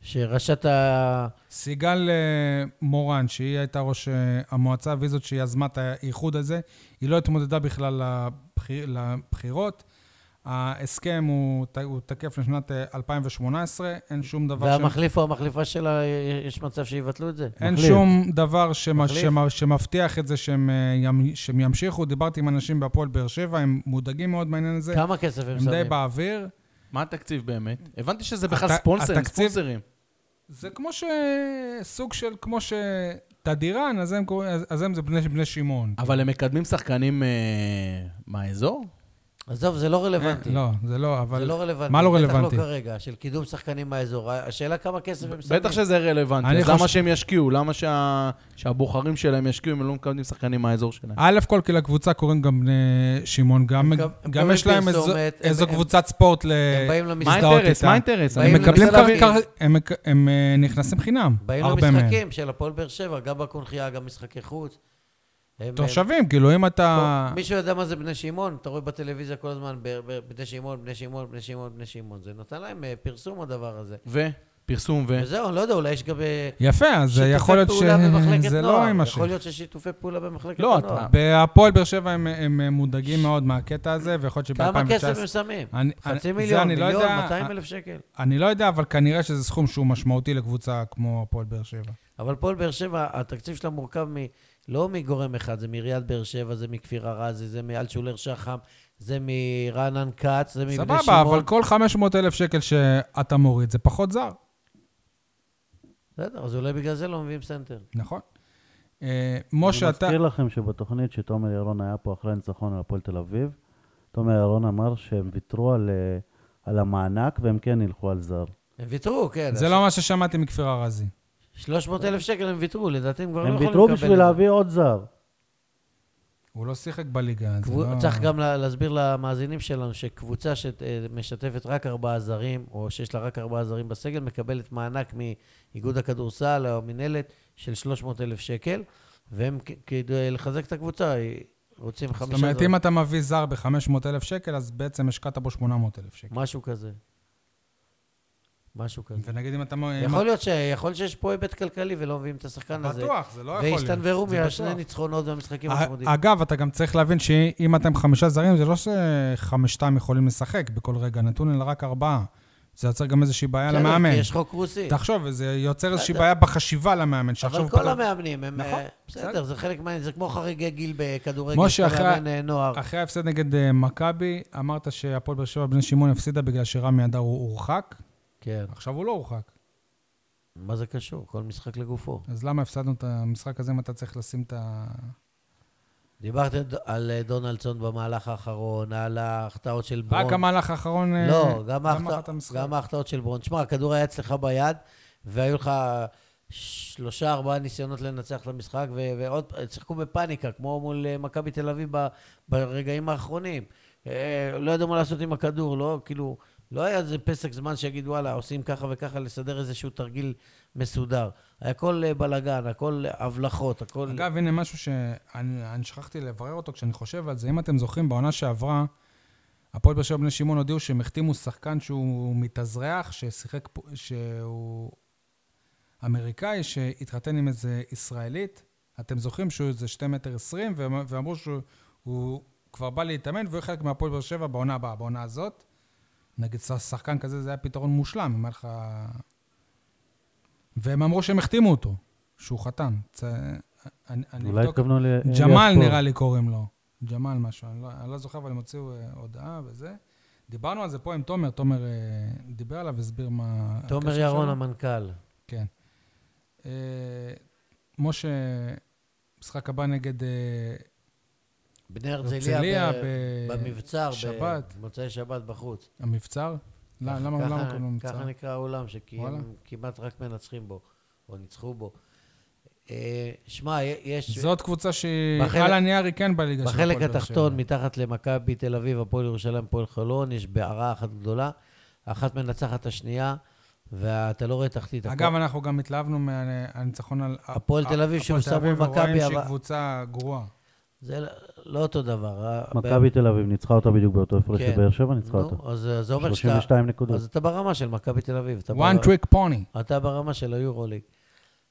Speaker 3: שראשת ה...
Speaker 1: סיגל אה, מורן, שהיא הייתה ראש אה, המועצה, והיא זאת שיזמה את האיחוד הזה, היא לא התמודדה בכלל לבחיר, לבחירות. ההסכם הוא, ת- הוא תקף לשנת אה, 2018, אין שום דבר... שמ-
Speaker 3: והמחליף או המחליפה שלה, אה, יש מצב שיבטלו את זה?
Speaker 1: אין
Speaker 2: מחליף.
Speaker 1: שום דבר שמ,
Speaker 3: מחליף.
Speaker 1: שמ, שמבטיח את זה שהם, אה, ימ, שהם ימשיכו. דיברתי עם אנשים בהפועל באר שבע, הם מודאגים מאוד מהעניין הזה.
Speaker 3: כמה כסף הם
Speaker 1: הם די
Speaker 3: שמים?
Speaker 1: באוויר.
Speaker 4: מה התקציב באמת? הבנתי שזה בכלל
Speaker 1: הת-
Speaker 4: ספונסרים,
Speaker 1: התקציב-
Speaker 4: ספונסרים.
Speaker 1: זה כמו ש... סוג של, כמו שתדירן, אז הם, קוראים- אז- אז הם זה בני, בני
Speaker 3: אה,
Speaker 1: שמעון.
Speaker 4: אבל הם מקדמים שחקנים אה, מהאזור?
Speaker 3: עזוב, זה לא רלוונטי.
Speaker 1: לא, זה לא, אבל...
Speaker 3: זה לא רלוונטי.
Speaker 1: מה לא רלוונטי?
Speaker 3: בטח לא כרגע, של קידום שחקנים מהאזור. השאלה כמה כסף הם שמים.
Speaker 4: בטח שזה רלוונטי.
Speaker 1: אני
Speaker 4: אז למה
Speaker 1: חושב-
Speaker 4: שהם ישקיעו? למה שה- שהבוחרים שלהם ישקיעו אם הם לא מקדמים שחקנים מהאזור שלהם?
Speaker 1: א' כל, כי לקבוצה קוראים גם בני שמעון, גם,
Speaker 3: הם מקב-
Speaker 1: גם
Speaker 3: הם
Speaker 1: יש להם
Speaker 3: מקבלים
Speaker 1: איזו,
Speaker 3: פרסומת, הם-
Speaker 1: איזו
Speaker 3: הם-
Speaker 1: קבוצת ספורט ל...
Speaker 3: הם באים
Speaker 4: מה
Speaker 3: למשחק-
Speaker 1: מזדהות
Speaker 4: האינטרס?
Speaker 1: איתם.
Speaker 4: מה האינטרס? אני
Speaker 1: הם
Speaker 3: באים
Speaker 1: מקבלים
Speaker 3: לתל אביב.
Speaker 1: קרקע, הם, מק- הם אה, נכנסים חינם,
Speaker 3: באים
Speaker 1: הרבה מהם.
Speaker 3: למשחקים של הפועל באר שבע, גם בקונחייה, גם משחקי חוץ. הם-
Speaker 1: תושבים, כאילו, אם אתה...
Speaker 3: הם- מישהו יודע מה זה בני שמעון? אתה רואה בטלוויזיה כל הזמן, ב- ב- בני שמעון, בני שמעון, בני שמעון, בני שמעון. זה נתן להם אה, פרסום הדבר הזה.
Speaker 4: ו? פרסום ו...
Speaker 3: וזהו, אני לא יודע, אולי יש גם... אה,
Speaker 1: יפה, אז
Speaker 3: שיתופי
Speaker 1: יכול להיות
Speaker 3: פעולה במחלקת
Speaker 1: שזה
Speaker 3: נוער.
Speaker 1: לא יימשך.
Speaker 3: יכול להיות ששיתופי פעולה במחלקת
Speaker 4: לא,
Speaker 3: הנוער.
Speaker 4: אתה-
Speaker 1: בהפועל באר שבע הם- הם מודאגים מאוד מהקטע הזה, ויכול להיות שב-2019...
Speaker 3: כמה כסף הם שמים?
Speaker 1: אני- אני-
Speaker 3: חצי
Speaker 1: זה
Speaker 3: מיליון,
Speaker 1: אני לא
Speaker 3: מיליון,
Speaker 1: יודע.
Speaker 3: 200 אלף שקל.
Speaker 1: אני לא יודע, אבל כנראה שזה סכום שהוא משמעותי לקבוצה כמו הפועל באר שבע.
Speaker 3: אבל פועל באר שבע, התקציב שלה מורכב מ... לא מגורם אחד, זה מעיריית באר שבע, זה מכפיר ארזי, זה מאלשולר שחם, זה מרענן כץ, זה מבני שמעון.
Speaker 1: סבבה, אבל כל 500 אלף שקל שאתה מוריד זה פחות זר,
Speaker 3: בסדר, אז אולי בגלל זה לא מביאים סנטר.
Speaker 1: נכון? אה, משה, אתה...
Speaker 2: אני מזכיר לכם שבתוכנית שתומר ירון היה פה אחרי הניצחון על הפועל תל אביב, תומר ירון אמר שהם ויתרו על, אה, על המענק והם כן ילכו על זר.
Speaker 3: הם ויתרו, כן.
Speaker 1: זה לא מה ששמעתי מכפיר ארזי.
Speaker 3: 300 אלף שקל הם ויתרו, לדעתי הם כבר לא
Speaker 2: הם
Speaker 3: יכולים לקבל
Speaker 2: ויתרו
Speaker 3: את זה.
Speaker 2: בשביל להביא עוד זר.
Speaker 1: הוא לא שיחק בליגה, אז
Speaker 3: קבוצ-
Speaker 1: לא...
Speaker 3: צריך גם לה- להסביר למאזינים שלנו שקבוצה שמשתפת רק ארבעה זרים, או שיש לה רק ארבעה זרים בסגל, מקבלת מענק מאיגוד הכדורסל או המינהלת של 300 אלף שקל, והם כ- כדי לחזק את הקבוצה אה, רוצים
Speaker 1: זאת
Speaker 3: חמישה
Speaker 1: אומרת,
Speaker 3: זרים,
Speaker 1: אם אתה מביא זר ב-500 אלף שקל, אז בעצם השקעת בו 800 אלף שקל.
Speaker 3: משהו כזה. משהו כזה.
Speaker 1: ונגיד אם אתה... אם
Speaker 3: כן. יכול להיות ש- יכול להיות שיש פה היבט כלכלי ולא מביאים את השחקן הזה.
Speaker 1: בטוח, זה לא יכול להיות.
Speaker 3: והסתנוורו
Speaker 1: זה
Speaker 3: מהשני
Speaker 1: בטוח.
Speaker 3: ניצחונות והמשחקים הצמודים.
Speaker 1: א- אה, אגב, אתה גם צריך להבין שאם אתם חמישה זרים, זה לא שחמשתם יכולים לשחק בכל רגע נתון, אלא רק ארבעה. זה יוצר גם איזושהי בעיה
Speaker 3: בסדר,
Speaker 1: למאמן.
Speaker 3: כן, כי יש חוק רוסי.
Speaker 1: תחשוב, זה יוצר איזושהי
Speaker 3: בסדר.
Speaker 1: בעיה בחשיבה למאמן, שעכשיו
Speaker 3: אבל
Speaker 1: הוא
Speaker 3: כל
Speaker 1: פתאום-
Speaker 3: המאמנים הם...
Speaker 1: נכון,
Speaker 3: אה,
Speaker 1: בסדר.
Speaker 3: בסדר, זה חלק מה... זה כמו חריגי גיל בכדורגל.
Speaker 1: משה,
Speaker 3: שאתה
Speaker 1: אחרי-
Speaker 3: מאמן, אה, נוער.
Speaker 1: אחרי ההפסד נגד אה, מכבי, אמרת שהפועל באר שבע בני שמעון הפסידה בגלל שרמי אדר הוא הורחק,
Speaker 3: כן.
Speaker 1: עכשיו הוא לא הורחק.
Speaker 3: מה זה קשור? כל משחק לגופו.
Speaker 1: אז למה הפסדנו את המשחק הזה אם אתה צריך לשים את ה...
Speaker 3: דיברת ד- על אה, דונלדסון במהלך האחרון, על ההחטאות של ברון.
Speaker 1: רק המהלך האחרון... אה,
Speaker 3: לא, גם
Speaker 1: גמר
Speaker 3: ההחטא-
Speaker 1: את המשחק.
Speaker 3: גם ההחטאות של ברון. שמע, הכדור היה אצלך ביד, והיו לך שלושה, ארבעה ניסיונות לנצח את המשחק, ו- ועוד, שיחקו בפאניקה, כמו מול אה, מכבי תל אביב ב- ברגעים האחרונים. אה, לא ידעו מה לעשות עם הכדור, לא, כאילו, לא היה איזה פסק זמן שיגיד, וואלה, עושים ככה וככה, לסדר איזשהו תרגיל מסודר. הכל אה, בלאגן, הכל הבלחות, הכל...
Speaker 1: אגב, הנה משהו שאני אני שכחתי לברר אותו כשאני חושב על זה. אם אתם זוכרים, בעונה שעברה, הפועל באר שבע בני שמעון הודיעו שהם החתימו שחקן שהוא מתאזרח, ששיחק, פה- שהוא אמריקאי, שהתחתן עם איזה ישראלית. אתם זוכרים שהוא איזה 2 מטר 20, והם- ואמרו שהוא הוא כבר בא להתאמן, והוא יהיה חלק מהפועל באר שבע בעונה הבאה, בעונה הזאת. נגיד ש- שחקן כזה, זה היה פתרון מושלם, אם היה לך... והם אמרו שהם החתימו אותו, שהוא חתם. צ... אני, אני
Speaker 2: אולי
Speaker 1: אבדוק.
Speaker 2: התכוונו ל... אה,
Speaker 1: ג'מאל נראה לי קוראים לו. ג'מאל משהו, אני לא, אני לא זוכר, אבל הם הוציאו אה, הודעה וזה. דיברנו על זה פה עם תומר, תומר אה, דיבר עליו והסביר מה...
Speaker 3: תומר
Speaker 1: הקשר
Speaker 3: ירון,
Speaker 1: שלו.
Speaker 3: המנכ"ל.
Speaker 1: כן. אה, משה, משחק הבא נגד אה,
Speaker 3: בני הרצליה
Speaker 1: הרצליה
Speaker 3: ב- במבצר,
Speaker 1: שבת.
Speaker 3: במוצאי שבת בחוץ.
Speaker 1: המבצר. לא,
Speaker 3: ככה-
Speaker 1: למה למה
Speaker 3: ככה-
Speaker 1: קוראים לו מבצר?
Speaker 3: ככה נקרא האולם, שכי
Speaker 1: וואלה.
Speaker 3: הם כמעט רק מנצחים בו, או ניצחו בו. אה, שמע, י- יש...
Speaker 1: זאת קבוצה שהיא
Speaker 3: בחלק-
Speaker 1: על הנייר היא כן בליגה של הפועל
Speaker 3: בחלק
Speaker 1: באר שבע.
Speaker 3: התחתון, מתחת למכבי תל אביב, הפועל ירושלים, הפועל חולון, יש בערה אחת גדולה, אחת מנצחת את השנייה, ואתה לא רואה תחתית.
Speaker 1: אגב, אנחנו גם התלהבנו מהניצחון על...
Speaker 3: הפועל תל אביב
Speaker 1: הפועל
Speaker 3: שהוסר
Speaker 1: תל אביב,
Speaker 3: מול מכבי,
Speaker 1: ורואים שהיא
Speaker 3: אבל-
Speaker 1: קבוצה גרועה.
Speaker 3: זה לא- לא אותו דבר. ה-
Speaker 2: מכבי תל אביב ניצחה אותה בדיוק באותו הפרש
Speaker 3: כן.
Speaker 2: שבאר שבע ניצחה
Speaker 3: נו,
Speaker 2: אותה.
Speaker 3: אז אז זה אומר שאתה...
Speaker 2: 32 נקודות.
Speaker 3: אז אתה ברמה של מכבי תל אביב. אתה ברמה-
Speaker 1: one trick pony.
Speaker 3: אתה ברמה של היורוליג.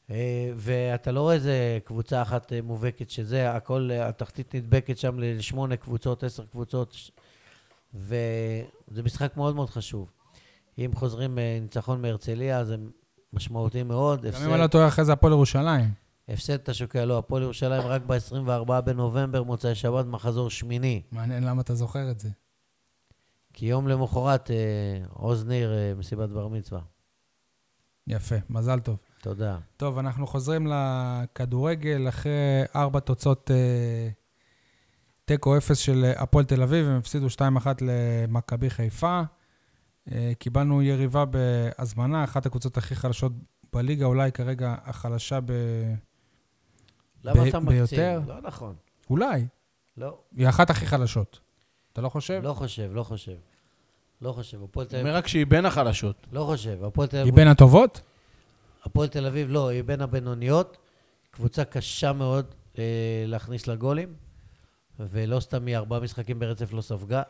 Speaker 3: אה, ואתה לא רואה איזה קבוצה אחת אה, מובהקת שזה, הכל, אה, התחתית נדבקת שם לשמונה קבוצות, עשר קבוצות, ש- וזה משחק מאוד מאוד חשוב. אם חוזרים אה, ניצחון מהרצליה, זה משמעותי מאוד.
Speaker 1: גם אם אני
Speaker 3: הפסד,
Speaker 1: לא טועה, אחרי זה הפועל ירושלים.
Speaker 3: הפסד אתה שוקע, לא, הפועל ירושלים רק ב-24 בנובמבר, מוצאי שבת, מחזור שמיני.
Speaker 1: מעניין למה אתה זוכר את זה.
Speaker 3: כי יום למחרת, אה, עוז ניר, אה, מסיבת בר מצווה.
Speaker 1: יפה, מזל טוב.
Speaker 3: תודה.
Speaker 1: טוב, אנחנו חוזרים לכדורגל אחרי ארבע תוצאות אה, תיקו אפס של אה, הפועל תל אביב, הם הפסידו 2-1 למכבי חיפה. אה, קיבלנו יריבה בהזמנה, אחת הקבוצות הכי חלשות בליגה, אולי כרגע החלשה ב...
Speaker 3: למה
Speaker 1: ב-
Speaker 3: אתה מקצין?
Speaker 1: ביותר?
Speaker 3: לא נכון.
Speaker 1: אולי.
Speaker 3: לא.
Speaker 1: היא אחת הכי חלשות. אתה לא חושב?
Speaker 3: לא חושב, לא חושב. לא חושב, הפועל תל
Speaker 4: אומר
Speaker 3: אביב...
Speaker 4: רק שהיא בין החלשות.
Speaker 3: לא חושב, הפועל תל
Speaker 1: היא
Speaker 3: אביב...
Speaker 1: בין הטובות?
Speaker 3: הפועל תל אביב, לא, היא בין הבינוניות. קבוצה קשה מאוד אה, להכניס לה גולים, ולא סתם היא ארבעה משחקים ברצף לא ספגה.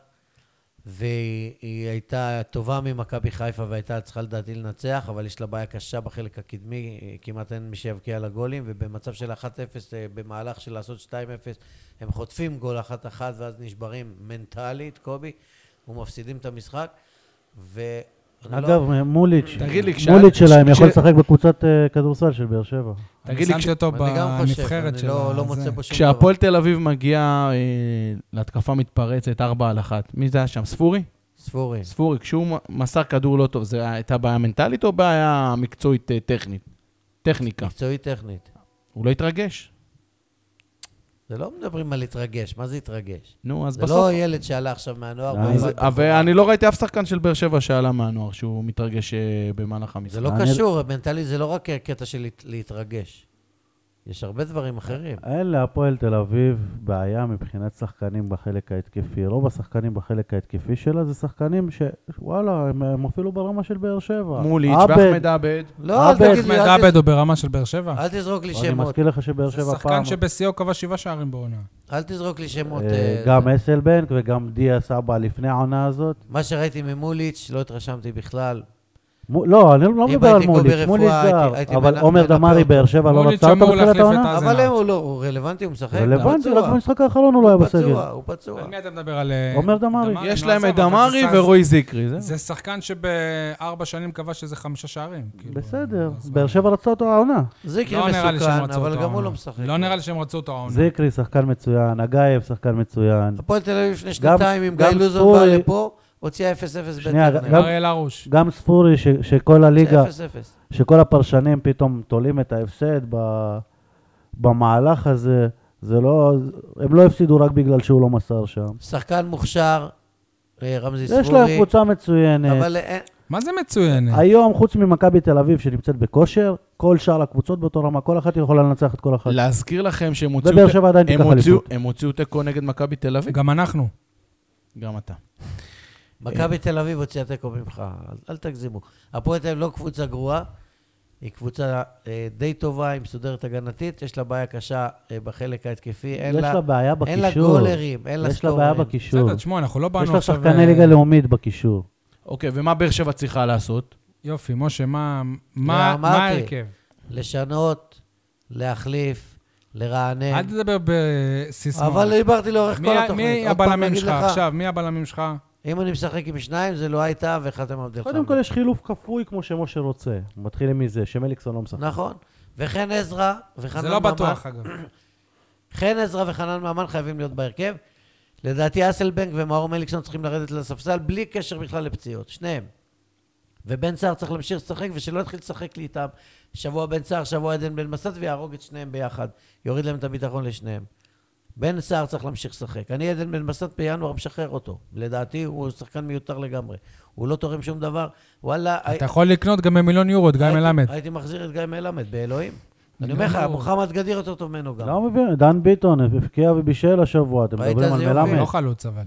Speaker 3: והיא הייתה טובה ממכבי חיפה והייתה צריכה לדעתי לנצח, אבל יש לה בעיה קשה בחלק הקדמי, אה, כמעט אין מי שיבקיע לה גולים, ובמצב של 1-0, אה, במהלך של לעשות 2-0, הם חוטפים גול 1-1 ואז נשברים מנטלית, קובי, ומפסידים את המשחק. ו... אני לא-
Speaker 2: אגב, מוליץ',
Speaker 4: תגיד לי, כשה-
Speaker 2: מוליץ' שלהם
Speaker 4: כש-
Speaker 2: יכול
Speaker 4: כש-
Speaker 2: לשחק בקבוצת אה, כדורסל של באר שבע.
Speaker 1: אני
Speaker 4: תגיד לי,
Speaker 1: שמתי
Speaker 4: כש-
Speaker 1: אותו
Speaker 3: אני גם חושב,
Speaker 1: בנבחרת
Speaker 3: אני
Speaker 1: של
Speaker 3: לא,
Speaker 1: הזה.
Speaker 3: לא מוצא פה שום דבר.
Speaker 4: כשהפועל תל אביב מגיעה אה, להתקפה מתפרצת, 4 על 1, מי זה היה שם? ספורי?
Speaker 3: ספורי.
Speaker 4: ספורי, כשהוא מ- מסר כדור לא טוב, זו הייתה בעיה מנטלית או בעיה מקצועית אה, טכנית? טכניקה.
Speaker 3: מקצועית טכנית.
Speaker 4: הוא לא התרגש.
Speaker 3: זה לא מדברים על להתרגש, מה זה התרגש?
Speaker 4: נו, אז
Speaker 3: זה לא
Speaker 4: בסוף...
Speaker 3: ילד שעלה עכשיו מהנוער.
Speaker 2: אה,
Speaker 3: ועבד
Speaker 4: אז-
Speaker 3: בחורה.
Speaker 4: ואני לא ראיתי אף שחקן של באר שבע שעלה מהנוער שהוא מתרגש אה, במהלך המשחק.
Speaker 3: זה לא
Speaker 2: אני-
Speaker 3: קשור, מנטלי זה לא רק קטע של להת- להתרגש. יש הרבה דברים אחרים.
Speaker 2: אין להפועל תל אביב בעיה מבחינת שחקנים בחלק ההתקפי. רוב השחקנים בחלק ההתקפי שלה זה שחקנים שוואלה, הם, הם אפילו ברמה של באר שבע.
Speaker 4: מוליץ'
Speaker 2: עבד,
Speaker 4: ואחמד עבד.
Speaker 3: לא, אל
Speaker 2: עבד,
Speaker 3: תגיד לי,
Speaker 1: אחמד
Speaker 3: אל
Speaker 1: עבד
Speaker 3: תז-
Speaker 1: הוא ברמה של באר שבע?
Speaker 3: אל תזרוק לי
Speaker 2: אני
Speaker 3: שמות.
Speaker 2: מזכיר לך שבאר
Speaker 1: זה
Speaker 2: שבע פעם...
Speaker 1: שחקן שבשיאו קבע שבעה שערים בעונה.
Speaker 3: אל תזרוק לי שמות.
Speaker 2: אה,
Speaker 3: אה,
Speaker 2: גם
Speaker 3: זה-
Speaker 2: אסלבנק וגם דיאס אבא לפני העונה הזאת.
Speaker 3: מה שראיתי ממוליץ', לא התרשמתי בכלל.
Speaker 2: מו- לא, אני לא
Speaker 3: אם
Speaker 2: מדבר על
Speaker 3: הייתי
Speaker 2: מוליץ',
Speaker 3: קובי
Speaker 2: מוליץ'
Speaker 3: רפואה,
Speaker 2: זר,
Speaker 3: הייתי- הייתי
Speaker 2: אבל
Speaker 3: מנ-
Speaker 2: עומר
Speaker 3: מנפל
Speaker 2: דמארי
Speaker 3: אותו.
Speaker 2: באר שבע לא
Speaker 1: מוליץ'
Speaker 2: רצה אותו
Speaker 1: אמור
Speaker 2: בתחילת
Speaker 1: להחליף את
Speaker 2: העונה?
Speaker 1: אז
Speaker 3: אבל
Speaker 1: אין
Speaker 3: הוא לא, הוא רלוונטי, הוא משחק. הוא
Speaker 2: רלוונטי,
Speaker 3: פצוע.
Speaker 2: רק במשחק האחרון הוא לא היה
Speaker 3: הוא
Speaker 2: בסגל.
Speaker 3: פצוע, הוא פצוע.
Speaker 1: על מי אתה מדבר? על... אה,
Speaker 2: עומר דמארי.
Speaker 4: יש
Speaker 1: נו,
Speaker 4: להם את
Speaker 1: עזוב, אבל זה
Speaker 4: דמארי
Speaker 1: שחקן-
Speaker 4: ורועי זיקרי, זהו.
Speaker 1: זה שחקן שבארבע שנים כבש איזה חמישה שערים. כאילו,
Speaker 2: בסדר,
Speaker 1: אז
Speaker 2: באר
Speaker 1: מה?
Speaker 2: שבע רצה אותו העונה.
Speaker 3: זיקרי
Speaker 1: לא נראה לי שהם
Speaker 3: כאילו מסוכן,
Speaker 1: רצו
Speaker 3: אבל
Speaker 1: אותו
Speaker 3: גם הוא
Speaker 1: העונה.
Speaker 3: לא משחק.
Speaker 1: לא נראה לי שהם רצו אותו העונה.
Speaker 2: זיקרי שחקן מצוין, אגייב שחקן מצוין.
Speaker 3: הפועל תל אביב לפני שנתיים, עם גיא
Speaker 2: גם
Speaker 3: לוזון בא
Speaker 2: ספורי-
Speaker 3: לפה, הוציאה 0-0
Speaker 2: שנייה,
Speaker 3: בטרנר.
Speaker 2: גם-
Speaker 1: אריאל הרוש.
Speaker 2: גם ספורי, ש- שכל הליגה,
Speaker 3: הוציאה 0-0.
Speaker 2: שכל הפרשנים פתאום תולים את ההפסד ב- במהלך הזה, זה לא, הם לא הפסידו רק בגלל שהוא לא מסר שם.
Speaker 3: שחקן מוכשר, אה, רמזי
Speaker 2: יש להם
Speaker 3: ספורי,
Speaker 2: קבוצה מצוינת.
Speaker 3: אבל אה, אין-
Speaker 1: מה זה מצוינת?
Speaker 2: היום, חוץ ממכבי תל אביב שנמצאת בכושר, כל שאר הקבוצות באותו רמה, כל אחת יכולה לנצח את כל
Speaker 3: נכון. לא,
Speaker 2: אחת.
Speaker 4: להזכיר לכם שהם הוציאו...
Speaker 2: ובאר שבע עדיין
Speaker 4: הם
Speaker 2: תיקח
Speaker 4: הוציאו-
Speaker 2: אליפות.
Speaker 4: הם הוציאו תיקו נגד מכבי תל אביב.
Speaker 1: גם אנחנו.
Speaker 4: גם אתה.
Speaker 3: מכבי תל אביב הוציאה תיקו ממך, אל- אל תגזימו. הפועל תל אביב לא קבוצה גרועה, היא קבוצה אה, די טובה, היא מסודרת הגנתית, יש לה בעיה קשה אה, בחלק ההתקפי, אין
Speaker 2: יש לה בעיה
Speaker 3: אין לה
Speaker 2: בקישור.
Speaker 3: גולרים, אין לה
Speaker 2: יש לה בעיה
Speaker 3: סקוררים.
Speaker 2: בקישור.
Speaker 1: בסדר, תשמעו, אנחנו לא
Speaker 2: יש
Speaker 1: באנו
Speaker 2: לה
Speaker 1: עכשיו...
Speaker 2: שחקני
Speaker 1: אה,
Speaker 2: ליגה לאומית בקישור.
Speaker 4: אוקיי, ומה באר שבע צריכה לעשות?
Speaker 1: יופי, משה, מה מה-
Speaker 3: לא, אמרתי.
Speaker 1: מה ההרכב?
Speaker 3: לשנות, להחליף, לרענן.
Speaker 1: אל תדבר בסיסמאות.
Speaker 3: אה. אבל דיברתי לאורך
Speaker 1: מי
Speaker 3: כל
Speaker 1: ה-
Speaker 3: התוכנית.
Speaker 1: מי
Speaker 3: עוד פעם
Speaker 1: הבלמים
Speaker 3: אגיד
Speaker 1: שלך
Speaker 3: לך,
Speaker 1: עכשיו? מי הבלמים שלך?
Speaker 3: אם אני משחק עם שניים, זה לא הייתה וחתם עבד אל
Speaker 2: קודם כל יש חילוף כפוי כמו שמשה רוצה. מתחילים מזה, שמליקסון לא משחק.
Speaker 3: נכון. וחן עזרא וחנן
Speaker 1: זה לא
Speaker 3: ממן.
Speaker 1: בטוח, אגב.
Speaker 3: חן עזרא וחנן ממן חייבים להיות בהרכב. לדעתי אסלבנק ומאור מליקסון צריכים לרדת לספסל בלי קשר בכלל לפציעות, שניהם. ובן סער צריך להמשיך לשחק ושלא יתחיל לשחק לי איתם. שבוע בן סער, שבוע עדן בן מסת ויהרוג את שניהם ביחד. יוריד להם את הביטחון לשניהם. בן סער צריך להמשיך לשחק. אני עדן בן בסט בינואר משחרר אותו. לדעתי הוא שחקן מיותר לגמרי. הוא לא תורם שום דבר. וואלה... הי-
Speaker 1: אתה יכול לקנות גם במיליון יורו את גיא
Speaker 3: הייתי-
Speaker 1: מלמד.
Speaker 3: הייתי מחזיר את גיא מלמד, באלוהים. אני
Speaker 1: לא
Speaker 3: אומר לך,
Speaker 1: ברור.
Speaker 3: מוחמד גדיר יותר טוב ממנו גם.
Speaker 2: לא מבין, דן ביטון הבקיע ובישל השבוע, אתם
Speaker 3: ראית
Speaker 2: מדברים על
Speaker 3: איזה יופי?
Speaker 1: הוא
Speaker 2: מלמד.
Speaker 1: לא חלוץ, אבל.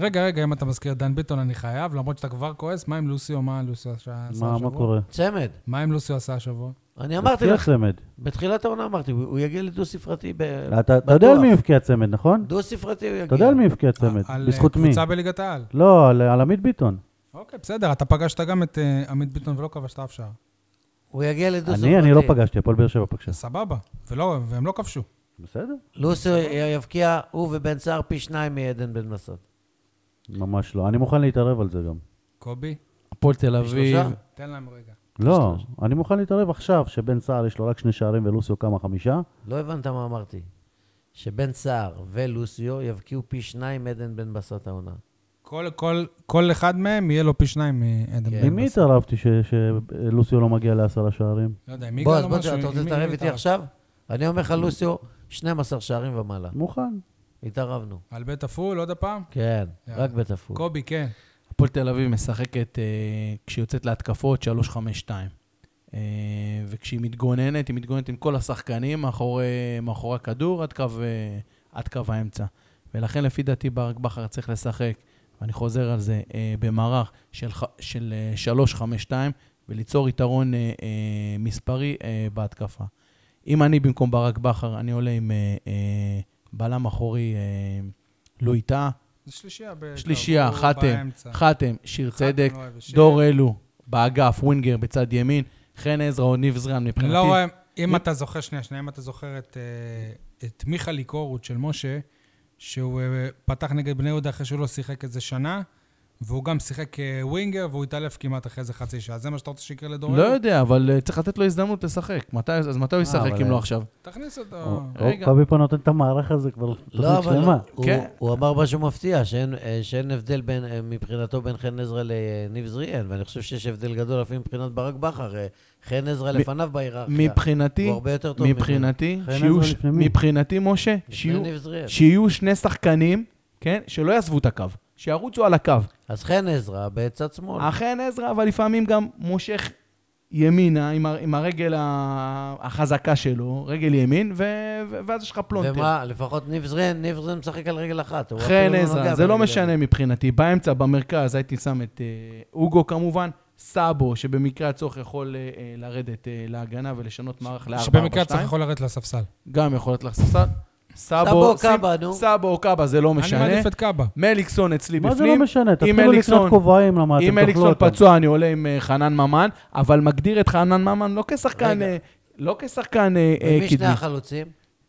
Speaker 1: רגע, רגע, אם אתה מזכיר את דן ביטון, אני חייב, למרות שאתה כבר כועס, מה עם לוסיו? מה לוסיו עשה עשה
Speaker 2: מה- מה
Speaker 1: השבוע?
Speaker 2: קורה?
Speaker 3: צמד.
Speaker 1: מה אם לוסיו עשה השבוע?
Speaker 3: אני אמרתי
Speaker 2: הבקיע
Speaker 3: לך,
Speaker 2: צמד.
Speaker 3: בתחילת העונה אמרתי, הוא הוא יגיע לדו-ספרתי ב...
Speaker 2: אתה אתה יודע על
Speaker 3: כן. בטוח.
Speaker 2: מי הבקיע צמד, נכון?
Speaker 3: דו-ספרתי הוא יגיע.
Speaker 2: אתה יודע על מי הבקיע צמד?
Speaker 1: על, אה,
Speaker 2: בזכות מי?
Speaker 1: קבוצה בליגת העל.
Speaker 2: לא, על- על עמית ביטון.
Speaker 1: אוקיי, בסדר, אתה פגשת גם את אה, עמית ביטון ולא כבשת אף שער.
Speaker 3: הוא יגיע לדו-ספרתי.
Speaker 2: אני, אני לא פגשתי, הפועל באר שבע פגשה.
Speaker 1: סבבה, ולא, והם לא כבשו.
Speaker 2: בסדר?
Speaker 3: לוסו י- יבקיע, הוא ובן סער פי שניים מעדן בן מסות.
Speaker 2: ממש לא. אני מוכן להתערב על זה גם.
Speaker 1: קובי,
Speaker 4: הפועל תל אביב.
Speaker 2: כן.
Speaker 3: שלושה?
Speaker 1: תן להם רגע.
Speaker 2: לא, אני מוכן להתערב עכשיו, שבן סער יש לו רק שני שערים ולוסיו כמה חמישה.
Speaker 3: לא הבנת מה אמרתי. שבן סער ולוסיו יבקיעו פי שניים מעדן בן בסט העונה.
Speaker 1: כל, כל, כל אחד מהם יהיה לו פי שניים מעדן
Speaker 3: כן.
Speaker 1: בן
Speaker 2: עם מי
Speaker 1: בסט.
Speaker 2: התערבתי ש- שלוסיו לא מגיע לעשרה שערים?
Speaker 1: לא יודע, מי
Speaker 3: בוא,
Speaker 1: גר
Speaker 3: אז
Speaker 1: לו
Speaker 3: בוא,
Speaker 1: משהו?
Speaker 3: אתה רוצה
Speaker 1: עם מי-
Speaker 3: להתערב
Speaker 1: מי
Speaker 3: איתי
Speaker 1: התערב?
Speaker 3: עכשיו? אני אומר לך, לוסיו, 12 שערים ומעלה.
Speaker 1: אה,
Speaker 2: מוכן.
Speaker 3: התערבנו.
Speaker 1: על בית עפול עוד הפעם?
Speaker 3: כן,
Speaker 1: יאללה.
Speaker 3: רק בטפול.
Speaker 1: קובי, כן.
Speaker 4: הפועל תל אביב משחקת, אה, כשהיא יוצאת להתקפות, 3-5-2. אה, וכשהיא מתגוננת, היא מתגוננת עם כל השחקנים מאחורי, מאחורי הכדור עד קו, אה, עד קו האמצע. ולכן לפי דעתי ברק בכר צריך לשחק, ואני חוזר על זה, אה, במערך של, ח- של אה, 3-5-2 וליצור יתרון אה, אה, מספרי אה, בהתקפה. אם אני במקום ברק בכר, אני עולה עם אה, אה, בלם אחורי אה, לואי טאה,
Speaker 1: זה שלישייה. ב-
Speaker 4: שלישייה,
Speaker 1: הוא
Speaker 3: אה,
Speaker 4: חתם,
Speaker 1: באמצע.
Speaker 4: חתם, שיר
Speaker 1: חתם
Speaker 4: צדק,
Speaker 1: לא אוהב השיר.
Speaker 4: דור אלו, באגף, ווינגר בצד ימין, חן עזרא או ניב זרן
Speaker 1: אני
Speaker 4: מבחינתי.
Speaker 1: לא רואה, אם אתה זוכר, שנייה, שנייה, אם אתה זוכר את, אה, את מיכה ליקורות של משה, שהוא אה, פתח נגד בני יהודה אחרי שהוא לא שיחק איזה שנה, והוא גם שיחק אה, ווינגר, והוא התעלף כמעט אחרי איזה חצי שעה. זה מה שאתה רוצה שיקרה לדורנו?
Speaker 4: לא יודע, אבל אה, צריך לתת לו הזדמנות לשחק. מתי- אז מתי
Speaker 3: אה,
Speaker 4: הוא ישחק
Speaker 2: אבל-
Speaker 4: אם לא עכשיו?
Speaker 1: תכניס אותו.
Speaker 4: רגע.
Speaker 2: קובי פה נותן את המערך הזה כבר
Speaker 3: לא,
Speaker 2: תוכנית
Speaker 3: אבל
Speaker 2: שלמה.
Speaker 3: הוא-
Speaker 4: כן.
Speaker 3: הוא אמר משהו מפתיע, שאין- אה, שאין הבדל בין, אה, מבחינתו בין חן עזרא לניב זריאן, ואני חושב שיש הבדל גדול אפילו מבחינת ברק בכר. אה, חן עזרא
Speaker 4: מ-
Speaker 3: לפניו בהיררכיה.
Speaker 4: מבחינתי,
Speaker 3: הוא הרבה יותר טוב
Speaker 4: מבחינתי,
Speaker 2: חן
Speaker 4: שיהו
Speaker 2: עזרא
Speaker 4: ש-
Speaker 2: לפני מי?
Speaker 4: מבחינתי, משה,
Speaker 3: לפני
Speaker 4: שיהיו-
Speaker 3: ניב זריאן.
Speaker 4: שיהיו שני שחקנים, כן, שלא יעזבו את הקו, שירוצו על הקו.
Speaker 3: אז חן עזרא בצד שמאל.
Speaker 4: אכן עזרא, אבל לפעמים גם מושך ימינה עם, הר- עם הרגל ה- החזקה שלו, רגל ימין, ו, ו, ואז יש לך פלונטר.
Speaker 3: ומה, לפחות ניב זריאן, ניב זריאן משחק על רגל אחת. הוא
Speaker 4: לא חן
Speaker 3: אפילו לא
Speaker 4: עזרא,
Speaker 3: נוגע
Speaker 4: זה לא
Speaker 3: ברגל
Speaker 4: משנה
Speaker 3: הזאת.
Speaker 4: מבחינתי. באמצע, במרכז, הייתי שם את אה, אוגו כמובן, סאבו, שבמקרה הצורך יכול אה, אה, לרדת אה, להגנה ולשנות מערך ל-4-4-2.
Speaker 1: שבמקרה צריך יכול לרדת
Speaker 4: לא
Speaker 1: לספסל.
Speaker 4: גם יכול להיות לך ספסל.
Speaker 3: סאבו
Speaker 4: סאבו,
Speaker 3: או קאבה, נו.
Speaker 4: סאבו או קאבה, זה לא
Speaker 1: אני
Speaker 4: משנה.
Speaker 1: מעדיף את קאבה.
Speaker 4: מליקסון אצלי בפנים.
Speaker 2: מה זה לא משנה? תתחילו
Speaker 4: אליקסון-
Speaker 2: לקנות כובעים, למה אתם
Speaker 4: אם
Speaker 2: תאכלו
Speaker 4: אליקסון
Speaker 2: אותם.
Speaker 4: פצוע, אני עולה עם אה, חנן ממן, אבל מגדיר את חנן ממן לא כשחקן,
Speaker 3: רגע.
Speaker 4: אה, לא כשחקן אה, אה,
Speaker 3: ומי שני
Speaker 4: קדמי.
Speaker 3: החלוצים?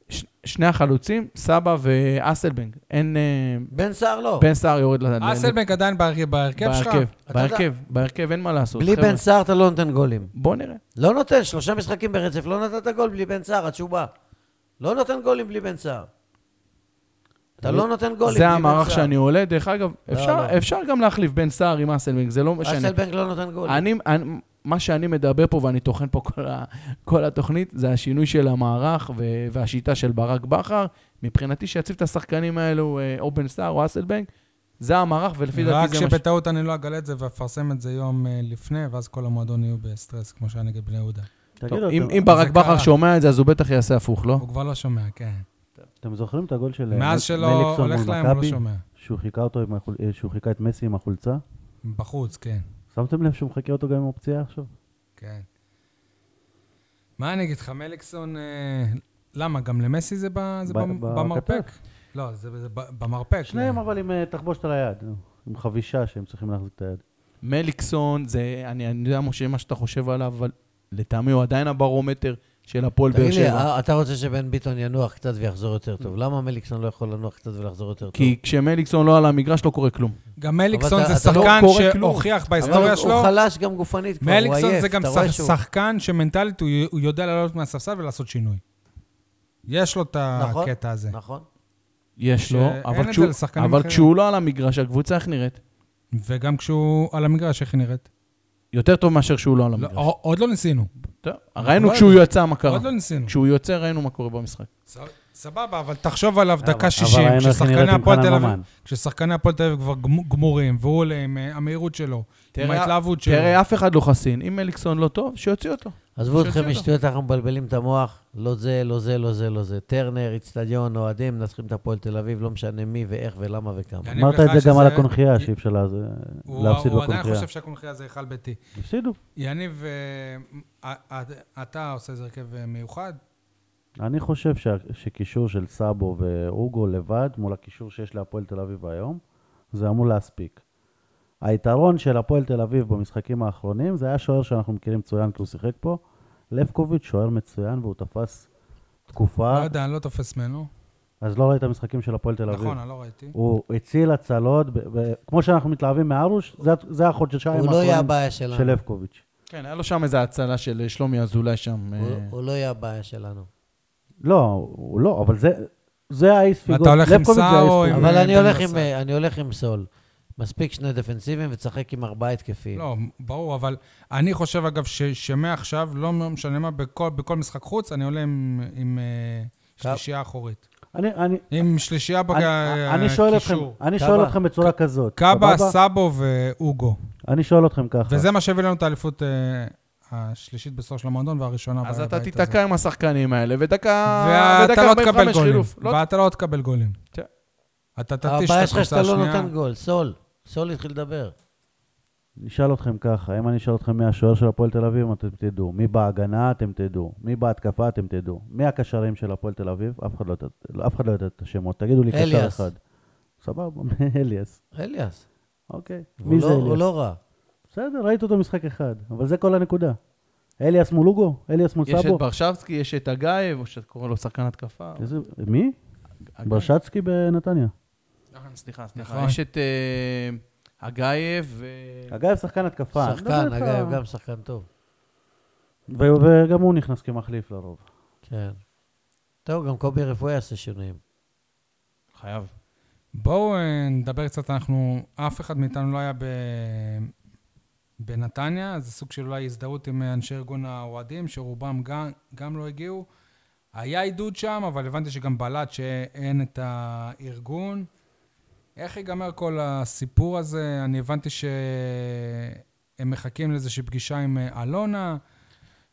Speaker 4: ש- שני החלוצים, סבא ואסלבנג. אין... אה,
Speaker 3: בן סער לא.
Speaker 4: בן סער יורד ל- ל-
Speaker 1: אסלבנק עדיין בהרכב בהרכב שלך?
Speaker 4: בהרכב,
Speaker 3: אתה
Speaker 4: בהרכב, בהרכב, אין מה לעשות.
Speaker 3: בלי
Speaker 4: חבר'ה.
Speaker 3: בן סער אתה לא נותן גולים.
Speaker 4: בוא נראה.
Speaker 3: לא נותן, שלושה משחקים ברצף, לא נתת גול בלי בן סער, התשובה. לא נותן גולים בלי בן סער. אתה לא נותן גולים
Speaker 4: זה
Speaker 3: בלי בן סער.
Speaker 4: המערך שאני עולה. דרך אגב,
Speaker 3: לא,
Speaker 4: אפשר-
Speaker 3: לא.
Speaker 4: אפשר גם להחליף בן סער עם אסלבנג, זה לא משנה.
Speaker 3: אסלבנק לא נותן גולים.
Speaker 4: אני, אני, מה שאני מדבר פה, ואני טוחן פה כל, ה, כל התוכנית, זה השינוי של המערך ו, והשיטה של ברק בכר. מבחינתי, שיציב את השחקנים האלו, אה, או בן סער או אסלבנק, זה המערך, ולפי
Speaker 1: רק
Speaker 4: דעתי זה מה ש...
Speaker 1: שבטעות אני לא אגלה את זה ואפרסם את זה יום אה, לפני, ואז כל המועדון יהיו בסטרס, כמו שהיה נגד בני יהודה.
Speaker 4: טוב,
Speaker 2: תגידו,
Speaker 4: אם,
Speaker 2: אתם-
Speaker 4: אם ברק
Speaker 1: זה קרה.
Speaker 4: בכר שומע את זה, אז הוא בטח יעשה הפוך, לא?
Speaker 1: הוא כבר לא שומע, כן.
Speaker 2: אתם זוכרים את הגול של אה,
Speaker 1: מאז שלא
Speaker 2: מליקסון
Speaker 1: הולך
Speaker 2: מול
Speaker 1: להם, הוא לא
Speaker 2: מכבי?
Speaker 1: שומע.
Speaker 2: שהוא חיכה אותו עם החול- אה, שהוא חיכה את מסי עם החולצה?
Speaker 1: בחוץ, כן.
Speaker 2: שמתם לב שהוא מחכה אותו גם עם הפציעה עכשיו?
Speaker 1: כן. מה אני אגיד לך, מליקסון, אה, למה? גם למסי זה ב- זה
Speaker 2: ב-
Speaker 1: במ-
Speaker 2: בכתף.
Speaker 1: במרפק? לא, זה זה ב- במרפק.
Speaker 2: שניהם
Speaker 1: לא.
Speaker 2: אבל עם אה, תחבושת על היד, נו, עם חבישה שהם צריכים להחזיק את היד.
Speaker 4: מליקסון, זה, אני, אני יודע, משה, מה שאתה חושב עליו, אבל לטעמי הוא עדיין הברומטר של הפועל באר
Speaker 3: תגיד לי,
Speaker 4: שבע.
Speaker 3: אה, אתה רוצה שבן ביטון ינוח קצת ויחזור יותר טוב. למה מליקסון לא יכול לנוח קצת ולחזור יותר טוב?
Speaker 4: כי כשמליקסון לא על המגרש, לא קורה כלום.
Speaker 1: גם מליקסון
Speaker 3: אבל
Speaker 1: זה
Speaker 3: אתה- אתה לא
Speaker 1: שחקן
Speaker 4: קורא כלום.
Speaker 1: שהוכיח
Speaker 3: אבל
Speaker 1: בהיסטוריה
Speaker 3: הוא-
Speaker 1: שלו.
Speaker 3: הוא חלש גם גופנית כבר, הוא עייף.
Speaker 1: מליקסון זה גם
Speaker 3: אתה רואה
Speaker 1: שח-
Speaker 3: שהוא-
Speaker 1: שחקן שמנטלית הוא י- הוא יודע לעלות מהספסל ולעשות שינוי. יש לו את
Speaker 3: נכון,
Speaker 1: הקטע הזה.
Speaker 3: נכון.
Speaker 4: יש
Speaker 1: שאין
Speaker 4: לו,
Speaker 1: את
Speaker 4: אבל,
Speaker 1: זה
Speaker 4: כשהוא,
Speaker 1: לשחקנים
Speaker 4: אבל
Speaker 1: אחרים.
Speaker 4: כשהוא לא על המגרש, הקבוצה איך נראית?
Speaker 1: וגם כשהוא על המגרש, איך היא נראית?
Speaker 4: יותר טוב מאשר שהוא לא על
Speaker 1: לא,
Speaker 4: המגרש.
Speaker 1: עוד לא ניסינו.
Speaker 4: טוב, ראינו
Speaker 1: אבל-
Speaker 4: כשהוא יצא מה קרה.
Speaker 1: עוד לא ניסינו.
Speaker 4: כשהוא יוצא ראינו מה קורה במשחק.
Speaker 1: ס- סבבה, אבל תחשוב עליו
Speaker 2: אבל
Speaker 1: דקה 60,
Speaker 2: ראינו איך היא נראית
Speaker 1: כששחקני
Speaker 2: עם
Speaker 1: הפועל
Speaker 2: חנן
Speaker 1: תל
Speaker 2: ממן.
Speaker 1: אביב, כששחקני הפועל תל אביב כבר גמ- גמורים, והוא עולה עם אה, המהירות שלו, עם
Speaker 4: תראה-
Speaker 1: ההתלהבות שלו.
Speaker 4: תראה, אף אחד לא חסין. אם אליקסון לא טוב, שיוציא אותו.
Speaker 3: עזבו
Speaker 4: שיוציא
Speaker 3: אתכם
Speaker 4: אותו.
Speaker 3: משטויות, אנחנו מבלבלים את המוח. לא זה, לא זה, לא זה, לא זה. טרנר, איצטדיון, אוהדים, מנצחים את הפועל תל אביב, לא משנה מי ואיך ולמה וכמה.
Speaker 1: יניב
Speaker 2: אמרת
Speaker 1: לך
Speaker 2: את זה גם
Speaker 1: שזה-
Speaker 2: על הקונכייה, שאי אפשר לה- זה-
Speaker 1: הוא-
Speaker 2: להפסיד
Speaker 1: הוא עדיין
Speaker 2: בקונכייה.
Speaker 1: חושב שהקונחייה זה היכל ביתי.
Speaker 2: הפסידו,
Speaker 1: יניב, אה, אה, אה, אתה עושה איזה הרכב אה, מיוחד?
Speaker 2: אני חושב שה- שקישור של סאבו ואוגו לבד, מול הקישור שיש להפועל תל אביב היום, זה אמור להספיק. היתרון של הפועל תל אביב במשחקים האחרונים, זה היה שוער שאנחנו מכירים מצוין כי הוא שיחק פה. לבקוביץ' שוער מצוין והוא תפס
Speaker 1: לא
Speaker 2: תקופה,
Speaker 1: יודע, אני לא תופס ממנו.
Speaker 2: אז לא ראית משחקים של הפועל אה? תל אביב.
Speaker 1: נכון, אני לא ראיתי.
Speaker 2: הוא הציל הצלות, ב- ב- כמו שאנחנו מתלהבים מארוש, זה- זה החודשיים
Speaker 3: הוא לא יהיה
Speaker 2: האחרונים
Speaker 3: הבעיה
Speaker 2: של
Speaker 3: שלנו.
Speaker 2: לבקוביץ'.
Speaker 4: כן, היה לו שם איזו הצלה של אה, שלומי אזולאי שם. אה,
Speaker 3: הוא- הוא לא יהיה הבעיה שלנו.
Speaker 2: לא, הוא לא, אבל זה, זה האיס פיגור.
Speaker 1: ואתה הולך עם
Speaker 2: לבקוביץ' זה
Speaker 1: סער
Speaker 2: האיס
Speaker 1: או
Speaker 2: פיגור.
Speaker 1: עם-
Speaker 3: אבל אני
Speaker 1: בן
Speaker 3: הולך עם,
Speaker 1: בסט.
Speaker 3: אה, אני הולך עם סול. מספיק שני דפנסיבים ותשחק עם ארבעה התקפים.
Speaker 1: לא, ברור, אבל אני חושב, אגב, ש- שמעכשיו, לא משנה מה, בכל בכל משחק חוץ, אני עולה עם עם, אה,
Speaker 3: קו.
Speaker 1: שלישייה אחורית.
Speaker 2: אני, אני,
Speaker 1: עם שלישייה אה,
Speaker 2: אני, אני שואל אתכם,
Speaker 1: בקישור.
Speaker 2: אני
Speaker 3: קאבה.
Speaker 2: שואל אתכם בצורה כזאת.
Speaker 1: קאבה,
Speaker 2: סבבה?
Speaker 1: סאבו ואוגו.
Speaker 3: כן.
Speaker 2: אני שואל אתכם ככה.
Speaker 1: וזה מה שהביא לנו את האליפות אה, השלישית בסוף של המועדון והראשונה
Speaker 4: אז
Speaker 1: ב-
Speaker 4: אתה
Speaker 1: בעת
Speaker 4: תיתקע עם השחקנים האלה, ודקה...
Speaker 1: הזאת.
Speaker 4: ודקה
Speaker 1: ואתה לא
Speaker 4: 45
Speaker 1: תקבל גולים.
Speaker 4: חילוף. לא-
Speaker 1: ואתה לא תקבל גולים.
Speaker 4: כן.
Speaker 1: אתה תתיש את
Speaker 3: הבעיה שלך
Speaker 1: הקבוצה
Speaker 3: שאתה לא
Speaker 1: השנייה.
Speaker 3: נותן גול. סול. סול התחיל לדבר.
Speaker 2: נשאל אתכם ככה, אם אני אשאל אתכם מי השוער של הפועל תל אביב, אתם תדעו. מי בהגנה, אתם תדעו. מי בהתקפה, אתם תדעו. מי הקשרים של הפועל תל אביב? אף אחד לא, יודע- אף אחד לא יודע את לא השמות. תגידו לי קשר
Speaker 3: אליאס.
Speaker 2: אחד. סבבה, אליאס.
Speaker 3: אליאס.
Speaker 2: אוקיי.
Speaker 3: והוא
Speaker 2: מי זה
Speaker 3: לא- הוא
Speaker 2: אליאס?
Speaker 3: לא רע.
Speaker 2: בסדר, ראית אותו משחק אחד, אבל זה כל הנקודה. אליאס מול לוגו? אליאס מול
Speaker 4: יש את
Speaker 2: סאבו?
Speaker 4: ברשבסקי, יש את הגיא, או שאתה קורא לו שחקן התקפה.
Speaker 1: כן.
Speaker 2: איזה- מי?
Speaker 4: הגיא.
Speaker 2: ברשצקי בנתניה.
Speaker 4: נכון, סליחה, סליחה.
Speaker 1: נכון.
Speaker 4: יש את אה, הגיא ו...
Speaker 2: אגב, שחקן התקפה. אני מדבר
Speaker 3: שחקן,
Speaker 2: איתך.
Speaker 3: אגב, גם שחקן טוב.
Speaker 2: ו- וגם הוא נכנס כמחליף לרוב.
Speaker 3: כן. טוב, גם קובי רפואי יעשה שינויים.
Speaker 4: חייב.
Speaker 1: בואו אה, נדבר קצת, אנחנו, אף אחד מאיתנו לא היה ב... בנתניה, אז זה סוג של אולי הזדהות עם אה, אנשי ארגון האוהדים, שרובם גם, גם לא הגיעו. היה עידוד שם, אבל הבנתי שגם בלט שאין את הארגון. איך ייגמר כל הסיפור הזה? אני הבנתי שהם מחכים לאיזושהי פגישה עם אה, אלונה.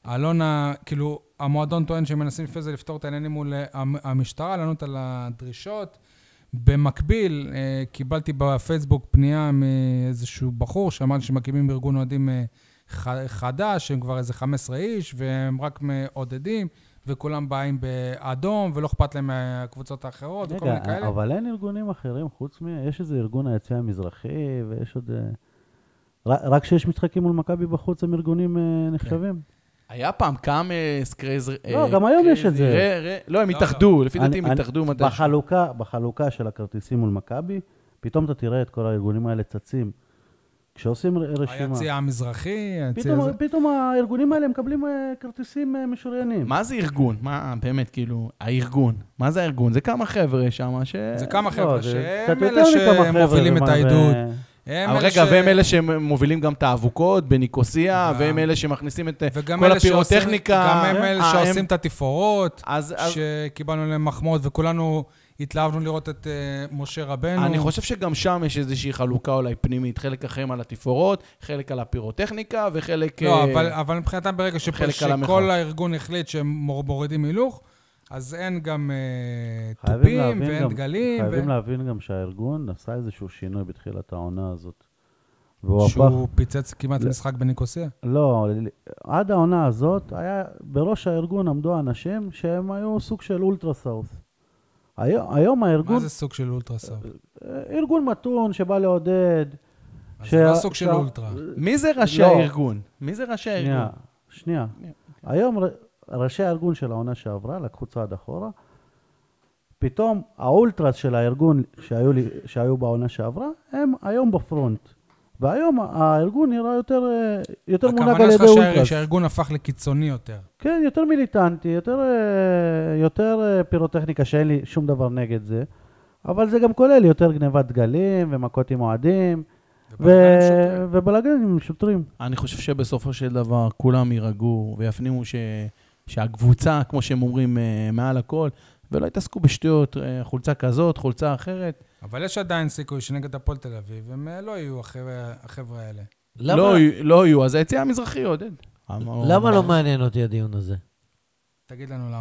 Speaker 1: אלונה, כאילו, המועדון טוען שהם מנסים לפני זה לפתור את העניינים מול אה, המ- המשטרה, לענות על הדרישות. במקביל, אה, קיבלתי בפייסבוק פנייה מאיזשהו בחור שאמר שמקימים ארגון אוהדים אה, ח- חדש, הם כבר איזה 15 איש, והם רק מעודדים, וכולם באים באדום, ולא אכפת להם מהקבוצות האחרות, וכל
Speaker 2: רגע,
Speaker 1: מיני כאלה.
Speaker 2: אבל אין ארגונים אחרים חוץ מ... יש איזה ארגון היציע המזרחי, ויש עוד... אה, ר- רק כשיש משחקים מול מכבי בחוץ הם ארגונים
Speaker 1: כן.
Speaker 2: אה, נחשבים.
Speaker 4: היה פעם אה, קאמס, קרייז...
Speaker 2: לא, גם היום יש את זה.
Speaker 4: לא, הם
Speaker 1: לא,
Speaker 4: התאחדו, לפי דעתי הם
Speaker 2: אני-
Speaker 4: התאחדו מתי...
Speaker 2: בחלוקה, בחלוקה של הכרטיסים מול מכבי, פתאום אתה תראה את כל הארגונים האלה צצים. כשעושים ר- רשימה,
Speaker 1: היציע המזרחי, היציע...
Speaker 2: פתאום-
Speaker 1: הזה.
Speaker 2: פתאום הארגונים האלה מקבלים אה, כרטיסים אה, משוריינים.
Speaker 4: מה זה ארגון? מה, באמת, כאילו, הארגון. מה זה הארגון? זה כמה חבר'ה שם ש...
Speaker 1: זה כמה
Speaker 2: לא,
Speaker 1: חבר'ה
Speaker 2: זה
Speaker 1: שהם
Speaker 2: קצת
Speaker 1: אלה
Speaker 2: יותר מכמה חבר'ה,
Speaker 1: שמובילים את
Speaker 2: ומה- אה,
Speaker 1: העידוד.
Speaker 2: ו-
Speaker 1: הם
Speaker 4: אבל
Speaker 1: אלה
Speaker 4: רגע,
Speaker 1: ש-
Speaker 4: והם אלה שמובילים גם את האבוקות בניקוסיה,
Speaker 1: גם.
Speaker 4: והם אלה שמכניסים את אה,
Speaker 1: וגם
Speaker 4: כל
Speaker 1: אלה שעושים-
Speaker 4: הפירוטכניקה.
Speaker 1: גם הם
Speaker 4: אה,
Speaker 1: אלה שעושים את התפאורות,
Speaker 4: אז אז-
Speaker 1: שקיבלנו עליהם מחמאות, וכולנו התלהבנו לראות את אה, משה רבנו.
Speaker 4: אני חושב שגם שם יש איזושהי חלוקה אולי פנימית, חלק אחרים על התפאורות, חלק על הפירוטכניקה וחלק...
Speaker 1: לא,
Speaker 4: אה,
Speaker 1: אבל, אבל מבחינתם ברגע ש...
Speaker 4: חלק על
Speaker 1: שכל
Speaker 4: המחאה.
Speaker 1: הארגון החליט שהם מור- מורידים הילוך, אז אין גם אה,
Speaker 2: חייבים
Speaker 1: תופים
Speaker 2: להבין
Speaker 1: ואין
Speaker 2: גם-
Speaker 1: דגלים.
Speaker 2: חייבים
Speaker 1: ו...
Speaker 2: להבין גם שהארגון עשה איזשהו שינוי בתחילת העונה הזאת. והוא הפך...
Speaker 1: שהוא פיצץ כמעט
Speaker 2: לא.
Speaker 1: משחק בניקוסיה.
Speaker 2: לא, עד העונה הזאת, היה, בראש הארגון עמדו אנשים שהם היו סוג של אולטרה סאוף. היום, היום הארגון,
Speaker 1: מה זה סוג של אולטרסאונד?
Speaker 2: ארגון מתון שבא לעודד.
Speaker 1: אז
Speaker 2: ש-
Speaker 1: זה לא סוג של
Speaker 2: שה-
Speaker 1: אולטרה.
Speaker 4: מי זה ראשי
Speaker 2: לא.
Speaker 4: הארגון? מי זה ראשי
Speaker 2: שנייה,
Speaker 4: הארגון?
Speaker 2: שנייה.
Speaker 1: כן,
Speaker 4: שנייה,
Speaker 1: אוקיי.
Speaker 2: היום ר- ראשי הארגון של העונה שעברה לקחו צעד אחורה. פתאום האולטרס של הארגון שהיו, לי, שהיו בעונה שעברה, הם היום בפרונט. והיום הארגון נראה יותר, אה, יותר מונהג על
Speaker 1: הכוונה
Speaker 2: ידי
Speaker 1: שלך
Speaker 2: אולטרס.
Speaker 1: שה- שהארגון הפך לקיצוני יותר.
Speaker 2: כן, יותר מיליטנטי, יותר, אה, יותר אה, פירוטכניקה, שאין לי שום דבר נגד זה, אבל זה גם כולל יותר גניבת דגלים ומכות עם אוהדים, ו...
Speaker 1: ובלגן שוטר.
Speaker 2: ובלאגן עם שוטרים.
Speaker 4: אני חושב שבסופו של דבר כולם יירגעו ויפנימו ש... שהקבוצה, כמו שהם אומרים, אה, מעל הכל, ולא יתעסקו בשטויות, אה, חולצה כזאת, חולצה אחרת.
Speaker 1: אבל יש עדיין סיכוי שנגד הפועל תל אביב, הם אה, לא יהיו החבר'ה החבר'ה האלה.
Speaker 3: למה-
Speaker 4: לא, יהיו- לא יהיו, אז היציאה המזרחי, עודד. אמר-
Speaker 3: למה לא מעניין אותי הדיון הזה?
Speaker 1: תגיד לנו למה.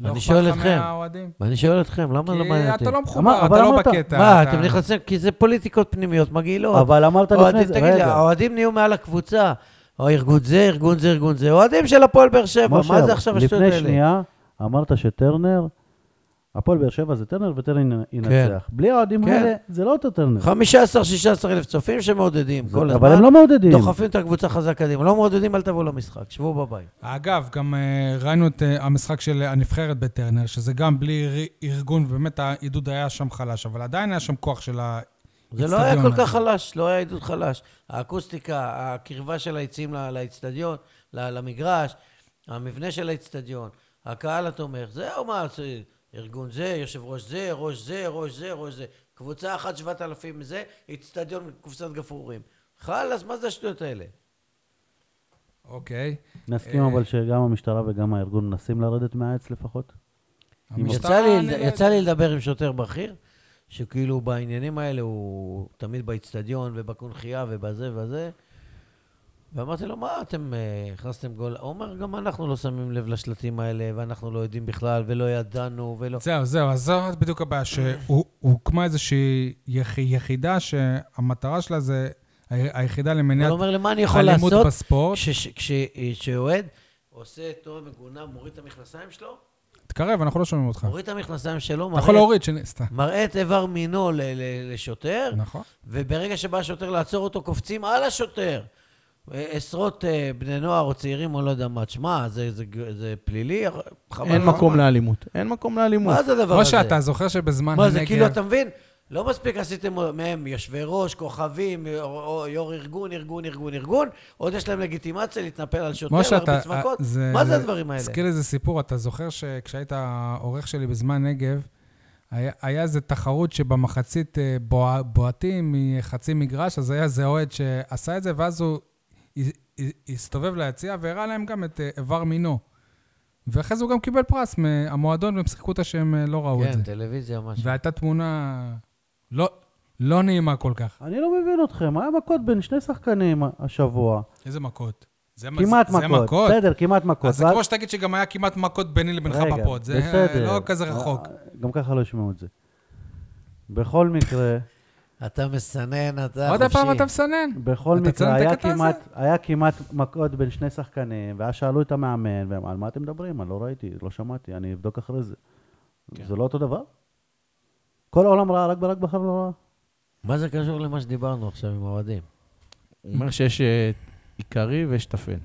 Speaker 3: אני
Speaker 1: לא אכפת
Speaker 3: שואל
Speaker 1: לך
Speaker 3: אתכם.
Speaker 1: מהאוהדים?
Speaker 3: ואני שואל אתכם, למה לא מעניין
Speaker 1: כי
Speaker 3: אותי?
Speaker 1: אתה לא
Speaker 2: אמר-
Speaker 1: מחובר,
Speaker 2: אבל
Speaker 1: אתה לא
Speaker 2: אמרת-
Speaker 1: בקטע.
Speaker 3: מה,
Speaker 1: אתה-
Speaker 3: אתם נכנסים, כי זה פוליטיקות פנימיות מגעילות.
Speaker 2: אבל אמרת לפני
Speaker 3: אוהדים,
Speaker 2: זה,
Speaker 3: לא, תגיד לי,
Speaker 2: רגע,
Speaker 3: האוהדים נהיו מעל הקבוצה. או ארגון זה, ארגון זה, ארגון זה. אוהדים של הפועל באר שבע, מה זה עכשיו השטויות
Speaker 2: לפני
Speaker 3: האלה?
Speaker 2: שנייה אמרת שטרנר, הפועל באר שבע זה טרנר וטרנר
Speaker 1: כן.
Speaker 2: ינצח. בלי האוהדים
Speaker 3: כן.
Speaker 2: האלה, זה לא אותו טרנר.
Speaker 3: 15-16 אלף צופים שמעודדים
Speaker 2: זה-
Speaker 3: כל הזמן.
Speaker 2: אבל הם לא מעודדים.
Speaker 3: דוחפים את הקבוצה חזק קדימה. לא מעודדים, אל תבואו למשחק, שבו בבית.
Speaker 1: אגב, גם אה, ראינו את אה, המשחק של אה, הנבחרת בטרנר, שזה גם בלי אר- ארגון, ובאמת העידוד היה שם חלש, אבל עדיין היה שם כוח של ה...
Speaker 3: זה לא היה כל
Speaker 1: האיצטדיון
Speaker 3: כך
Speaker 1: הזה.
Speaker 3: חלש, לא היה עידוד חלש. האקוסטיקה, הקרבה של היציעים ל- לאצטדיון, ל- למגרש, המבנה של האצטדיון, הקהל התומך, זהו מה, זה- ארגון זה, יושב ראש זה, ראש זה, ראש זה, ראש זה. קבוצה אחת, 7,000 זה, אצטדיון קופסת גפרורים. חלאס, מה זה השטויות האלה?
Speaker 1: אוקיי.
Speaker 2: נסכים
Speaker 1: אה,
Speaker 2: אבל שגם המשטרה וגם הארגון מנסים לרדת מהעץ לפחות.
Speaker 1: המשטרה,
Speaker 3: יצא לי,
Speaker 1: אני לא יודע.
Speaker 3: יצא לי לדבר עם שוטר בכיר, שכאילו בעניינים האלה הוא תמיד באיצטדיון ובקונכייה ובזה וזה. ואמרתי לו, מה אתם אה, הכנסתם גול? הוא אומר, גם אנחנו לא שמים לב לשלטים האלה, ואנחנו לא יודעים בכלל, ולא ידענו, ולא...
Speaker 1: זהו, זהו, אז זאת בדיוק הבעיה, שהוקמה איזושהי יח- יחידה שהמטרה שלה זה ה- היחידה
Speaker 3: הוא
Speaker 1: למניעת
Speaker 3: אומר, למה אני יכול
Speaker 1: אלימות
Speaker 3: לעשות
Speaker 1: בספורט.
Speaker 3: כשאוהד עושה תנועה מגונה, מוריד את המכנסיים שלו,
Speaker 1: תקרב, אנחנו לא שומעים אותך.
Speaker 3: מוריד את המכנסיים שלו,
Speaker 1: אתה יכול
Speaker 3: מראה,
Speaker 1: להוריד, שני- סתם.
Speaker 3: מראה את איבר מינו ל- ל- לשוטר,
Speaker 1: נכון.
Speaker 3: וברגע שבא השוטר לעצור אותו, קופצים על השוטר. אה, עשרות אה, בני נוער או צעירים, או לא יודע מה. תשמע, זה, זה, זה פלילי, אה, חבל.
Speaker 4: אין
Speaker 3: על
Speaker 4: מקום
Speaker 3: הזמן.
Speaker 4: לאלימות. אין מקום לאלימות.
Speaker 3: מה זה הדבר הזה?
Speaker 1: משה, אתה זוכר שבזמן
Speaker 3: מה, זה כאילו,
Speaker 1: הנגב...
Speaker 3: אתה מבין? לא מספיק עשיתם מהם יושבי ראש, כוכבים, או- או יו"ר ארגון, ארגון, ארגון, ארגון, עוד יש להם לגיטימציה להתנפל על שוטר,
Speaker 1: משה,
Speaker 3: להרביץ
Speaker 1: אתה... אה,
Speaker 3: מכות.
Speaker 1: זה- כאילו-
Speaker 3: מה זה הדברים האלה?
Speaker 1: הזכיר איזה סיפור, אתה זוכר שכשהיית עורך שלי בזמן נגב, היה- היה איזה תחרות שבמחצית אה, בוע- בועטים מחצי מגרש, אז היה איזה אוהד שעשה את זה, ואז הוא הס- הסתובב ליציע והראה להם גם את אה, איבר מינו. ואחרי זה הוא גם קיבל פרס מהמועדון, והם שיחקו אותה שהם אה, לא ראו את
Speaker 3: כן,
Speaker 1: זה.
Speaker 3: טלוויזיה, משהו.
Speaker 1: והייתה תמונה לא, לא נעימה כל כך.
Speaker 2: אני לא מבין אתכם, היה מכות בין שני שחקנים השבוע.
Speaker 1: איזה מכות. זה מה-
Speaker 2: כמעט
Speaker 1: זה- זה
Speaker 2: מכות. בסדר, כמעט מכות.
Speaker 1: אז זה
Speaker 2: ואז-
Speaker 1: כמו שתגיד שגם היה כמעט מכות ביני לבינך
Speaker 2: רגע,
Speaker 1: בפוד. זה
Speaker 2: בסדר.
Speaker 1: לא כזה רחוק.
Speaker 3: אה,
Speaker 2: גם ככה לא ישמעו את זה. בכל מקרה,
Speaker 3: אתה מסנן, אתה חופשי.
Speaker 1: עוד פעם אתה מסנן.
Speaker 2: בכל
Speaker 1: אתה צלם
Speaker 2: מקרה,
Speaker 1: את
Speaker 2: היה
Speaker 1: הקטע הזה?
Speaker 2: כמעט, היה כמעט מכות בין שני שחקנים, ואז שאלו את המאמן, והם, על מה אתם מדברים? אני לא ראיתי, לא שמעתי, אני אבדוק אחרי זה.
Speaker 1: כן.
Speaker 2: זה לא אותו דבר? כל העולם ראה, רק ברק בחר לא ראה.
Speaker 3: מה זה קשור למה שדיברנו עכשיו עם האוהדים?
Speaker 4: הוא אומר שיש אה, עיקרי ויש טפל.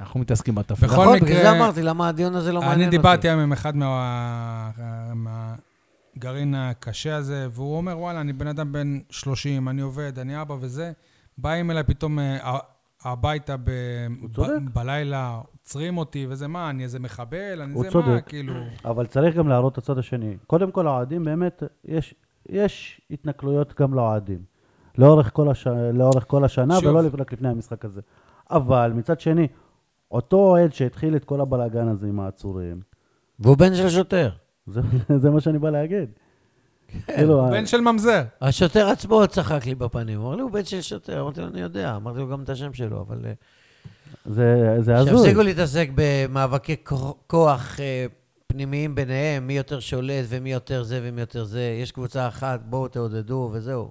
Speaker 4: אנחנו מתעסקים בטפל.
Speaker 1: בכל
Speaker 3: נכון,
Speaker 1: מקרה-
Speaker 3: בגלל זה אמרתי, למה הדיון הזה לא מעניין אותי.
Speaker 1: אני דיברתי היום עם אחד מה- מהגרעין הקשה הזה, והוא אומר, וואלה, אני בן אדם בן 30, אני עובד, אני אבא וזה. באים אליי פתאום אה, הביתה ב-
Speaker 2: צודק.
Speaker 1: ב- בלילה, עוצרים אותי וזה, מה, אני איזה מחבל? אני
Speaker 2: הוא
Speaker 1: זה מה?
Speaker 2: צודק.
Speaker 1: כאילו...
Speaker 2: אבל צריך גם להראות את הצד השני. קודם כל, האוהדים באמת, יש, יש התנכלויות גם לאוהדים. לאורך כל, הש... לאורך כל השנה,
Speaker 1: שוב.
Speaker 2: שוב. ולא לפ- רק לפני המשחק הזה. אבל מצד שני, אותו אוהד שהתחיל את כל הבלאגן הזה עם העצורים,
Speaker 3: והוא בן של שוטר.
Speaker 2: זה, זה מה שאני בא להגיד.
Speaker 1: כן.
Speaker 3: לא, אה,
Speaker 2: כאילו,
Speaker 1: בן של ממזר.
Speaker 3: השוטר עצמו צחק לי בפנים, הוא אמר לי, הוא בן של שוטר. אמרתי לו, אני יודע, אמרתי לו גם את השם שלו, אבל... אה,
Speaker 2: זה, זה הזוי.
Speaker 3: שיפסיקו להתעסק במאבקי כוח- כוח אה, פנימיים ביניהם, מי יותר שולט ומי יותר זה ומי יותר זה. יש קבוצה אחת, בואו תעודדו וזהו.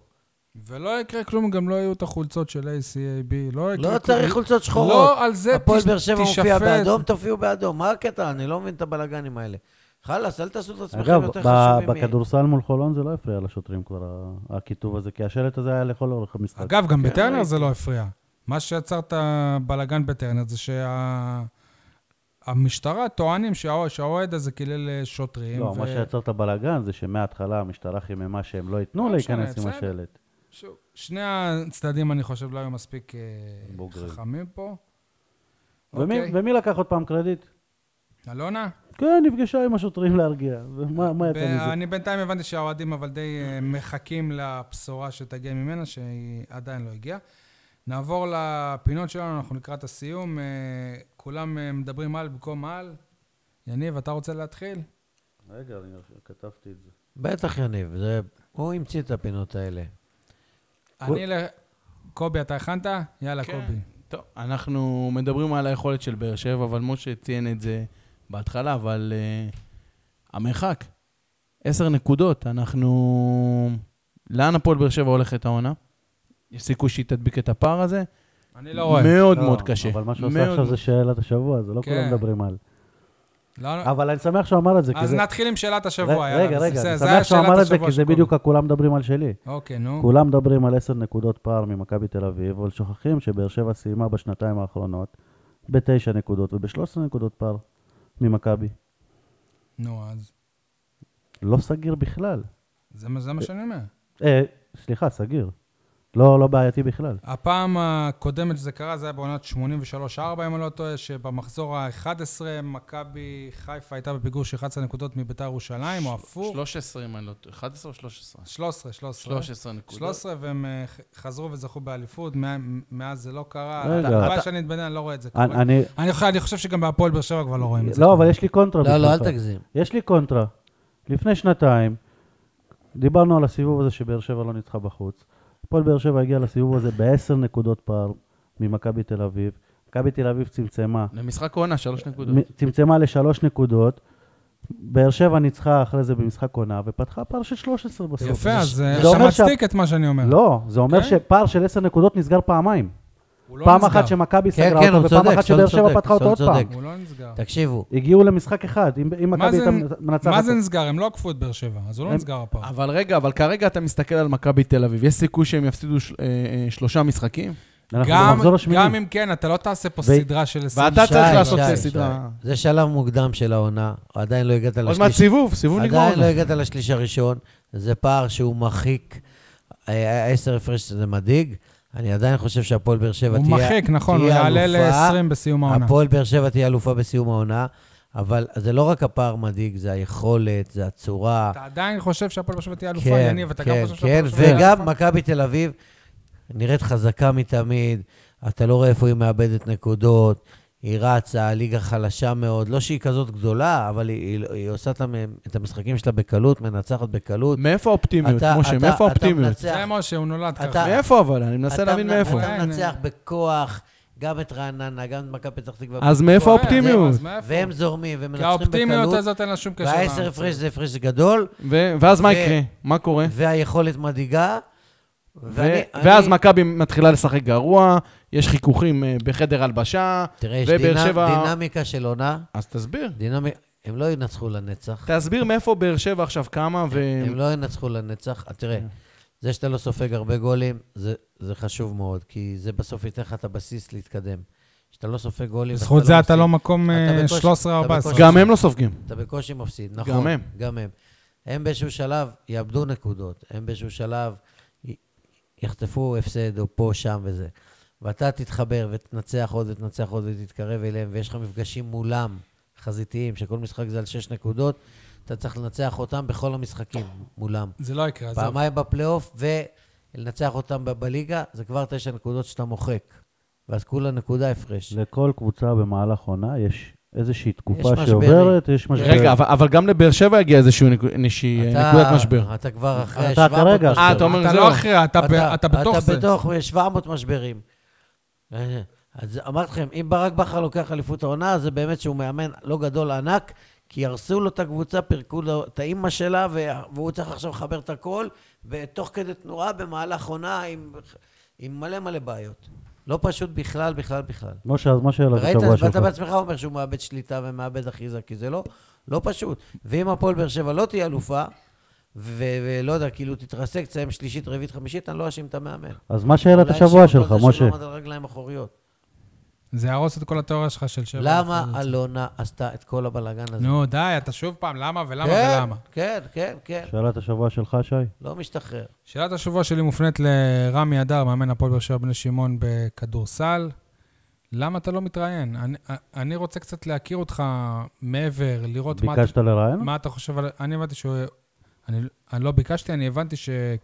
Speaker 1: ולא יקרה כלום, גם לא יהיו את החולצות של ACAB, לא יקרה
Speaker 3: לא
Speaker 1: כלום.
Speaker 3: צריך חולצות שחורות.
Speaker 1: לא, על זה
Speaker 3: הפועל
Speaker 1: תש-
Speaker 3: באר שבע מופיע
Speaker 1: תישפט.
Speaker 3: באדום, תופיעו באדום. מה הקטע? אני לא מבין את הבלגנים האלה. חלאס, אל תעשו את עצמכם
Speaker 2: אגב,
Speaker 3: יותר
Speaker 2: ב-
Speaker 3: חשובים. מ-
Speaker 2: בכדורסל מול חולון זה לא הפריע לשוטרים כבר, ה- הכיתוב הזה, כי השלט הזה היה לכל אורך המשחק.
Speaker 1: אגב, גם בטרנר זה לא הפריע. מה שיצר את הבלגן בטרנר זה שהמשטרה טוענים שהאוה- שהאוהד הזה קילל אה, שוטרים.
Speaker 2: לא,
Speaker 1: ו-
Speaker 2: מה שיצר את הבלאגן זה שמההתחלה המשטרה חיממה שהם לא ייתנו
Speaker 1: לא משנה,
Speaker 2: להיכנס עם
Speaker 1: בסדר.
Speaker 2: השלט.
Speaker 1: שוב, שני הצדדים, אני חושב, לא היו מספיק אה,
Speaker 2: בוגרים.
Speaker 1: חכמים פה.
Speaker 2: ומי-
Speaker 1: אוקיי.
Speaker 2: ומי לקח עוד פעם קרדיט?
Speaker 1: אלונה?
Speaker 2: כן, נפגשה עם השוטרים להרגיע. ומה מה יצא מזה?
Speaker 1: אני בינתיים הבנתי שהאוהדים אבל די אה, מחכים לבשורה שתגיע ממנה, שהיא עדיין לא הגיעה. נעבור לפינות שלנו, אנחנו לקראת הסיום. אה, כולם אה, מדברים על במקום על. יניב, אתה רוצה להתחיל?
Speaker 2: רגע, אני כתבתי את זה.
Speaker 3: בטח, יניב, זה- הוא המציא את הפינות האלה.
Speaker 1: אני ל... קובי, אתה הכנת? יאללה,
Speaker 4: כן.
Speaker 1: קובי.
Speaker 4: טוב, אנחנו מדברים על היכולת של באר שבע, אבל משה ציין את זה בהתחלה, אבל uh, המרחק, עשר נקודות, אנחנו... לאן הפועל באר שבע הולכת העונה? יש סיכוי שהיא תדביק את הפער הזה?
Speaker 1: אני לא רואה.
Speaker 4: מאוד
Speaker 2: לא,
Speaker 4: מאוד קשה.
Speaker 2: אבל מה שעושה
Speaker 4: מאוד
Speaker 2: עכשיו זה
Speaker 4: מאוד.
Speaker 2: שאלת השבוע, זה לא
Speaker 1: כן.
Speaker 2: כולם מדברים על.
Speaker 1: לא-
Speaker 2: אבל אני שמח שהוא אמר את זה, כי
Speaker 1: אז
Speaker 2: זה...
Speaker 1: נתחיל עם שאלת השבוע,
Speaker 2: ר-
Speaker 1: יאללה.
Speaker 2: רגע, רגע,
Speaker 1: בסדר,
Speaker 2: אני
Speaker 1: זה היה
Speaker 2: שמח שהוא
Speaker 1: שאלת
Speaker 2: אמר את זה,
Speaker 1: השבוע
Speaker 2: כי זה
Speaker 1: של קובי.
Speaker 2: בדיוק הכולם מדברים על שלי.
Speaker 1: אוקיי, נו.
Speaker 2: כולם מדברים על עשר נקודות פער ממכבי תל אביב, אבל שוכחים שבאר שבע סיימה בשנתיים האחרונות בתשע נקודות ובשלוש עשרה נקודות פער ממכבי.
Speaker 1: נו, אז...
Speaker 2: לא סגיר בכלל.
Speaker 1: זה מה- זה מה שאני אומר.
Speaker 2: אה, סליחה, סגיר. לא, לא בעייתי בכלל.
Speaker 1: הפעם הקודמת שזה קרה, זה היה בעונת 83-4, אם אני לא טועה, שבמחזור ה-11, מכבי חיפה הייתה בפיגור של 11 נקודות מביתר ירושלים, או הפוך.
Speaker 4: 13, אם אני לא... 11 או 13?
Speaker 1: 13, 13.
Speaker 4: 13 נקודות.
Speaker 1: 13, והם אה, ח- חזרו וזכו באליפות, מה- מאז זה לא קרה.
Speaker 2: רגע.
Speaker 1: הלוואי
Speaker 4: אתה-
Speaker 1: שאני אתבנה, אני לא רואה את זה
Speaker 2: אני-
Speaker 1: קורה.
Speaker 2: אני...
Speaker 1: אני חושב- אני חושב שגם בהפועל באר שבע כבר לא רואים את זה.
Speaker 2: לא,
Speaker 1: קורה.
Speaker 2: אבל יש לי קונטרה.
Speaker 3: לא, לא, אל
Speaker 2: בשבילך.
Speaker 3: תגזים.
Speaker 2: יש לי קונטרה. לפני שנתיים, דיברנו על הסיבוב הזה שבאר שבע לא ניצחה בחוץ. הפועל באר שבע הגיע לסיבוב הזה בעשר נקודות פער ממכבי תל אביב. מכבי תל אביב צמצמה.
Speaker 4: למשחק עונה, 3 נקודות.
Speaker 2: מ- צמצמה לשלוש נקודות. באר שבע ניצחה אחרי זה במשחק עונה, ופתחה פער של 13 בסוף.
Speaker 1: יפה, אז אה,
Speaker 2: זה
Speaker 1: אתה
Speaker 2: אומר שה-
Speaker 1: מצדיק את מה שאני אומר.
Speaker 2: לא, זה אומר
Speaker 1: כן?
Speaker 2: שפער של 10 נקודות נסגר פעמיים.
Speaker 1: הוא לא
Speaker 2: פעם
Speaker 1: נסגר.
Speaker 2: אחת שמכבי
Speaker 3: כן,
Speaker 2: סגרה
Speaker 3: כן,
Speaker 2: אותו,
Speaker 3: הוא
Speaker 2: ופעם
Speaker 3: צודק,
Speaker 2: אחת
Speaker 3: סון
Speaker 2: שבאר שבע
Speaker 3: צודק,
Speaker 2: פתחה אותו
Speaker 3: סון
Speaker 2: עוד פעם.
Speaker 3: צודק.
Speaker 1: הוא לא נסגר.
Speaker 3: תקשיבו,
Speaker 2: הגיעו למשחק אחד, אם- אם מכבי
Speaker 1: זה-
Speaker 2: הייתה מנצחת...
Speaker 1: מה זה
Speaker 2: אותו.
Speaker 1: נסגר? הם לא עקפו את באר שבע, אז הוא לא
Speaker 2: הם-
Speaker 1: נסגר הפעם.
Speaker 4: אבל רגע, אבל כרגע אתה מסתכל על מכבי תל אביב, יש סיכוי שהם יפסידו של- אה, אה, שלושה משחקים?
Speaker 2: אנחנו
Speaker 1: גם-
Speaker 2: במחזור השמיני.
Speaker 1: גם אם כן, אתה לא תעשה פה
Speaker 2: ו-
Speaker 1: סדרה של 20
Speaker 4: ואתה
Speaker 3: שי,
Speaker 4: צריך לעשות
Speaker 3: שי,
Speaker 4: סדרה.
Speaker 3: שי. זה שלב מוקדם של העונה, עדיין לא הגעת
Speaker 4: עוד מעט
Speaker 3: לשליש.
Speaker 4: סיבוב, סיבוב נגמר.
Speaker 3: עדיין לא הגעת לשליש הראשון, זה פער שהוא מרחיק. אה, עשר הפרש זה מדאיג. אני עדיין חושב שהפועל באר שבע
Speaker 1: הוא
Speaker 3: תהיה...
Speaker 1: מרחיק, נכון, הוא
Speaker 3: תהיה
Speaker 1: יעלה
Speaker 3: אלופה.
Speaker 1: ל-20 בסיום העונה.
Speaker 3: הפועל באר שבע תהיה אלופה בסיום העונה, אבל זה לא רק הפער מדאיג, זה היכולת, זה הצורה.
Speaker 1: אתה עדיין חושב שהפועל באר שבע תהיה אלופה,
Speaker 3: כן,
Speaker 1: יניב, אתה גם
Speaker 3: כן,
Speaker 1: חושב שהפועל
Speaker 3: כן,
Speaker 1: באר שבע תהיה
Speaker 3: וגם
Speaker 1: אלופה?
Speaker 3: מכבי תל אביב נראית חזקה מתמיד, אתה לא רואה איפה היא מאבדת נקודות, היא רצה, הליגה חלשה מאוד, לא שהיא כזאת גדולה, אבל היא, היא, היא עושה את המ- את המשחקים שלה בקלות, מנצחת בקלות.
Speaker 4: מאיפה האופטימיות,
Speaker 3: אתה-
Speaker 4: משה?
Speaker 3: אתה-
Speaker 4: מאיפה
Speaker 3: אתה
Speaker 4: האופטימיות?
Speaker 3: מנצח.
Speaker 1: זה משה, הוא נולד
Speaker 3: אתה-
Speaker 1: ככה.
Speaker 4: מאיפה אבל? אני מנסה
Speaker 3: אתה
Speaker 4: להבין
Speaker 3: מנ-
Speaker 4: מאיפה.
Speaker 3: אתה
Speaker 1: אין,
Speaker 3: מנצח
Speaker 1: אין. בכוח.
Speaker 3: בכוח, גם את רעננה, גם את מכבי פתח תקווה.
Speaker 4: אז
Speaker 3: בכוח.
Speaker 4: מאיפה
Speaker 1: אה,
Speaker 4: האופטימיות?
Speaker 1: אז מאיפה?
Speaker 3: והם זורמים,
Speaker 1: כי
Speaker 3: ומנצחים
Speaker 1: האופטימיות
Speaker 3: בקלות,
Speaker 1: הזאת אין לה שום קשר.
Speaker 3: והעשר הפרש זה הפרש גדול,
Speaker 4: ו- ואז מה
Speaker 3: ו-
Speaker 4: יקרה? מה קורה?
Speaker 3: והיכולת מדאיגה.
Speaker 4: ו-
Speaker 3: ואני-
Speaker 4: ואז
Speaker 3: אני-
Speaker 4: מכבי מתחילה לשחק גרוע, יש חיכוכים אה, בחדר הלבשה,
Speaker 3: תראה, יש
Speaker 4: ובאר
Speaker 3: דינמ-
Speaker 4: שבע-
Speaker 3: דינמיקה של עונה,
Speaker 4: אז תסביר.
Speaker 3: דינמיקה, הם לא ינצחו לנצח.
Speaker 4: תסביר מאיפה באר שבע עכשיו קמה, ו... כן.
Speaker 3: הם לא ינצחו לנצח. תראה, זה שאתה לא סופג הרבה גולים, זה- זה חשוב מאוד, כי זה בסוף ייתן לך את הבסיס להתקדם. כשאתה לא סופג גולים...
Speaker 1: בזכות
Speaker 3: ואתה
Speaker 1: זה אתה לא
Speaker 3: מפסיד,
Speaker 1: מקום
Speaker 3: אתה
Speaker 1: אה,
Speaker 3: בקושי-
Speaker 1: 13-14.
Speaker 3: אתה
Speaker 4: גם הם לא סופגים.
Speaker 3: אתה בקושי מפסיד, נכון.
Speaker 4: הם.
Speaker 3: גם הם. הם באיזשהו שלב יאבדו נקודות, הם באיזשהו שלב י- יחטפו הפסד או פה, שם וזה. ואתה תתחבר ותנצח עוד ותנצח עוד ותתקרב אליהם, ויש לך מפגשים מולם, חזיתיים, שכל משחק זה על שש נקודות, אתה צריך לנצח אותם בכל המשחקים מולם.
Speaker 1: זה לא יקרה, עזוב.
Speaker 3: פעמיים בפלייאוף, ולנצח אותם ב- בליגה, זה כבר תשע נקודות שאתה מוחק. ואז כולה נקודה הפרש.
Speaker 2: לכל קבוצה במהלך עונה יש איזושהי תקופה
Speaker 3: משברים.
Speaker 2: שעוברת, יש משבר.
Speaker 4: רגע, אבל- אבל גם לבאר שבע הגיע איזושהי נקו- איזושהי, אה,
Speaker 3: אתה-
Speaker 4: נקודת משבר.
Speaker 3: אתה כבר אחרי
Speaker 2: אתה
Speaker 3: 700
Speaker 2: כרגע.
Speaker 3: משברים.
Speaker 4: אה, אתה אומר,
Speaker 1: אתה
Speaker 4: זהו.
Speaker 1: לא אחרי, אתה ב- אתה בתוך זה.
Speaker 3: אתה בתוך 700 משברים. אה, אז אמרתי לכם, אם ברק בכר לוקח אליפות העונה, זה באמת שהוא מאמן לא גדול, ענק, כי הרסו לו את הקבוצה, פירקו לו את האימא שלה, וה- והוא צריך עכשיו לחבר את הכל, ותוך כדי תנועה במהלך עונה עם, עם מלא מלא בעיות. לא פשוט בכלל, בכלל, בכלל.
Speaker 2: משה, אז מה השאלה
Speaker 3: ראית,
Speaker 2: בשבוע
Speaker 3: ואתה
Speaker 2: שלך?
Speaker 3: בעצמך אומר שהוא מאבד שליטה ומאבד אחיזה, כי זה לא, לא פשוט. ואם הפועל באר שבע לא תהיה אלופה, ו- ולא יודע, כאילו תתרסק, תסיים שלישית, רביעית, חמישית, אני לא אשים את המאמן.
Speaker 2: אז מה שאלת
Speaker 3: אולי
Speaker 2: השבוע
Speaker 3: אשים אותו
Speaker 2: שלך,
Speaker 3: על זה שהוא
Speaker 2: משה?
Speaker 3: לא עמד על רגליים אחוריות.
Speaker 1: זה יהרוס את כל התיאוריה שלך של שבע.
Speaker 3: למה
Speaker 1: אחוז.
Speaker 3: אלונה עשתה את כל הבלאגן הזה?
Speaker 1: נו, די, אתה שוב פעם, למה ולמה
Speaker 3: כן,
Speaker 1: ולמה.
Speaker 3: כן, כן, כן.
Speaker 2: שאלת השבוע שלך, שי?
Speaker 3: לא משתחרר.
Speaker 1: שאלת השבוע שלי מופנית לרמי אדר, מאמן הפועל באר שבע בני שמעון בכדורסל. למה אתה לא מתראיין? אני, אני רוצה קצת להכיר אותך מעבר, לראות מה,
Speaker 2: ביקשת לראיין?
Speaker 1: מה אתה חושב על... אני הבנתי שהוא... אני, אני לא ביקשתי, אני הבנתי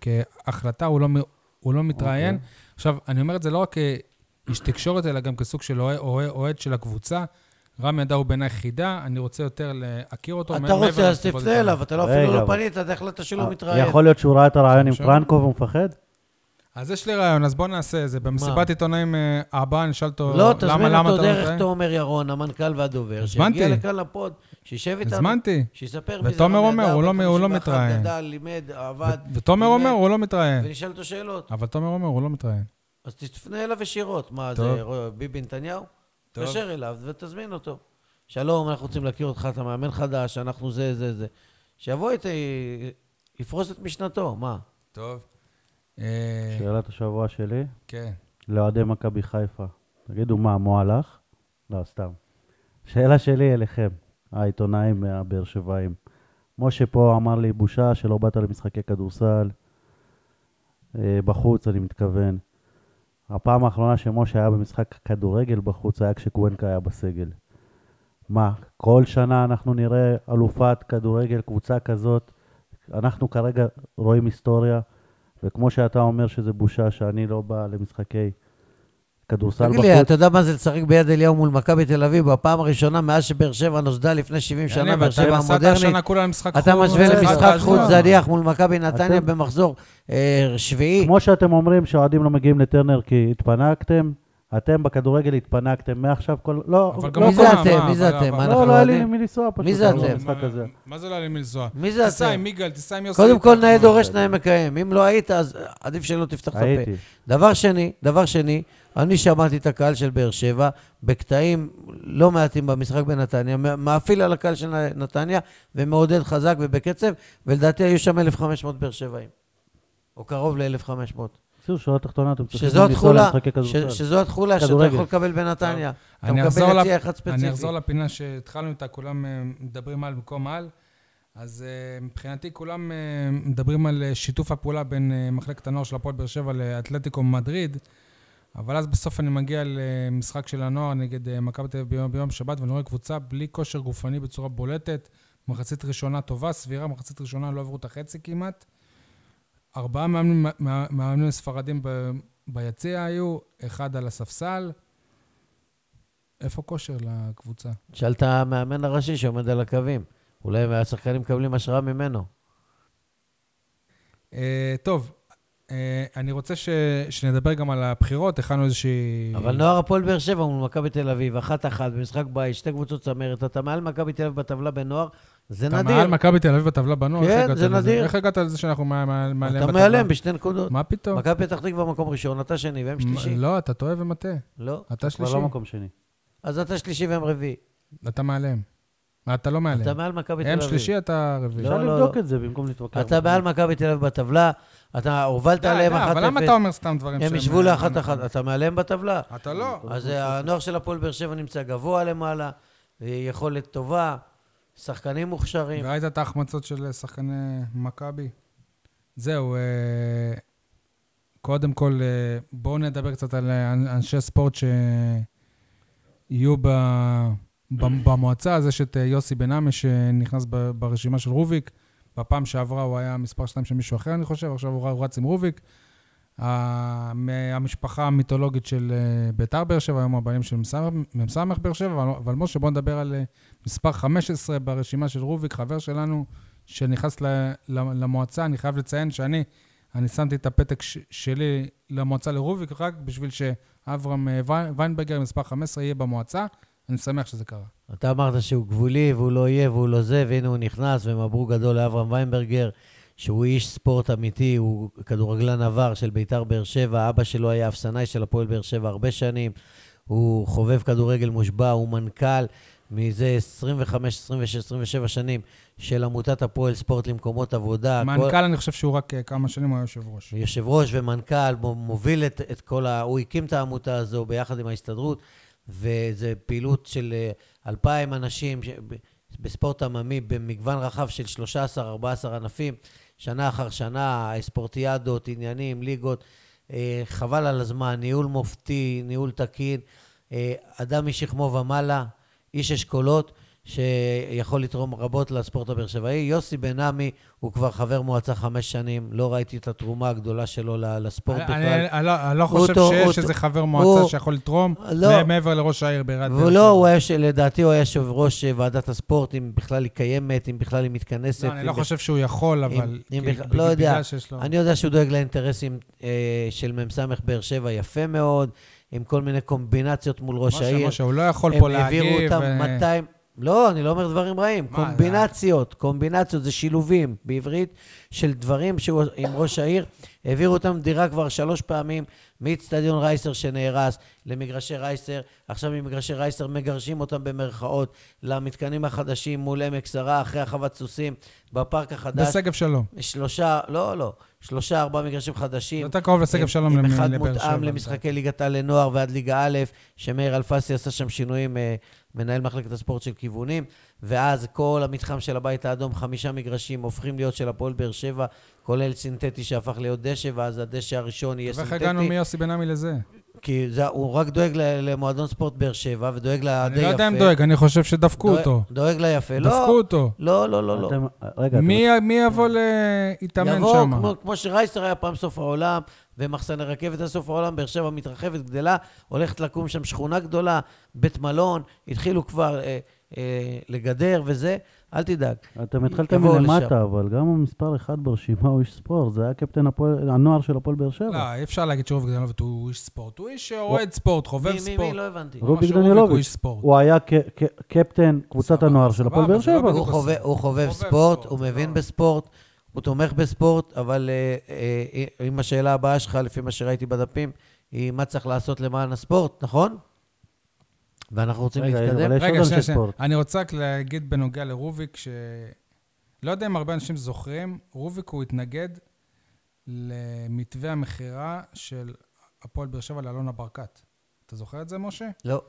Speaker 1: שכהחלטה הוא לא, מ- הוא לא מתראיין. Okay. עכשיו, אני אומר את זה לא רק כאיש תקשורת, אלא גם כסוג של אוה- אוה- אוהד של הקבוצה. רמי אדר הוא בעיניי חידה, אני רוצה יותר להכיר אותו.
Speaker 3: אתה
Speaker 1: מעבר
Speaker 3: רוצה, אז
Speaker 1: לתגובות
Speaker 3: תפנה
Speaker 1: שלנו.
Speaker 3: אליו, אתה לא
Speaker 2: רגע,
Speaker 3: אפילו לא
Speaker 2: אבל-
Speaker 3: פנית, אתה החלטת שלא
Speaker 2: אה,
Speaker 3: מתראיין.
Speaker 2: יכול להיות שהוא ראה את הרעיון עם
Speaker 1: שם?
Speaker 2: פרנקו והוא מפחד?
Speaker 1: אז יש לי רעיון, אז בוא נעשה את זה. במסיבת עיתונאים אה, הבאה נשאל אותו
Speaker 3: לא,
Speaker 1: למה,
Speaker 3: תזמין
Speaker 1: למה
Speaker 3: אותו
Speaker 1: אתה לא
Speaker 3: דרך
Speaker 1: מתראיין.
Speaker 3: תומר ירון, המנכ"ל והדובר,
Speaker 1: הזמנתי.
Speaker 3: שיגיע לכאן לפוד, שישב איתנו.
Speaker 1: הזמנתי.
Speaker 3: שיספר מי זה
Speaker 1: ותומר
Speaker 3: רמי
Speaker 1: אומר,
Speaker 3: אדר,
Speaker 1: הוא לא-
Speaker 3: בן
Speaker 1: הוא לא
Speaker 3: 51,
Speaker 1: מתראיין.
Speaker 3: גדל, לימד, עבד,
Speaker 1: ו- ותומר
Speaker 3: לימד,
Speaker 1: אומר, הוא לא מתראיין.
Speaker 3: ונשאל אותו שאלות.
Speaker 1: אבל תומר אומר, הוא לא מתראיין.
Speaker 3: אז תפנה אליו ישירות. מה,
Speaker 1: טוב.
Speaker 3: זה רוא- ביבי נתניהו?
Speaker 1: טוב.
Speaker 3: תתקשר אליו ותזמין אותו. שלום, אנחנו רוצים להכיר אותך, אתה מאמן חדש, אנחנו זה, זה, זה. שיבוא איתי, יפרוס את משנתו, מה?
Speaker 1: טוב. אה,
Speaker 2: שאלת השבוע שלי,
Speaker 1: כן.
Speaker 2: לאוהדי מכבי חיפה. תגידו מה, מו הלך? לא, סתם. שאלה שלי אליכם, העיתונאים הבאר שבעים. משה פה אמר לי, בושה שלא באת למשחקי כדורסל. אה, בחוץ, אני מתכוון. הפעם האחרונה שמשה היה במשחק כדורגל בחוץ היה כשקוונקה היה בסגל. מה, כל שנה אנחנו נראה אלופת כדורגל, קבוצה כזאת. אנחנו כרגע רואים היסטוריה, וכמו שאתה אומר שזה בושה שאני לא בא למשחקי כדורסל בחוץ.
Speaker 3: תגיד לי, אתה יודע מה זה לשחק ביד אליהו מול מכבי תל אביב בפעם הראשונה מאז שבאר שבע נוסדה לפני 70 שנה,
Speaker 1: יניב,
Speaker 3: באר
Speaker 1: אתה
Speaker 3: שבע
Speaker 1: נסעת
Speaker 3: המודרנית?
Speaker 1: השנה כולה למשחק חוץ.
Speaker 3: אתה משווה
Speaker 1: משחק
Speaker 3: למשחק
Speaker 1: חוץ.
Speaker 3: חוץ
Speaker 1: עזוב.
Speaker 3: זניח מול מכבי נתניה
Speaker 2: אתם-
Speaker 3: במחזור אה, שביעי.
Speaker 2: כמו שאתם אומרים שהאוהדים לא מגיעים לטרנר כי התפנקתם, אתם בכדורגל התפנקתם מעכשיו כל... לא,
Speaker 1: אבל גם
Speaker 2: לא,
Speaker 3: מי זה
Speaker 1: הקורונה,
Speaker 2: כל-
Speaker 1: מה,
Speaker 3: אתם?
Speaker 1: מה,
Speaker 3: מי זה
Speaker 1: מה, מה,
Speaker 3: אתם? מה,
Speaker 1: מה,
Speaker 2: לא,
Speaker 3: אנחנו
Speaker 2: לא היה לי
Speaker 3: אוהדים?
Speaker 2: מי לנסוע פשוט.
Speaker 3: מי זה
Speaker 2: אבל
Speaker 1: מה-
Speaker 3: אתם?
Speaker 2: במשחק הזה.
Speaker 1: מה זה לא היה לי מי לנסוע?
Speaker 3: מי זה
Speaker 1: תיסע
Speaker 3: אתם?
Speaker 1: עם יגאל, תיסע עם יוסי.
Speaker 3: קודם כל,
Speaker 1: איתך.
Speaker 3: נאה דורש, נאה מקיים. אם לא היית, אז עדיף שלא תפתח את הפה.
Speaker 2: הייתי.
Speaker 3: דבר שני, דבר שני, אני שמעתי את הקהל של באר שבע בקטעים לא מעטים במשחק בנתניה, מ- מאפיל על הקהל של נתניה ומעודד חזק ובקצב, ולדעתי היו שם 1,500 באר שבעים, או קרוב ל-1,500.
Speaker 2: בקיצור, שורה תחתונה, אתם צריכים
Speaker 3: שזו
Speaker 2: לנסוע
Speaker 3: התכולה,
Speaker 2: למשחקי
Speaker 3: ש-
Speaker 2: כדורסל.
Speaker 3: שזו התכולה שאתה
Speaker 2: כדורגל.
Speaker 3: יכול לקבל בנתניה. אתה
Speaker 1: אני אחזור
Speaker 3: מקבל
Speaker 1: לפ-
Speaker 3: יציע אחד ספציפי.
Speaker 1: אני אחזור לפינה שהתחלנו איתה, כולם אה, מדברים על במקום על. אז אה, מבחינתי כולם אה, מדברים על אה, שיתוף הפעולה בין אה, מחלקת הנוער של הפועל באר שבע לאתלטיקו מדריד, אבל אז בסוף אני מגיע למשחק של הנוער נגד אה, מכבי תל אביב ביום, ביום שבת, ואני רואה קבוצה בלי כושר גופני בצורה בולטת, מחצית ראשונה טובה, סבירה, מחצית ראשונה לא עברו את החצי כמעט. ארבעה מאמנים, מה- מאמנים ספרדים ב, ביציע היו, אחד על הספסל. איפה כושר לקבוצה?
Speaker 3: תשאל את המאמן הראשי שעומד על הקווים. אולי השחקנים מקבלים השראה ממנו.
Speaker 1: Mm. אה, טוב, אה, אני רוצה ש... שנדבר גם על הבחירות, הכנו איזושהי...
Speaker 3: אבל נוער הפועל באר שבע מול מכבי תל אביב, אחת-אחת, במשחק בית, שתי קבוצות צמרת, אתה מעל מכבי תל אביב בטבלה בנוער, זה
Speaker 1: אתה מעל
Speaker 3: נדיר.
Speaker 1: מכבי תל אביב בטבלה בנוער, איך
Speaker 3: כן,
Speaker 1: הגעת
Speaker 3: זה
Speaker 1: לזה?
Speaker 3: נדיר.
Speaker 1: איך הגעת לזה שאנחנו מע- מע- מעליהם
Speaker 3: אתה
Speaker 1: בטבלה?
Speaker 3: מעלם בשתי נקודות.
Speaker 1: מה פתאום?
Speaker 3: מכבי פתח תקווה מקום ראשון, אתה שני והם שלישי.
Speaker 1: לא, אתה טועה ומטעה.
Speaker 3: לא.
Speaker 1: אתה
Speaker 2: כבר
Speaker 1: שלישי,
Speaker 2: לא מקום שני.
Speaker 3: אז אתה שלישי והם רביעי.
Speaker 1: אתה מעליהם. אתה לא מעליהם.
Speaker 3: אתה מעל מכבי תל
Speaker 1: הם
Speaker 3: אביב.
Speaker 1: שלישי, אתה רביעי.
Speaker 2: אפשר
Speaker 3: לא, לא,
Speaker 2: לבדוק
Speaker 3: לא.
Speaker 2: את זה במקום להתווכח.
Speaker 3: אתה מעל מכבי תל אביב בטבלה, אתה הובלת
Speaker 1: די,
Speaker 3: עליהם
Speaker 1: די, אבל למה אתה
Speaker 3: 1-0,
Speaker 1: אומר סתם דברים
Speaker 3: הם
Speaker 1: שהם- אה,
Speaker 3: ישבו לאחת-אחת, אתה מעליהם בטבלה.
Speaker 1: אתה לא.
Speaker 3: אז הנוער של הפועל באר שבע נמצא גבוה למעלה, אה, יכולת טובה, שחקנים מוכשרים.
Speaker 1: ראית את ההחמצות של אה, שחקני מכבי? זהו, אה, קודם כל, אה, בואו נדבר קצת על אה, אנ- אנשי ספורט שיהיו ב... במ- במועצה. אז יש את אה, יוסי בן עמי, שנכנס ב- ברשימה של רוביק. בפעם שעברה הוא היה מספר שתיים של מישהו אחר, אני חושב, עכשיו הוא ר- הוא רץ עם רוביק. ה- מהמשפחה המיתולוגית של אה, ביתר באר שבע, היום הבעלים של מס- מ"ס באר שבע, אבל- אבל משה, בוא נדבר על אה, מספר 15 ברשימה של רוביק, חבר שלנו, שנכנס ל, ל, למועצה. אני חייב לציין שאני, אני שמתי את הפתק ש, שלי למועצה לרוביק, רק בשביל שאברהם אה, וי- ויינברגר, מספר 15, יהיה במועצה. אני שמח שזה קרה.
Speaker 3: אתה אמרת שהוא גבולי והוא לא יהיה והוא לא זה, והנה הוא נכנס, ומברוק גדול לאברהם ויינברגר, שהוא איש ספורט אמיתי, הוא כדורגלן עבר של בית"ר באר שבע, אבא שלו היה אפסנאי של הפועל באר שבע הרבה שנים, הוא חובב כדורגל מושבע, הוא מנכ"ל מזה 25, 26, 27 שנים של עמותת הפועל ספורט למקומות עבודה. כל-
Speaker 1: מנכ"ל, אני חושב שהוא רק אה, כמה שנים הוא היה יושב ראש.
Speaker 3: יושב ראש ומנכ"ל, מו- מוביל את, את כל ה... הוא הקים את העמותה הזו ביחד עם ההסתדרות, וזו פעילות של אה, 2,000 אנשים ש... ב- בספורט עממי במגוון רחב של 13-14 ענפים, שנה אחר שנה, ספורטיאדות, עניינים, ליגות. אה, חבל על הזמן, ניהול מופתי, ניהול תקין, אה, אדם משכמו ומעלה, איש אשכולות, שיכול לתרום רבות לספורט הבאר שבעי. יוסי בן עמי הוא כבר חבר מועצה חמש שנים, לא ראיתי את התרומה הגדולה שלו ל- לספורט
Speaker 1: אני-
Speaker 3: בכלל.
Speaker 1: אני אני לא- אני לא חושב
Speaker 3: אותו-
Speaker 1: שיש
Speaker 3: אותו-
Speaker 1: איזה חבר מועצה
Speaker 3: הוא-
Speaker 1: שיכול לתרום
Speaker 3: לא.
Speaker 1: מעבר לראש העיר בעיריית באר
Speaker 3: ולא, הוא
Speaker 1: שבע. לא,
Speaker 3: היה, ש- לדעתי הוא היה יושב ראש אה, ועדת הספורט, אם בכלל היא קיימת, אם בכלל היא מתכנסת.
Speaker 1: לא, אני
Speaker 3: אם
Speaker 1: לא
Speaker 3: בכלל-
Speaker 1: חושב שהוא יכול,
Speaker 3: אם-
Speaker 1: אבל...
Speaker 3: אם
Speaker 1: כי-
Speaker 3: בכלל-
Speaker 1: בג-
Speaker 3: לא יודע.
Speaker 1: בגלל שיש לו...
Speaker 3: אני יודע שהוא דואג לאינטרסים אה, של מ"ס באר שבע יפה מאוד, עם כל מיני קומבינציות מול ראש
Speaker 1: משה,
Speaker 3: העיר.
Speaker 1: משה, הוא לא יכול פה להגיב. אה,
Speaker 3: הם העבירו אותם
Speaker 1: ו-
Speaker 3: 200... לא, אני לא אומר דברים רעים.
Speaker 1: מה,
Speaker 3: קומבינציות, קומבינציות, זה שילובים בעברית של דברים שהוא עם ראש העיר. העבירו אותם דירה כבר שלוש פעמים מאיצטדיון רייסר שנהרס למגרשי רייסר. עכשיו ממגרשי רייסר מגרשים אותם במרכאות למתקנים החדשים מול עמק שרה, אחרי החוות סוסים, בפארק החדש.
Speaker 1: בשגב שלום.
Speaker 3: שלושה, לא, לא, שלושה, ארבעה מגרשים חדשים.
Speaker 1: זה יותר קרוב לשגב
Speaker 3: עם-
Speaker 1: שלום למ-
Speaker 3: עם אחד
Speaker 1: לבאר שבע,
Speaker 3: מותאם למשחקי ליגת העל לנוער ועד ליגה א', שמאיר אלפסי עשה שם שינויים, אה, מנהל מחלקת הספורט של כיוונים, ואז כל המתחם של הבית האדום, חמישה מגרשים, הופכים להיות של הפועל באר שבע, כולל סינתטי שהפך להיות דשא, ואז הדשא הראשון יהיה
Speaker 1: ואיך הגענו
Speaker 3: סינתטי.
Speaker 1: מיוסי בן עמי לזה?
Speaker 3: כי זה, הוא רק דואג ל- למועדון ספורט באר שבע, ודואג לה די
Speaker 1: אני
Speaker 3: יפה.
Speaker 1: לא יודע אם דואג, אני חושב שדפקו
Speaker 3: דואג-
Speaker 1: אותו.
Speaker 3: דואג לה יפה. לא,
Speaker 1: דפקו אותו.
Speaker 3: לא, לא, לא, לא.
Speaker 2: אתם- רגע, אתם-
Speaker 1: מי מי יבוא להתאמן
Speaker 3: יבוא,
Speaker 1: שם?
Speaker 3: כמו, כמו שרייסר היה פעם סוף העולם, ומחסני רכבת היה סוף העולם, באר שבע מתרחבת, גדלה, הולכת לקום שם שכונה גדולה, בית מלון, התחילו כבר אה, אה, לגדר וזה, אל תדאג.
Speaker 2: אתם התחלתם
Speaker 3: יבואו לשם.
Speaker 2: מלמטה, אבל גם המספר אחד ברשימה הוא איש ספורט, זה היה קפטן הפועל- הנוער של הפועל באר שבע.
Speaker 1: לא, אי אפשר להגיד שרוביק דנילוביץ' הוא איש ספורט. הוא איש אוהד ספורט, חובב
Speaker 3: מי, מי, מי?
Speaker 1: ספורט.
Speaker 3: לא הבנתי.
Speaker 1: הוא
Speaker 2: רוביק
Speaker 1: איש
Speaker 2: דנילוביץ',
Speaker 1: ספורט.
Speaker 2: הוא היה ק- ק- קפטן קבוצת
Speaker 1: סבבה,
Speaker 2: הנוער של הפועל
Speaker 1: סבבה,
Speaker 2: באר
Speaker 1: זה לא
Speaker 2: שבע.
Speaker 1: בדיוק
Speaker 3: הוא חובב-
Speaker 1: עושה.
Speaker 3: הוא חובב
Speaker 1: חובב
Speaker 3: ספורט,
Speaker 1: ספורט,
Speaker 3: הוא
Speaker 1: זה
Speaker 3: מבין
Speaker 1: לא-
Speaker 3: בספורט, הוא תומך בספורט, אבל אה, אה, אה, אם השאלה הבאה שלך, לפי מה שראיתי בדפים, היא מה צריך לעשות למען הספורט, נכון? ואנחנו רוצים
Speaker 2: רגע,
Speaker 3: להתקדם.
Speaker 2: אבל יש עוד
Speaker 1: רגע,
Speaker 2: אנשי
Speaker 1: שנייה, שנייה.
Speaker 2: ספורט.
Speaker 1: אני רוצה רק להגיד בנוגע לרוביק, ש... לא יודע אם הרבה אנשים זוכרים, רוביק הוא התנגד למתווה המכירה של הפועל באר שבע לאלונה ברקת. אתה זוכר את זה, משה?
Speaker 3: לא.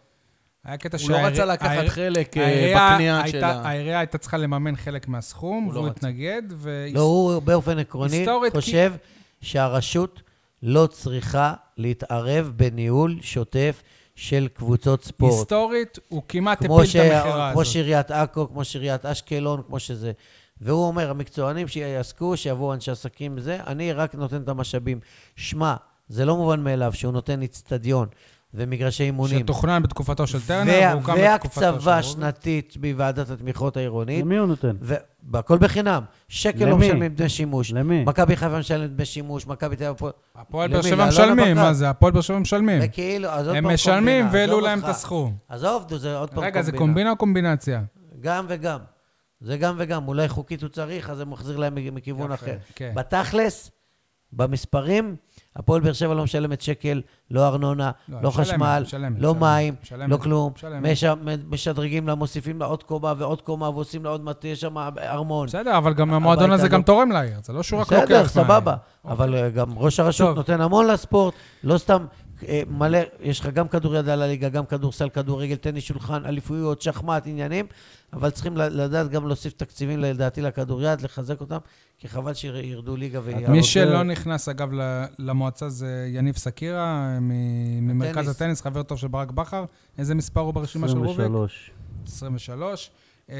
Speaker 1: היה קטע
Speaker 4: הוא לא
Speaker 1: שהעיר-
Speaker 4: רצה לקחת
Speaker 1: העיר-
Speaker 4: חלק אה,
Speaker 1: העירייה
Speaker 4: בקנייה
Speaker 1: הייתה-
Speaker 4: של ה...
Speaker 1: העירייה הייתה צריכה לממן חלק מהסכום,
Speaker 4: הוא לא
Speaker 1: והוא
Speaker 4: רצה.
Speaker 1: התנגד, ו...
Speaker 3: לא, הוא באופן עקרוני
Speaker 1: היסטורית, כי-
Speaker 3: חושב שהרשות לא צריכה להתערב בניהול שוטף של קבוצות ספורט.
Speaker 1: היסטורית, הוא כמעט
Speaker 3: כמו,
Speaker 1: הפיל
Speaker 3: ש...
Speaker 1: את המכירה
Speaker 3: כמו
Speaker 1: הזאת.
Speaker 3: שעיריית עכו, כמו שעיריית אשקלון, כמו שזה. והוא אומר, המקצוענים שיעסקו, שיבואו אנשי עסקים וזה, אני רק נותן את המשאבים. שמע, זה לא מובן מאליו שהוא נותן אצטדיון ומגרשי אימונים.
Speaker 1: שתוכנן בתקופתו של טרנר,
Speaker 3: וה-
Speaker 1: והוקם בתקופתו של
Speaker 3: והקצבה
Speaker 1: רוביק.
Speaker 3: שנתית מוועדת התמיכות העירונית,
Speaker 2: למי הוא נותן?
Speaker 3: והכל בחינם. שקל לא
Speaker 2: למי?
Speaker 3: משלמים דמי שימוש.
Speaker 2: למי?
Speaker 1: כן.
Speaker 3: מכבי חיפה משלמת דמי שימוש, מכבי תל אביב... פה-
Speaker 1: הפועל
Speaker 3: למי?
Speaker 1: באר שבע
Speaker 3: לאלונה
Speaker 1: משלמים,
Speaker 3: ברקת.
Speaker 1: מה זה? הפועל באר שבע משלמים.
Speaker 3: וכאילו, אז עוד פעם
Speaker 1: הם משלמים
Speaker 3: קומבינה,
Speaker 1: והעלו
Speaker 3: עזוב
Speaker 1: להם את
Speaker 3: אותך.
Speaker 1: הסכום.
Speaker 3: עזוב, דו, לא זה לא עוד פעם
Speaker 1: רגע, זה קומבינה או קומבינציה?
Speaker 3: גם וגם. זה גם וגם. אולי חוקית הוא צריך, אז זה מחזיר להם מג- מכיוון
Speaker 1: יפה,
Speaker 3: אחר.
Speaker 1: כן.
Speaker 3: בתכלס, במספרים, הפועל באר שבע לא משלמת שקל, לא ארנונה,
Speaker 1: לא,
Speaker 3: לא
Speaker 1: משלמת,
Speaker 3: חשמל,
Speaker 1: משלמת,
Speaker 3: לא
Speaker 1: משלמת,
Speaker 3: מים,
Speaker 1: משלמת,
Speaker 3: לא כלום.
Speaker 1: משלמת.
Speaker 3: מש- משדרגים לה, מוסיפים לה עוד קומה ועוד קומה, ועושים לה עוד מטה, יש שם ארמון.
Speaker 1: בסדר, אבל גם המועדון
Speaker 3: הביתה
Speaker 1: הזה גם
Speaker 3: לא-
Speaker 1: תורם לעיר, זה לא שהוא רק לוקח מהעיר.
Speaker 3: בסדר, סבבה. אבל אה, גם ראש הרשות
Speaker 1: אוקיי. טוב.
Speaker 3: נותן המון לספורט, לא סתם אה, מלא, יש לך גם כדוריד על הליגה, גם כדורסל, כדורגל, טניס, שולחן, אליפויות, שחמט, עניינים, אבל צריכים ל- לדעת גם להוסיף תקציבים, לדעתי, לכדוריד, לחזק אותם, כי חבל שירדו ליגה ויעלו.
Speaker 1: מי
Speaker 2: רוצה-
Speaker 1: שלא נכנס, אגב, ל- למועצה זה יניב סקירה, מ- ממרכז
Speaker 3: הטניס.
Speaker 1: הטניס, חבר טוב של ברק בכר. איזה מספר הוא ברשימה של רוביק?
Speaker 2: 23.
Speaker 1: 23. אה,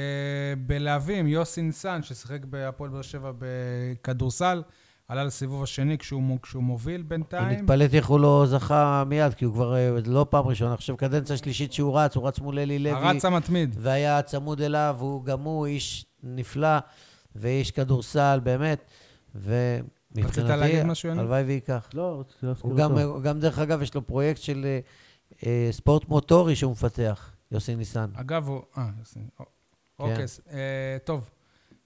Speaker 1: בלהבים, יוסי ניסן, ששיחק בהפועל באר שבע בכדורסל, עלה לסיבוב השני כשהוא מו- כשהוא מוביל
Speaker 3: אני
Speaker 1: בינתיים.
Speaker 3: התפלאתי איך הוא לא זכה מיד, כי הוא כבר, אה, לא פעם ראשונה, אני חושב, קדנציה שלישית שהוא רץ, הוא רץ מול אלי לוי.
Speaker 1: הרץ המתמיד.
Speaker 3: והיה צמוד אליו, הוא גם הוא איש נפלא ואיש כדורסל, באמת. ומבחינתי,
Speaker 1: להגיד משהו, יוני?
Speaker 3: הלוואי וייקח.
Speaker 2: לא, רציתי להזכיר
Speaker 3: הוא גם,
Speaker 2: אותו.
Speaker 3: הוא גם, דרך אגב, יש לו פרויקט של אה, אה, ספורט מוטורי שהוא מפתח, יוסי ניסן.
Speaker 1: אגב, הוא... אה, יוסי. א-
Speaker 4: כן.
Speaker 1: אוקיי, ס- אה, טוב.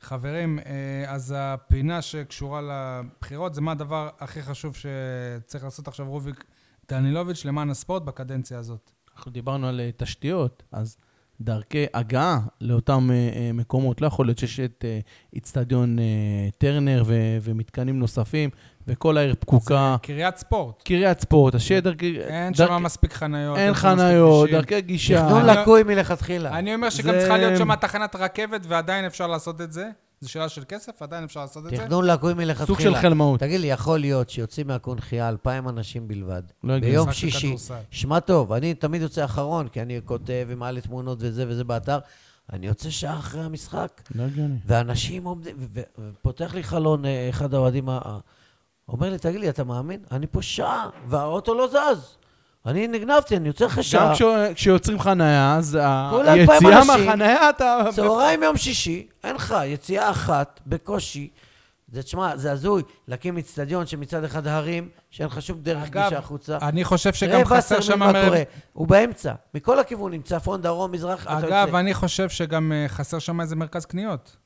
Speaker 1: חברים, אה, אז הפינה שקשורה לבחירות זה מה הדבר הכי חשוב שצריך לעשות עכשיו רוביק דנילוביץ' למען הספורט בקדנציה הזאת.
Speaker 4: אנחנו דיברנו על אה, תשתיות, אז דרכי הגעה לאותם אה, אה, מקומות. לא יכול להיות שיש את אה, איצטדיון אה, טרנר ו- ומתקנים נוספים, וכל העיר פקוקה.
Speaker 1: קריית ספורט.
Speaker 4: קריית ספורט, אז שיהיה דרכי...
Speaker 1: אין
Speaker 4: דרכ-
Speaker 1: שם מספיק חניות. שם
Speaker 4: אין
Speaker 1: מספיק
Speaker 4: חניות,
Speaker 1: כבישים.
Speaker 4: דרכי גישה.
Speaker 3: תכנון
Speaker 1: אני- לא-
Speaker 3: לקוי מלכתחילה.
Speaker 1: אני אומר שגם
Speaker 4: זה-
Speaker 1: צריכה להיות שם תחנת רכבת, ועדיין אפשר לעשות את זה. זו שאלה של כסף, עדיין אפשר לעשות את זה.
Speaker 3: תכנון לקוי מלכתחילה.
Speaker 4: סוג של חלמאות.
Speaker 3: תגיד לי, יכול להיות שיוצאים מהקונכייה 2,000 אנשים בלבד,
Speaker 4: לא הגיוני.
Speaker 3: ביום
Speaker 1: משחק של
Speaker 3: שישי.
Speaker 1: כדורסל.
Speaker 3: שמע טוב, אני תמיד יוצא אחרון, כי אני כותב ומעלה תמונות וזה וזה באתר. אני יוצא שעה אחרי המשחק,
Speaker 4: לא הגיוני.
Speaker 3: ואנשים עומדים, ו- ו- ופותח לי חלון אה, אחד האוהדים, ה- ה- אומר לי, תגיד לי, אתה מאמין? אני פה שעה, והאוטו לא זז. אני נגנבתי, אני יוצא אחרי
Speaker 4: גם
Speaker 3: שעה.
Speaker 4: כש- כשיוצרים חנייה, אז
Speaker 3: כולה אלפיים
Speaker 4: היציאה
Speaker 3: אנשים.
Speaker 4: מהחנייה אתה...
Speaker 3: צהריים יום שישי, אין לך, יציאה אחת, בקושי. זה, תשמע, זה הזוי, להקים אצטדיון שמצד אחד הרים, שאין לך שום דרך
Speaker 1: אגב,
Speaker 3: גישה החוצה.
Speaker 1: אני חושב שגם
Speaker 3: ראה
Speaker 1: חסר
Speaker 3: וסרמן
Speaker 1: שם...
Speaker 3: מה
Speaker 1: מר-
Speaker 3: קורה, הוא באמצע, מכל הכיוונים, צפון, דרום, מזרח, אתה
Speaker 1: אגב,
Speaker 3: יוצא.
Speaker 1: אני חושב שגם אה, חסר שם איזה מרכז קניות.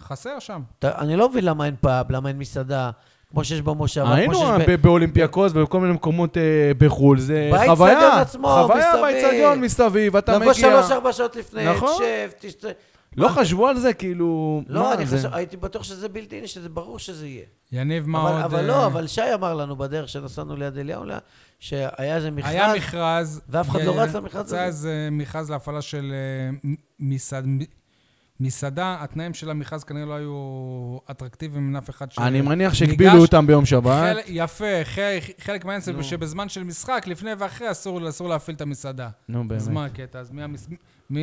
Speaker 1: חסר שם.
Speaker 3: אתה- אני לא מבין למה אין פאב, למה אין מסעדה, כמו שיש
Speaker 1: אה,
Speaker 3: במושב,
Speaker 4: היינו
Speaker 3: כמו שיש ב-
Speaker 4: ב- באולימפיאקוס ובכל מיני מקומות אה, בחו"ל, זה
Speaker 3: באצטדיון
Speaker 4: חוויה.
Speaker 3: עצמו,
Speaker 4: חוויה
Speaker 3: מסביב.
Speaker 4: באצטדיון מסביב, אתה
Speaker 3: לבוא
Speaker 4: מגיע.
Speaker 3: נכון, שלוש-ארבע שעות לפני,
Speaker 4: נכון.
Speaker 3: תשב, תשתה.
Speaker 4: לא חשבו על זה, כאילו...
Speaker 3: לא,
Speaker 4: מה,
Speaker 3: אני
Speaker 4: זה-
Speaker 3: חושב, הייתי בטוח שזה בלתי, שזה ברור שזה יהיה.
Speaker 1: יניב, מה
Speaker 3: אבל-
Speaker 1: עוד...
Speaker 3: אבל
Speaker 1: אה,
Speaker 3: לא, אבל שי אמר לנו בדרך שנסענו ליד אליהו, לה- שהיה איזה
Speaker 1: היה
Speaker 3: מכרז,
Speaker 1: מכרז.
Speaker 3: ואף אחד לא
Speaker 1: אה,
Speaker 3: רץ למכרז הזה.
Speaker 1: יצא איזה מכרז להפעלה של אה, מ- מסעד- מ- מסעדה. התנאים של המכרז כנראה לא היו אטרקטיביים מן אף אחד ש-
Speaker 4: אני מניח
Speaker 1: ניגש-
Speaker 4: שהגבילו אותם ביום שבת.
Speaker 1: חלק- יפה, חלק- חלק מהעניין זה שבזמן של משחק, לפני ואחרי, אסור אסור להפעיל את המסעדה.
Speaker 4: נו,
Speaker 1: אז
Speaker 4: באמת.
Speaker 1: מה הקטע? אז מי המס- מי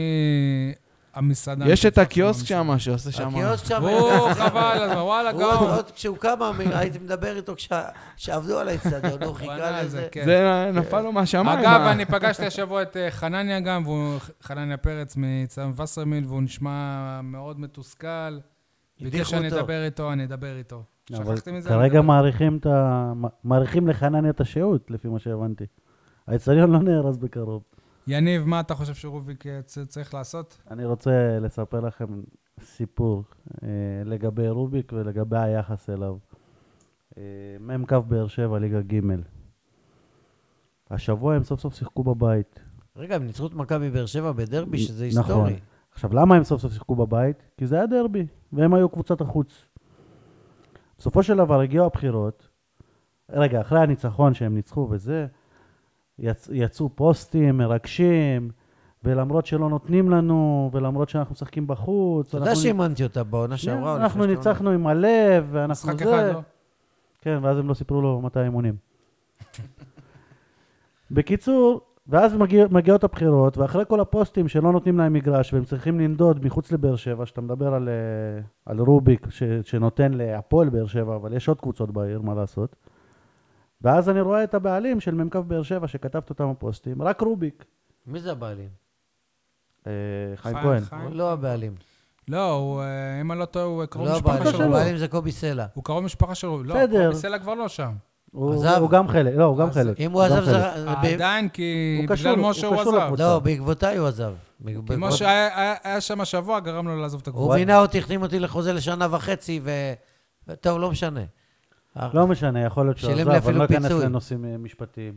Speaker 1: המסעדה.
Speaker 4: יש את
Speaker 1: המשותפת
Speaker 4: הקיוסק
Speaker 1: עם המשפחה.
Speaker 4: שם, שעושה שם...
Speaker 3: הקיוסק שם...
Speaker 1: או, חבל, אז וואלה,
Speaker 3: הוא עוד-
Speaker 1: גם.
Speaker 3: עוד כשהוא קם, הייתי מדבר איתו כשה- כשעבדו על האצטדיון, הוא חיכה
Speaker 1: בנה את זה,
Speaker 3: לזה.
Speaker 1: כן.
Speaker 4: זה נפל לו מהשמיים.
Speaker 1: אגב,
Speaker 4: ה-
Speaker 1: אני פגשתי השבוע את אה, חנניה גם, והוא, חנניה פרץ מצם וסרמיל, והוא נשמע מאוד מתוסכל. ביקש
Speaker 3: הדיחו
Speaker 1: שאני
Speaker 3: אותו.
Speaker 1: אדבר איתו, אני אדבר איתו.
Speaker 2: אבל
Speaker 1: שכחתי מזה?
Speaker 2: כרגע
Speaker 1: אני אדבר.
Speaker 2: מאריכים את ה... מאריכים לחנניה את השהות, לפי מה שהבנתי. האצטדיון לא נהרס בקרוב.
Speaker 1: יניב, מה אתה חושב שרוביק אה, צ- צריך לעשות?
Speaker 2: אני רוצה לספר לכם סיפור אה, לגבי רוביק ולגבי היחס אליו. אה, מ"כ באר שבע, ליגה ג' השבוע הם סוף סוף שיחקו בבית.
Speaker 3: רגע, הם ניצחו את מכבי באר שבע בדרבי, שזה
Speaker 2: נכון.
Speaker 3: היסטורי.
Speaker 2: עכשיו, למה הם סוף סוף שיחקו בבית? כי זה היה דרבי, והם היו קבוצת החוץ. בסופו של דבר הגיעו הבחירות, רגע, אחרי הניצחון שהם ניצחו וזה, יצ... יצאו פוסטים מרגשים, ולמרות שלא נותנים לנו, ולמרות שאנחנו משחקים בחוץ,
Speaker 3: אתה יודע
Speaker 2: אנחנו-
Speaker 3: שאימנתי אותה בעונה
Speaker 2: כן,
Speaker 3: שעברה? או
Speaker 2: אנחנו
Speaker 3: לפני שאתה
Speaker 2: ניצחנו עם הלב, ואנחנו
Speaker 1: משחק
Speaker 2: זה...
Speaker 1: אחד, לא?
Speaker 2: כן, ואז הם לא סיפרו לו מתי האימונים. בקיצור, ואז מגיע, מגיעות הבחירות, ואחרי כל הפוסטים שלא נותנים להם מגרש, והם צריכים לנדוד מחוץ לבאר שבע, שאתה מדבר על, אה, על רוביק ש, שנותן להפועל באר שבע, אבל יש עוד קבוצות בעיר, מה לעשות. ואז אני רואה את הבעלים של מ"כ באר שבע, שכתב את אותם הפוסטים, רק רוביק.
Speaker 3: מי זה הבעלים?
Speaker 2: אה, חיים
Speaker 1: חיים-
Speaker 2: כהן.
Speaker 1: חיים?
Speaker 3: לא הבעלים.
Speaker 1: לא, הוא, אה, אם אני לא טועה, הוא קרוב
Speaker 3: לא
Speaker 1: משפחה
Speaker 3: הבעלים,
Speaker 1: של רוביק.
Speaker 3: הבעלים זה קובי סלע.
Speaker 1: הוא קרוב משפחה של רוביק. לא,
Speaker 2: בסדר.
Speaker 1: קובי סלע כבר לא שם.
Speaker 2: הוא,
Speaker 3: עזב.
Speaker 2: הוא גם חלק, לא, הוא גם
Speaker 1: עזב.
Speaker 2: חלק.
Speaker 3: אם הוא
Speaker 2: גם
Speaker 3: עזב
Speaker 2: חלק.
Speaker 3: זה... ב-
Speaker 1: אה, עדיין, כי
Speaker 2: אה, הוא קשור-
Speaker 1: בגלל משה
Speaker 2: הוא
Speaker 1: הוא
Speaker 2: קשור
Speaker 1: עזב.
Speaker 2: לקבוצה.
Speaker 3: לא, בעקבותיי הוא עזב. בעקבות-
Speaker 1: כי משה היה- היה- היה שם השבוע, גרם לו לעזוב את
Speaker 3: הוא
Speaker 1: הקבוצה.
Speaker 3: מינה אותי, החתים אותי לחוזה לשנה וחצי, ו... טוב, לא משנה.
Speaker 2: לא משנה, יכול להיות שהוא
Speaker 3: שילם
Speaker 2: עזב,
Speaker 3: לי
Speaker 2: אני
Speaker 3: אפילו
Speaker 2: לא אכנס
Speaker 3: פיצוי.
Speaker 2: לנושאים אה, משפטיים.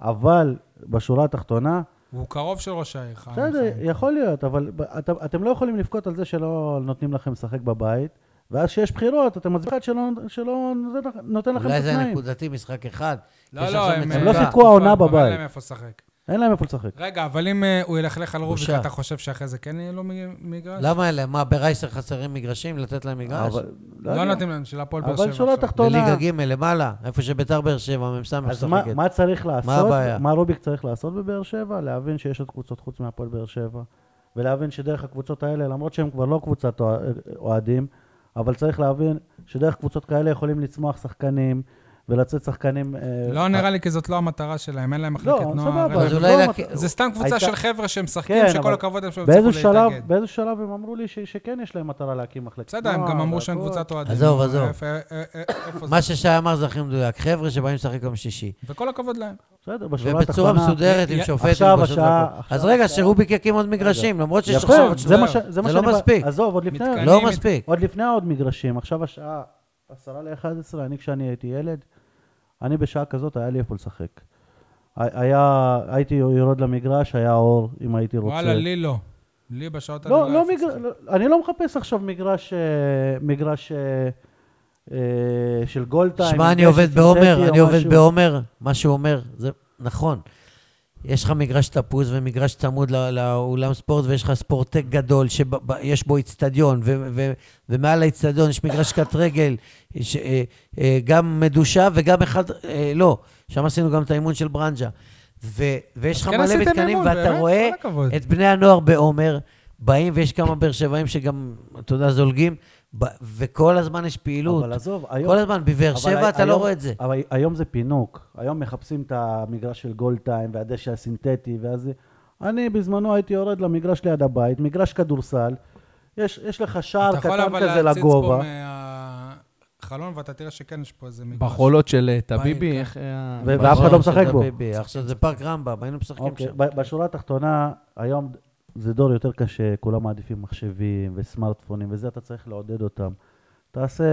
Speaker 2: אבל בשורה התחתונה,
Speaker 3: אה,
Speaker 1: הוא קרוב של ראש העיר. חיים.
Speaker 2: בסדר, יכול להיות, אבל ב- אתם- אתם לא יכולים לבכות על זה שלא נותנים לכם לשחק בבית, ואז כשיש בחירות, אתם מצביעים אחד שלא שלא נותן לכ- נותן לכם את
Speaker 3: אולי זה היה
Speaker 2: התנאים.
Speaker 3: נקודתי, משחק אחד.
Speaker 1: לא,
Speaker 3: יש
Speaker 1: לא,
Speaker 3: עכשיו
Speaker 1: הם
Speaker 2: הם לא
Speaker 3: מצוקה.
Speaker 2: שיחקו העונה
Speaker 1: כבר- כבר אין
Speaker 2: בבית.
Speaker 1: להם איפה לשחק.
Speaker 2: אין להם איפה לשחק.
Speaker 1: רגע, אבל אם אה, הוא ילכלך על רוביק,
Speaker 3: בושה.
Speaker 1: אתה חושב שאחרי זה כן יהיה לו מ- מגרש?
Speaker 3: למה אלה? מה, ברייסר חסרים מגרשים? לתת להם מגרש?
Speaker 2: אבל- לא
Speaker 1: לא
Speaker 2: יודע.
Speaker 1: נותנים להם, של הפועל באר שבע.
Speaker 2: אבל שורה
Speaker 1: עכשיו.
Speaker 2: התחתונה,
Speaker 3: בליגה ג' למעלה, איפה שביתר באר שבע, מ"ס
Speaker 2: אז מה-
Speaker 3: משחקת.
Speaker 2: מה צריך לעשות?
Speaker 3: הבעיה?
Speaker 2: מה רוביק צריך לעשות בבאר שבע? להבין שיש עוד קבוצות חוץ מהפועל באר שבע, ולהבין שדרך הקבוצות האלה, למרות שהן כבר לא קבוצת אוה- אוהדים, אבל צריך להבין שדרך קבוצות כאלה יכולים לצמוח שחקנים, ולצאת שחקנים... אה,
Speaker 1: לא נראה לי כי זאת לא המטרה שלהם, אין להם מחלקת
Speaker 2: לא,
Speaker 1: נוער.
Speaker 2: סבבה,
Speaker 1: אין
Speaker 3: אז
Speaker 1: להם-
Speaker 3: אולי
Speaker 2: לא
Speaker 3: להק-
Speaker 2: מטרה.
Speaker 1: זה לא סתם קבוצה
Speaker 2: הייתה-
Speaker 1: של חבר'ה שהם משחקים,
Speaker 2: כן,
Speaker 1: שכל
Speaker 2: אבל-
Speaker 1: הכבוד הם שלא
Speaker 2: באיזשהו
Speaker 1: הצליחו
Speaker 2: שלב,
Speaker 1: להתאגד.
Speaker 2: באיזשהו שלב הם אמרו לי ש, שכן יש להם מטרה להקים מחלקת
Speaker 1: בסדר, הם
Speaker 2: אה,
Speaker 1: גם אמרו שהם
Speaker 2: והכל.
Speaker 1: קבוצת אוהדים.
Speaker 3: עזוב, עזוב.
Speaker 1: איפה- אה, אה, אה, איפה זה?
Speaker 3: מה ששי אמר זה הכי מדויק. חבר'ה שבאים לשחק יום שישי.
Speaker 1: וכל הכבוד להם.
Speaker 2: בסדר, בשורה
Speaker 3: ובצורה
Speaker 2: התחתונה...
Speaker 3: מסודרת
Speaker 1: י-
Speaker 3: עם שופט,
Speaker 2: עכשיו
Speaker 3: עם גושות
Speaker 2: השעה-
Speaker 3: והכל.
Speaker 2: עכשיו
Speaker 3: אז רגע,
Speaker 2: השעה.
Speaker 3: שרוביק יקים עוד מגרשים, למרות שיש
Speaker 2: יפה,
Speaker 3: עכשיו עוד
Speaker 2: זה
Speaker 3: שלושה.
Speaker 2: מה ש- זה מה
Speaker 3: זה
Speaker 2: שאני...
Speaker 3: לא
Speaker 2: בא-
Speaker 3: מספיק.
Speaker 2: עזוב, עוד לפני...
Speaker 1: מתקנים.
Speaker 3: לא
Speaker 1: אני-
Speaker 3: מספיק.
Speaker 2: עוד לפני העוד מגרשים, עכשיו השעה עשרה ל-11, אני כשאני הייתי ילד, אני בשעה כזאת היה לי איפה לשחק. ה- היה, הייתי יורד למגרש, היה אור, אם הייתי רוצה.
Speaker 1: וואלה, לי לא. לי בשעות האלה
Speaker 2: לא, לא
Speaker 1: היה
Speaker 2: מגר... לא, אני לא מחפש עכשיו מגרש, אה, מגרש אה, אה, של גולדטיים.
Speaker 3: שמע, אני עובד בעומר, אני עובד בעומר, מה שהוא אומר, זה נכון. יש לך מגרש תפוס ומגרש צמוד לא- לאולם ספורט, ויש לך ספורטק גדול שיש בו איצטדיון, ו- ו- ומעל האיצטדיון יש מגרש קט רגל, ש- אה, אה, גם מדושה וגם אחד, אה, לא, שם עשינו גם את האימון של ברנג'ה. ו- ויש
Speaker 1: אז
Speaker 3: לך
Speaker 1: כן
Speaker 3: מלא
Speaker 1: עשיתם
Speaker 3: מתקנים,
Speaker 1: אימון,
Speaker 3: ואתה
Speaker 1: באמת,
Speaker 3: רואה
Speaker 1: כל הכבוד.
Speaker 3: את בני הנוער בעומר, באים, ויש כמה באר שבעים שגם, אתה יודע, זולגים, ב- וכל הזמן יש פעילות.
Speaker 2: אבל עזוב, היום...
Speaker 3: כל הזמן, בבאר
Speaker 2: אבל
Speaker 3: שבע אתה
Speaker 2: היום-
Speaker 3: לא רואה את זה.
Speaker 2: אבל היום זה פינוק. היום מחפשים את המגרש של גולדטיים והדשא הסינתטי, ואז... זה- אני בזמנו הייתי יורד למגרש ליד הבית, מגרש כדורסל, יש, יש לך שער
Speaker 1: אתה יכול
Speaker 2: קטן
Speaker 1: אבל
Speaker 2: כזה
Speaker 1: להציץ פה
Speaker 2: לגובה,
Speaker 1: מהחלון, ואתה תראה שכן יש פה איזה מגרש.
Speaker 4: בחולות של אה, טביבי,
Speaker 1: בעין,
Speaker 4: איך היה...
Speaker 2: ו- ואף אחד לא משחק בו.
Speaker 3: ביבי, עכשיו זה פארק רמב"ם, היינו משחקים
Speaker 2: אוקיי,
Speaker 3: שם.
Speaker 2: ב- בשורה התחתונה, היום זה דור יותר קשה, כולם מעדיפים מחשבים וסמארטפונים, וזה אתה צריך לעודד אותם. תעשה,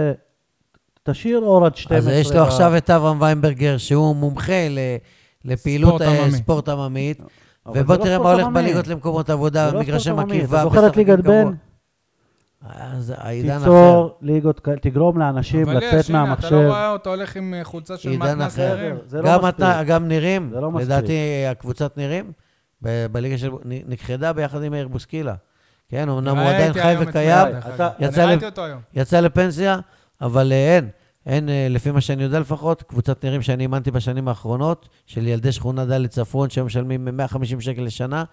Speaker 2: תשאיר אור עד 12.
Speaker 3: אז יש לו
Speaker 2: ב-
Speaker 3: עכשיו את אברהם ויינברגר, שהוא מומחה ל-
Speaker 1: ספורט
Speaker 3: לפעילות אה,
Speaker 1: עממי.
Speaker 3: ספורט עממית,
Speaker 2: אבל
Speaker 3: ובוא
Speaker 2: זה לא
Speaker 3: תראה מה
Speaker 2: ספורט
Speaker 3: הולך
Speaker 2: עממי.
Speaker 3: בליגות למקומות
Speaker 2: זה
Speaker 3: עבודה,
Speaker 2: לא
Speaker 3: מגרשי
Speaker 2: ספורט עממי.
Speaker 3: מקיבה,
Speaker 2: אתה זוכר את ליגת בן?
Speaker 3: אז העידן אחר.
Speaker 2: תיצור ליגות, כאלה, תגרום לאנשים
Speaker 1: אבל יש,
Speaker 2: לצאת
Speaker 1: הנה, אתה לא
Speaker 2: מהמחשב.
Speaker 1: רואה אותו הולך עם אה, חולצה של
Speaker 3: עידן
Speaker 1: מתנ"ס
Speaker 3: אחר.
Speaker 1: נערים?
Speaker 2: זה לא
Speaker 3: גם
Speaker 2: מספיק.
Speaker 3: אתה, גם נירים,
Speaker 2: זה לא מספיק.
Speaker 3: לדעתי הקבוצת נירים, ב- בליגה של... נ- נכחדה ביחד עם מאיר בוסקילה. כן, אמנם הוא
Speaker 1: ראיתי
Speaker 3: עדיין חי
Speaker 1: היום את
Speaker 3: וקיים,
Speaker 1: מאיר, דרך
Speaker 2: אתה-
Speaker 1: אגב.
Speaker 3: יצא
Speaker 1: אני
Speaker 3: לב-
Speaker 1: ראיתי אותו היום.
Speaker 3: יצא לפנסיה, אבל אה, אין, אין, אה, לפי מה שאני יודע לפחות, קבוצת נירים שאני אימנתי בשנים האחרונות, של ילדי שכונה ד' צפון, שהיו משלמים 150 שקל לשנה,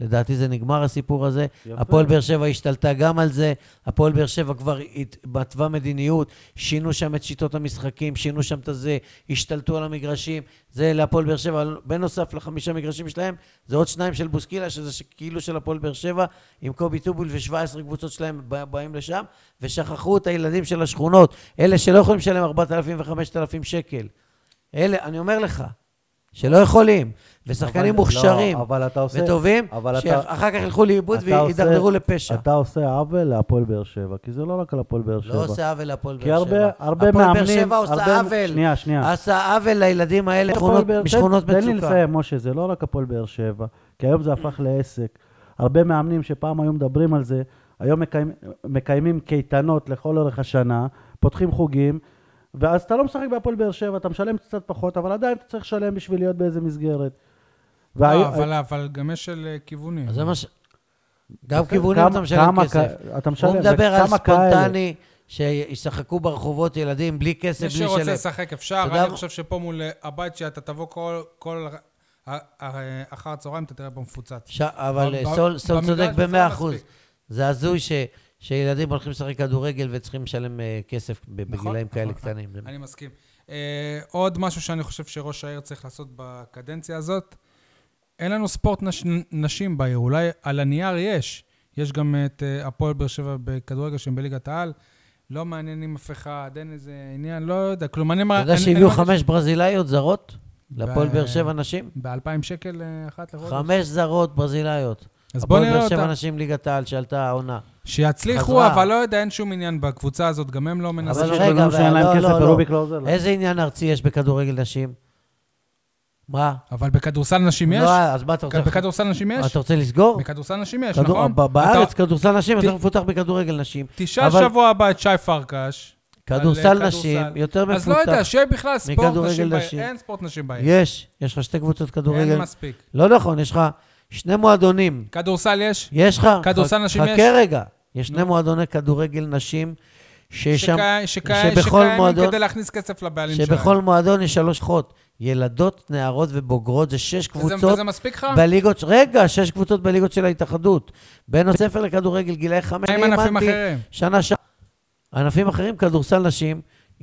Speaker 3: לדעתי זה נגמר הסיפור הזה.
Speaker 2: יפה.
Speaker 3: הפועל באר שבע השתלטה גם על זה. הפועל באר שבע כבר התבטבה מדיניות, שינו שם את שיטות המשחקים, שינו שם את הזה, השתלטו על המגרשים. זה להפועל באר שבע, בנוסף לחמישה מגרשים שלהם, זה עוד שניים של בוסקילה, שזה ש- כאילו של הפועל באר שבע, עם קובי טובול ו-17 קבוצות שלהם בא- באים לשם, ושכחו את הילדים של השכונות, אלה שלא יכולים לשלם 4,000 ו-5,000 שקל. אלה, אני אומר לך, שלא יכולים, ושחקנים
Speaker 2: אבל-
Speaker 3: מוכשרים.
Speaker 2: לא, אבל אתה עושה...
Speaker 3: וטובים,
Speaker 2: אבל אתה-
Speaker 3: שאחר כך ילכו לאיבוד
Speaker 2: אתה
Speaker 3: וידרדרו
Speaker 2: עושה-
Speaker 3: לפשע.
Speaker 2: אתה עושה עוול להפועל באר שבע, כי זה לא רק על הפועל באר שבע.
Speaker 3: לא עושה עוול להפועל
Speaker 2: כי
Speaker 3: באר שבע.
Speaker 2: הרבה, הרבה
Speaker 3: הפועל
Speaker 2: מאמנים...
Speaker 3: באר שבע עושה
Speaker 2: הרבה-
Speaker 3: עוול.
Speaker 2: שנייה, שנייה.
Speaker 3: עשה עוול לילדים האלה
Speaker 2: הפועל
Speaker 3: שכונות-
Speaker 2: באר-
Speaker 3: משכונות
Speaker 2: תן- תן לי
Speaker 3: מצוקה.
Speaker 2: לסיים, משה, זה לא רק הפועל באר שבע, כי היום זה הפך לעסק. הרבה מאמנים שפעם היו מדברים על זה, היום מקיים, מקיימים קייטנות לכל אורך השנה, פותחים חוגים, ואז אתה לא משחק בהפועל באר שבע, אתה משלם קצת פחות, אבל עדיין אתה צריך לשלם בשביל להיות באיזה
Speaker 3: אה,
Speaker 2: מסגרת. והיום-
Speaker 1: לא, אבל- אבל גם יש של אה, כיוונים.
Speaker 3: אז זה מה ש... גם כיוונים
Speaker 2: אוקיי, כמה-
Speaker 3: אתה משלם
Speaker 2: כמה
Speaker 3: כסף.
Speaker 2: כ- אתה משלם,
Speaker 3: הוא מדבר על
Speaker 2: וכמה כאלה.
Speaker 3: ספונטני, שישחקו ברחובות ילדים בלי כסף,
Speaker 1: מי
Speaker 3: בלי
Speaker 1: שרוצה
Speaker 3: שלם.
Speaker 1: לשחק אפשר,
Speaker 3: אתה יודע
Speaker 1: אני
Speaker 3: מה?
Speaker 1: חושב שפה מול אה, הבית שאתה תבוא כל- כל אה, אה, אחר הצהריים, אתה תראה פה מפוצץ.
Speaker 3: ש- אבל
Speaker 1: ב-
Speaker 3: אה, סול
Speaker 1: ב-
Speaker 3: סול
Speaker 1: במגרש
Speaker 3: צודק
Speaker 1: זה לא
Speaker 3: במאה אחוז.
Speaker 1: מספיק.
Speaker 3: זה הזוי ש- שילדים הולכים לשחק כדורגל וצריכים לשלם אה, כסף ב- בגילאים כאלה
Speaker 1: נכון.
Speaker 3: קטנים. זה-
Speaker 1: אני מסכים. אה, עוד משהו שאני חושב שראש העיר צריך לעשות בקדנציה הזאת, אין לנו ספורט נש, נשים בעיר, אולי על הנייר יש. יש גם את אה, הפועל באר שבע בכדורגל שהם בליגת העל. לא מעניינים אף אחד, אין איזה עניין, לא יודע. כלום, אני...
Speaker 3: אתה יודע שהביאו חמש ברזילאיות זרות להפועל
Speaker 1: ב-
Speaker 3: באר שבע נשים?
Speaker 1: ב-2,000 שקל אה, אחת לחודש.
Speaker 3: חמש זרות ברזילאיות.
Speaker 1: אז בואו נראה
Speaker 3: הפועל באר שבע
Speaker 1: אותה.
Speaker 3: נשים ליגת העל שעלתה העונה.
Speaker 1: שיצליחו,
Speaker 3: חזרה.
Speaker 1: אבל לא יודע, אין שום עניין בקבוצה הזאת, גם הם לא מנסים.
Speaker 2: אבל
Speaker 3: אבל
Speaker 2: יש
Speaker 3: רגע,
Speaker 2: בנים שאין
Speaker 3: אבל
Speaker 2: להם
Speaker 3: לא,
Speaker 2: כסף
Speaker 3: לא, לא.
Speaker 2: ורוביק לא עוזר להם.
Speaker 3: איזה עניין ארצי יש בכדורגל נשים? מה?
Speaker 1: אבל בכדורסל נשים יש?
Speaker 3: לא, אז מה אתה רוצה?
Speaker 1: בכדורסל נשים
Speaker 3: מה,
Speaker 1: יש?
Speaker 3: אתה רוצה לסגור?
Speaker 1: בכדורסל נשים יש,
Speaker 3: כדור-
Speaker 1: נכון?
Speaker 3: ב- בארץ
Speaker 1: אתה-
Speaker 3: כדורסל נשים
Speaker 1: ת-
Speaker 3: יותר מפותח בכדורגל נשים.
Speaker 1: תשאל
Speaker 3: אבל-
Speaker 1: שבוע הבא את שי פרקש. על,
Speaker 3: כדורסל
Speaker 1: אה,
Speaker 3: נשים
Speaker 1: כדורסל.
Speaker 3: יותר מפותח.
Speaker 1: אז לא יודע, שיהיה בכלל ספורט
Speaker 3: מכדורגל
Speaker 1: נשים בעיר.
Speaker 3: נשים.
Speaker 1: אין ספורט נשים בעיר.
Speaker 3: יש, יש לך שתי קבוצות כדורגל.
Speaker 1: אין מספיק.
Speaker 3: לא נכון, יש לך שני מועדונים.
Speaker 1: כדורסל יש?
Speaker 3: יש לך...
Speaker 1: כדורסל
Speaker 3: ח-
Speaker 1: נשים יש?
Speaker 3: חכה רגע. יש שני מועדוני כדורגל נשים שיש שם...
Speaker 1: שקי- שקי-
Speaker 3: שבכל
Speaker 1: שקיימים
Speaker 3: מועדון-
Speaker 1: כדי להכניס כסף לבעלים שלהם.
Speaker 3: שבכל מועדון יש שלוש חוות. ילדות, נערות ובוגרות, זה שש
Speaker 1: וזה-
Speaker 3: קבוצות
Speaker 1: וזה מספיק לך?
Speaker 3: בליגות, רגע, שש קבוצות בליגות של ההתאחדות. בין בית הספר לכדורגל, גילאי חמש,
Speaker 1: מה עם
Speaker 3: אני
Speaker 1: ענפים
Speaker 3: האמנתי
Speaker 1: אחרים?
Speaker 3: שנה ש... ענפים אחרים, כדורסל נשים,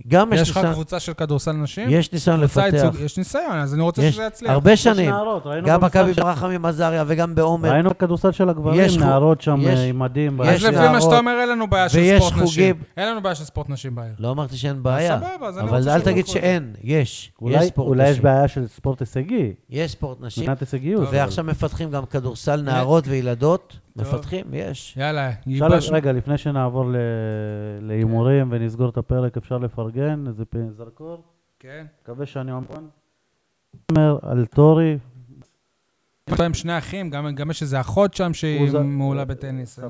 Speaker 3: גם יש
Speaker 1: יש לך
Speaker 3: ניסיון,
Speaker 1: קבוצה של כדורסל נשים?
Speaker 3: יש ניסיון
Speaker 1: קבוצה
Speaker 3: לפתח.
Speaker 1: ייצוג- יש ניסיון, אז אני רוצה
Speaker 3: יש
Speaker 1: שזה יצליח.
Speaker 3: הרבה
Speaker 2: יש
Speaker 3: שנים.
Speaker 2: נערות, ראינו
Speaker 3: גם
Speaker 2: במשחק
Speaker 3: מכבי
Speaker 2: של-
Speaker 3: ברחמי עזריה וגם בעומר,
Speaker 2: ראינו כדורסל של הגברים,
Speaker 3: יש חו-
Speaker 2: נערות שם
Speaker 3: יש-
Speaker 2: אה, עם מדים.
Speaker 1: אז
Speaker 3: יש
Speaker 1: לפי
Speaker 3: נערות,
Speaker 1: מה שאתה אומר, אין לנו בעיה של
Speaker 3: ויש
Speaker 1: ספורט נשים.
Speaker 3: חוגים.
Speaker 1: אין לנו בעיה של ספורט נשים בעיר.
Speaker 3: לא אמרתי שאין בעיה.
Speaker 1: סבבה, אז אני
Speaker 3: אבל
Speaker 1: רוצה
Speaker 3: אל
Speaker 1: שיבדקו
Speaker 3: תגיד
Speaker 1: את זה.
Speaker 3: שאין, יש. יש
Speaker 2: אולי-
Speaker 3: ספורט
Speaker 2: אולי יש
Speaker 3: נשים.
Speaker 2: בעיה לא, של ספורט הישגי,
Speaker 3: יש ספורט נשים,
Speaker 2: מבחינת
Speaker 1: לא,
Speaker 2: הישגיות.
Speaker 3: ועכשיו מפתחים גם כדורסל נערות וילדות. מפתחים, יש.
Speaker 1: יאללה,
Speaker 2: אפשר לב-
Speaker 1: ייבשנו.
Speaker 2: רגע, לפני שנעבור ל- להימורים ונסגור את הפרק, אפשר לפרגן איזה פ- זרקור?
Speaker 1: כן.
Speaker 2: מקווה שאני אומר על טורי,
Speaker 1: יש להם שני אחים, גם גם יש איזה אחות שם שהיא
Speaker 2: הוא זה-
Speaker 1: מעולה בטניס.
Speaker 2: אה,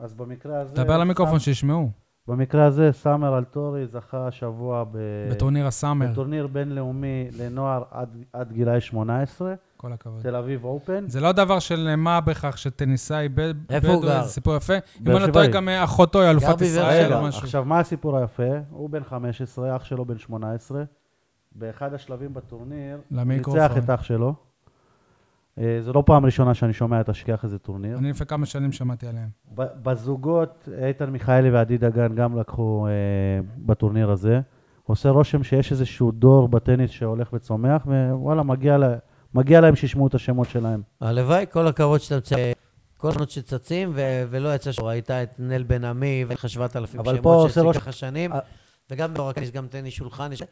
Speaker 2: אז במקרה הזה...
Speaker 1: דבר למיקרופון
Speaker 2: סאמ-
Speaker 1: שישמעו.
Speaker 2: במקרה הזה, סאמר על טורי זכה השבוע ב...
Speaker 1: בטורניר הסאמר,
Speaker 2: בטורניר בינלאומי לנוער עד- עד גילאי 18,
Speaker 1: כל הכבוד.
Speaker 2: תל אביב אופן.
Speaker 1: זה לא דבר של מה בכך שטניסאי ב-
Speaker 3: איפה הוא
Speaker 1: בדואי,
Speaker 3: גר?
Speaker 1: זה סיפור יפה. אם
Speaker 2: באר
Speaker 1: אני לא טועה,
Speaker 2: שבעי.
Speaker 1: גם אה, אחותו היא אלופת
Speaker 3: בבאר
Speaker 1: ישראל
Speaker 3: שבע.
Speaker 2: רגע,
Speaker 1: או משהו.
Speaker 2: עכשיו, מה הסיפור היפה? הוא בן 15, אח שלו בן 18. באחד השלבים בטורניר, הוא
Speaker 1: למיקרופון.
Speaker 2: ניצח את אח שלו. אה, זו לא פעם ראשונה שאני שומע את השכיח איזה טורניר.
Speaker 1: אני לפני כמה שנים שמעתי עליהם.
Speaker 2: ב- בזוגות, איתן מיכאלי ועדי דגן גם לקחו אה, בטורניר הזה. עושה רושם שיש איזשהו דור בטניס שהולך וצומח, ווואלה, מגיע, לה, מגיע להם שישמעו את השמות שלהם.
Speaker 3: הלוואי, כל הכבוד שאתה מצ... כל הזמן שצצים, ו... ולא יצא שורה. הייתה את נל בן עמי, ואין לך 7,000
Speaker 2: אבל פה
Speaker 3: שמות
Speaker 2: עושה
Speaker 3: שהעסיקה
Speaker 2: ראש-
Speaker 3: לך שנים,
Speaker 2: אה.
Speaker 3: וגם בורקניס, גם טניס שולחן. יש-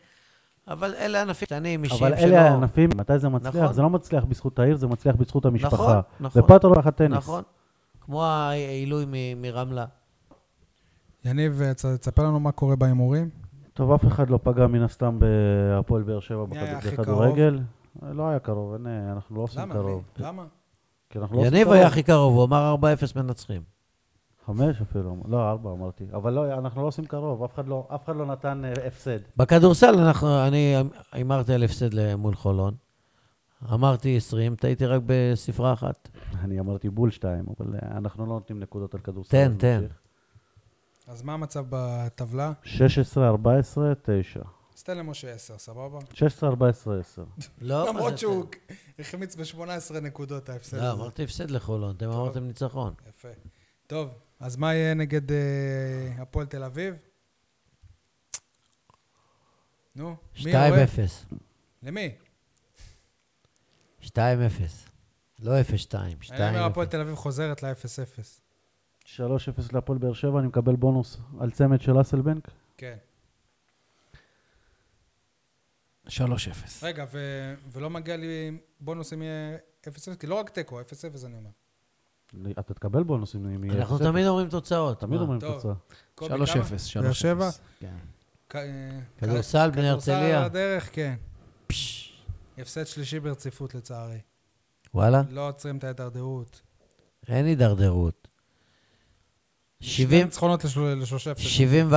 Speaker 3: אבל אלה ענפים קטנים, אישיים שלא...
Speaker 2: אבל אלה הענפים, מתי זה מצליח?
Speaker 3: נכון.
Speaker 2: זה לא מצליח בזכות העיר, זה מצליח בזכות המשפחה.
Speaker 3: נכון, נכון.
Speaker 2: ופה אתה רואה לך טניס.
Speaker 3: נכון. כמו העילוי מ- מרמלה.
Speaker 1: יניב, אה, צ- תספר לנו מה קורה בהימורים.
Speaker 2: טוב, אף אחד לא פגע מן הסתם בהפועל באר שבע
Speaker 1: מי היה
Speaker 2: בכד-
Speaker 1: הכי
Speaker 2: בכדורגל. אה, לא היה קרוב, אין, אה, אנחנו לא עושים
Speaker 1: למה?
Speaker 2: קרוב.
Speaker 1: מי? למה?
Speaker 2: כי אנחנו לא עושים
Speaker 3: יניב
Speaker 2: קרוב.
Speaker 3: היה הכי קרוב, הוא אמר 4-0 מנצחים.
Speaker 2: חמש אפילו, לא, ארבע אמרתי. אבל לא, אנחנו לא עושים קרוב, אף אחד לא- אף אחד לא נתן אה, הפסד.
Speaker 3: בכדורסל, אנחנו, אני הימרתי על הפסד מול חולון. אמרתי 20, טעיתי רק בספרה אחת.
Speaker 2: אני אמרתי בול שתיים, אבל אה, אנחנו לא נותנים נקודות על כדורסל.
Speaker 3: תן,
Speaker 2: אז
Speaker 3: תן.
Speaker 2: נמשיך.
Speaker 1: אז מה המצב בטבלה?
Speaker 2: 16, 14, 9.
Speaker 1: אז תן למשה 10, סבבה?
Speaker 2: 16, 14, 10.
Speaker 3: לא, מה
Speaker 1: למרות
Speaker 3: זה-
Speaker 1: שהוא החמיץ ב-18 נקודות ההפסד
Speaker 3: לא,
Speaker 1: הזה.
Speaker 3: אמרתי הפסד לחולון, אתם אמרתם ניצחון.
Speaker 1: יפה. טוב, אז מה יהיה נגד אה, הפועל תל אביב? נו, מי
Speaker 3: 2-0.
Speaker 1: יורה? למי?
Speaker 3: 2-0. לא 0-2, 2-0.
Speaker 1: אני אומר, הפועל תל אביב חוזרת ל-0-0.
Speaker 2: 3-0 להפועל באר שבע, אני מקבל בונוס על צמד של אסלבנק.
Speaker 1: כן.
Speaker 4: 3-0.
Speaker 1: רגע, ו- ולא מגיע לי בונוס אם יהיה 0-0? כי לא רק תיקו, 0-0 אני אומר.
Speaker 2: אתה תקבל בונוסים אם יהיה...
Speaker 3: אנחנו
Speaker 2: הפסד.
Speaker 3: תמיד אומרים תוצאות.
Speaker 2: תמיד
Speaker 3: מה?
Speaker 2: אומרים
Speaker 1: טוב.
Speaker 2: תוצאה.
Speaker 1: קובי,
Speaker 4: 3-0.
Speaker 1: כמה? באר שבע?
Speaker 4: כן.
Speaker 1: כ- אה,
Speaker 3: כדורסל בני
Speaker 1: כדורסל על
Speaker 3: הרצליה.
Speaker 1: הדרך, כן.
Speaker 3: פש,
Speaker 1: הפסד שלישי ברציפות לצערי.
Speaker 3: וואלה,
Speaker 1: לא עוצרים את ההידרדרות.
Speaker 3: אין הידרדרות. 70
Speaker 1: שני ניצחונות לשל- לשלושה הפסדים.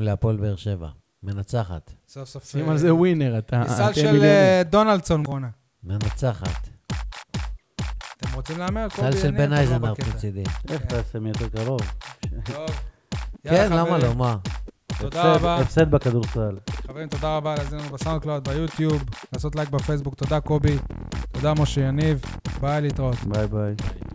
Speaker 3: 71-70 להפועל באר שבע. מנצחת.
Speaker 1: סוף סוף...
Speaker 4: שים
Speaker 1: אה,
Speaker 4: על זה ווינר, אתה...
Speaker 1: ניסל
Speaker 4: אתם
Speaker 1: של
Speaker 4: מיליונרים.
Speaker 1: אה, דונלדסון, רונה.
Speaker 3: מנצחת.
Speaker 1: אתם רוצים להמר?
Speaker 3: סל
Speaker 1: קובי,
Speaker 3: של
Speaker 1: אני,
Speaker 3: בן
Speaker 1: אתה לא
Speaker 3: אייזנארט
Speaker 1: בקטע.
Speaker 3: מצידי.
Speaker 2: איך
Speaker 1: כן.
Speaker 2: תעשה מי יותר קרוב?
Speaker 1: טוב. יאללה,
Speaker 3: כן, למה
Speaker 1: חברים.
Speaker 3: לא? אה, מה?
Speaker 1: תודה
Speaker 2: הפסד-
Speaker 1: רבה.
Speaker 2: הפסד בכדורסל.
Speaker 1: חברים, תודה רבה על הזיננו בסאונדקלאוד, ביוטיוב, לעשות לייק בפייסבוק. תודה, קובי. תודה, משה יניב. ביי, להתראות.
Speaker 2: ביי ביי.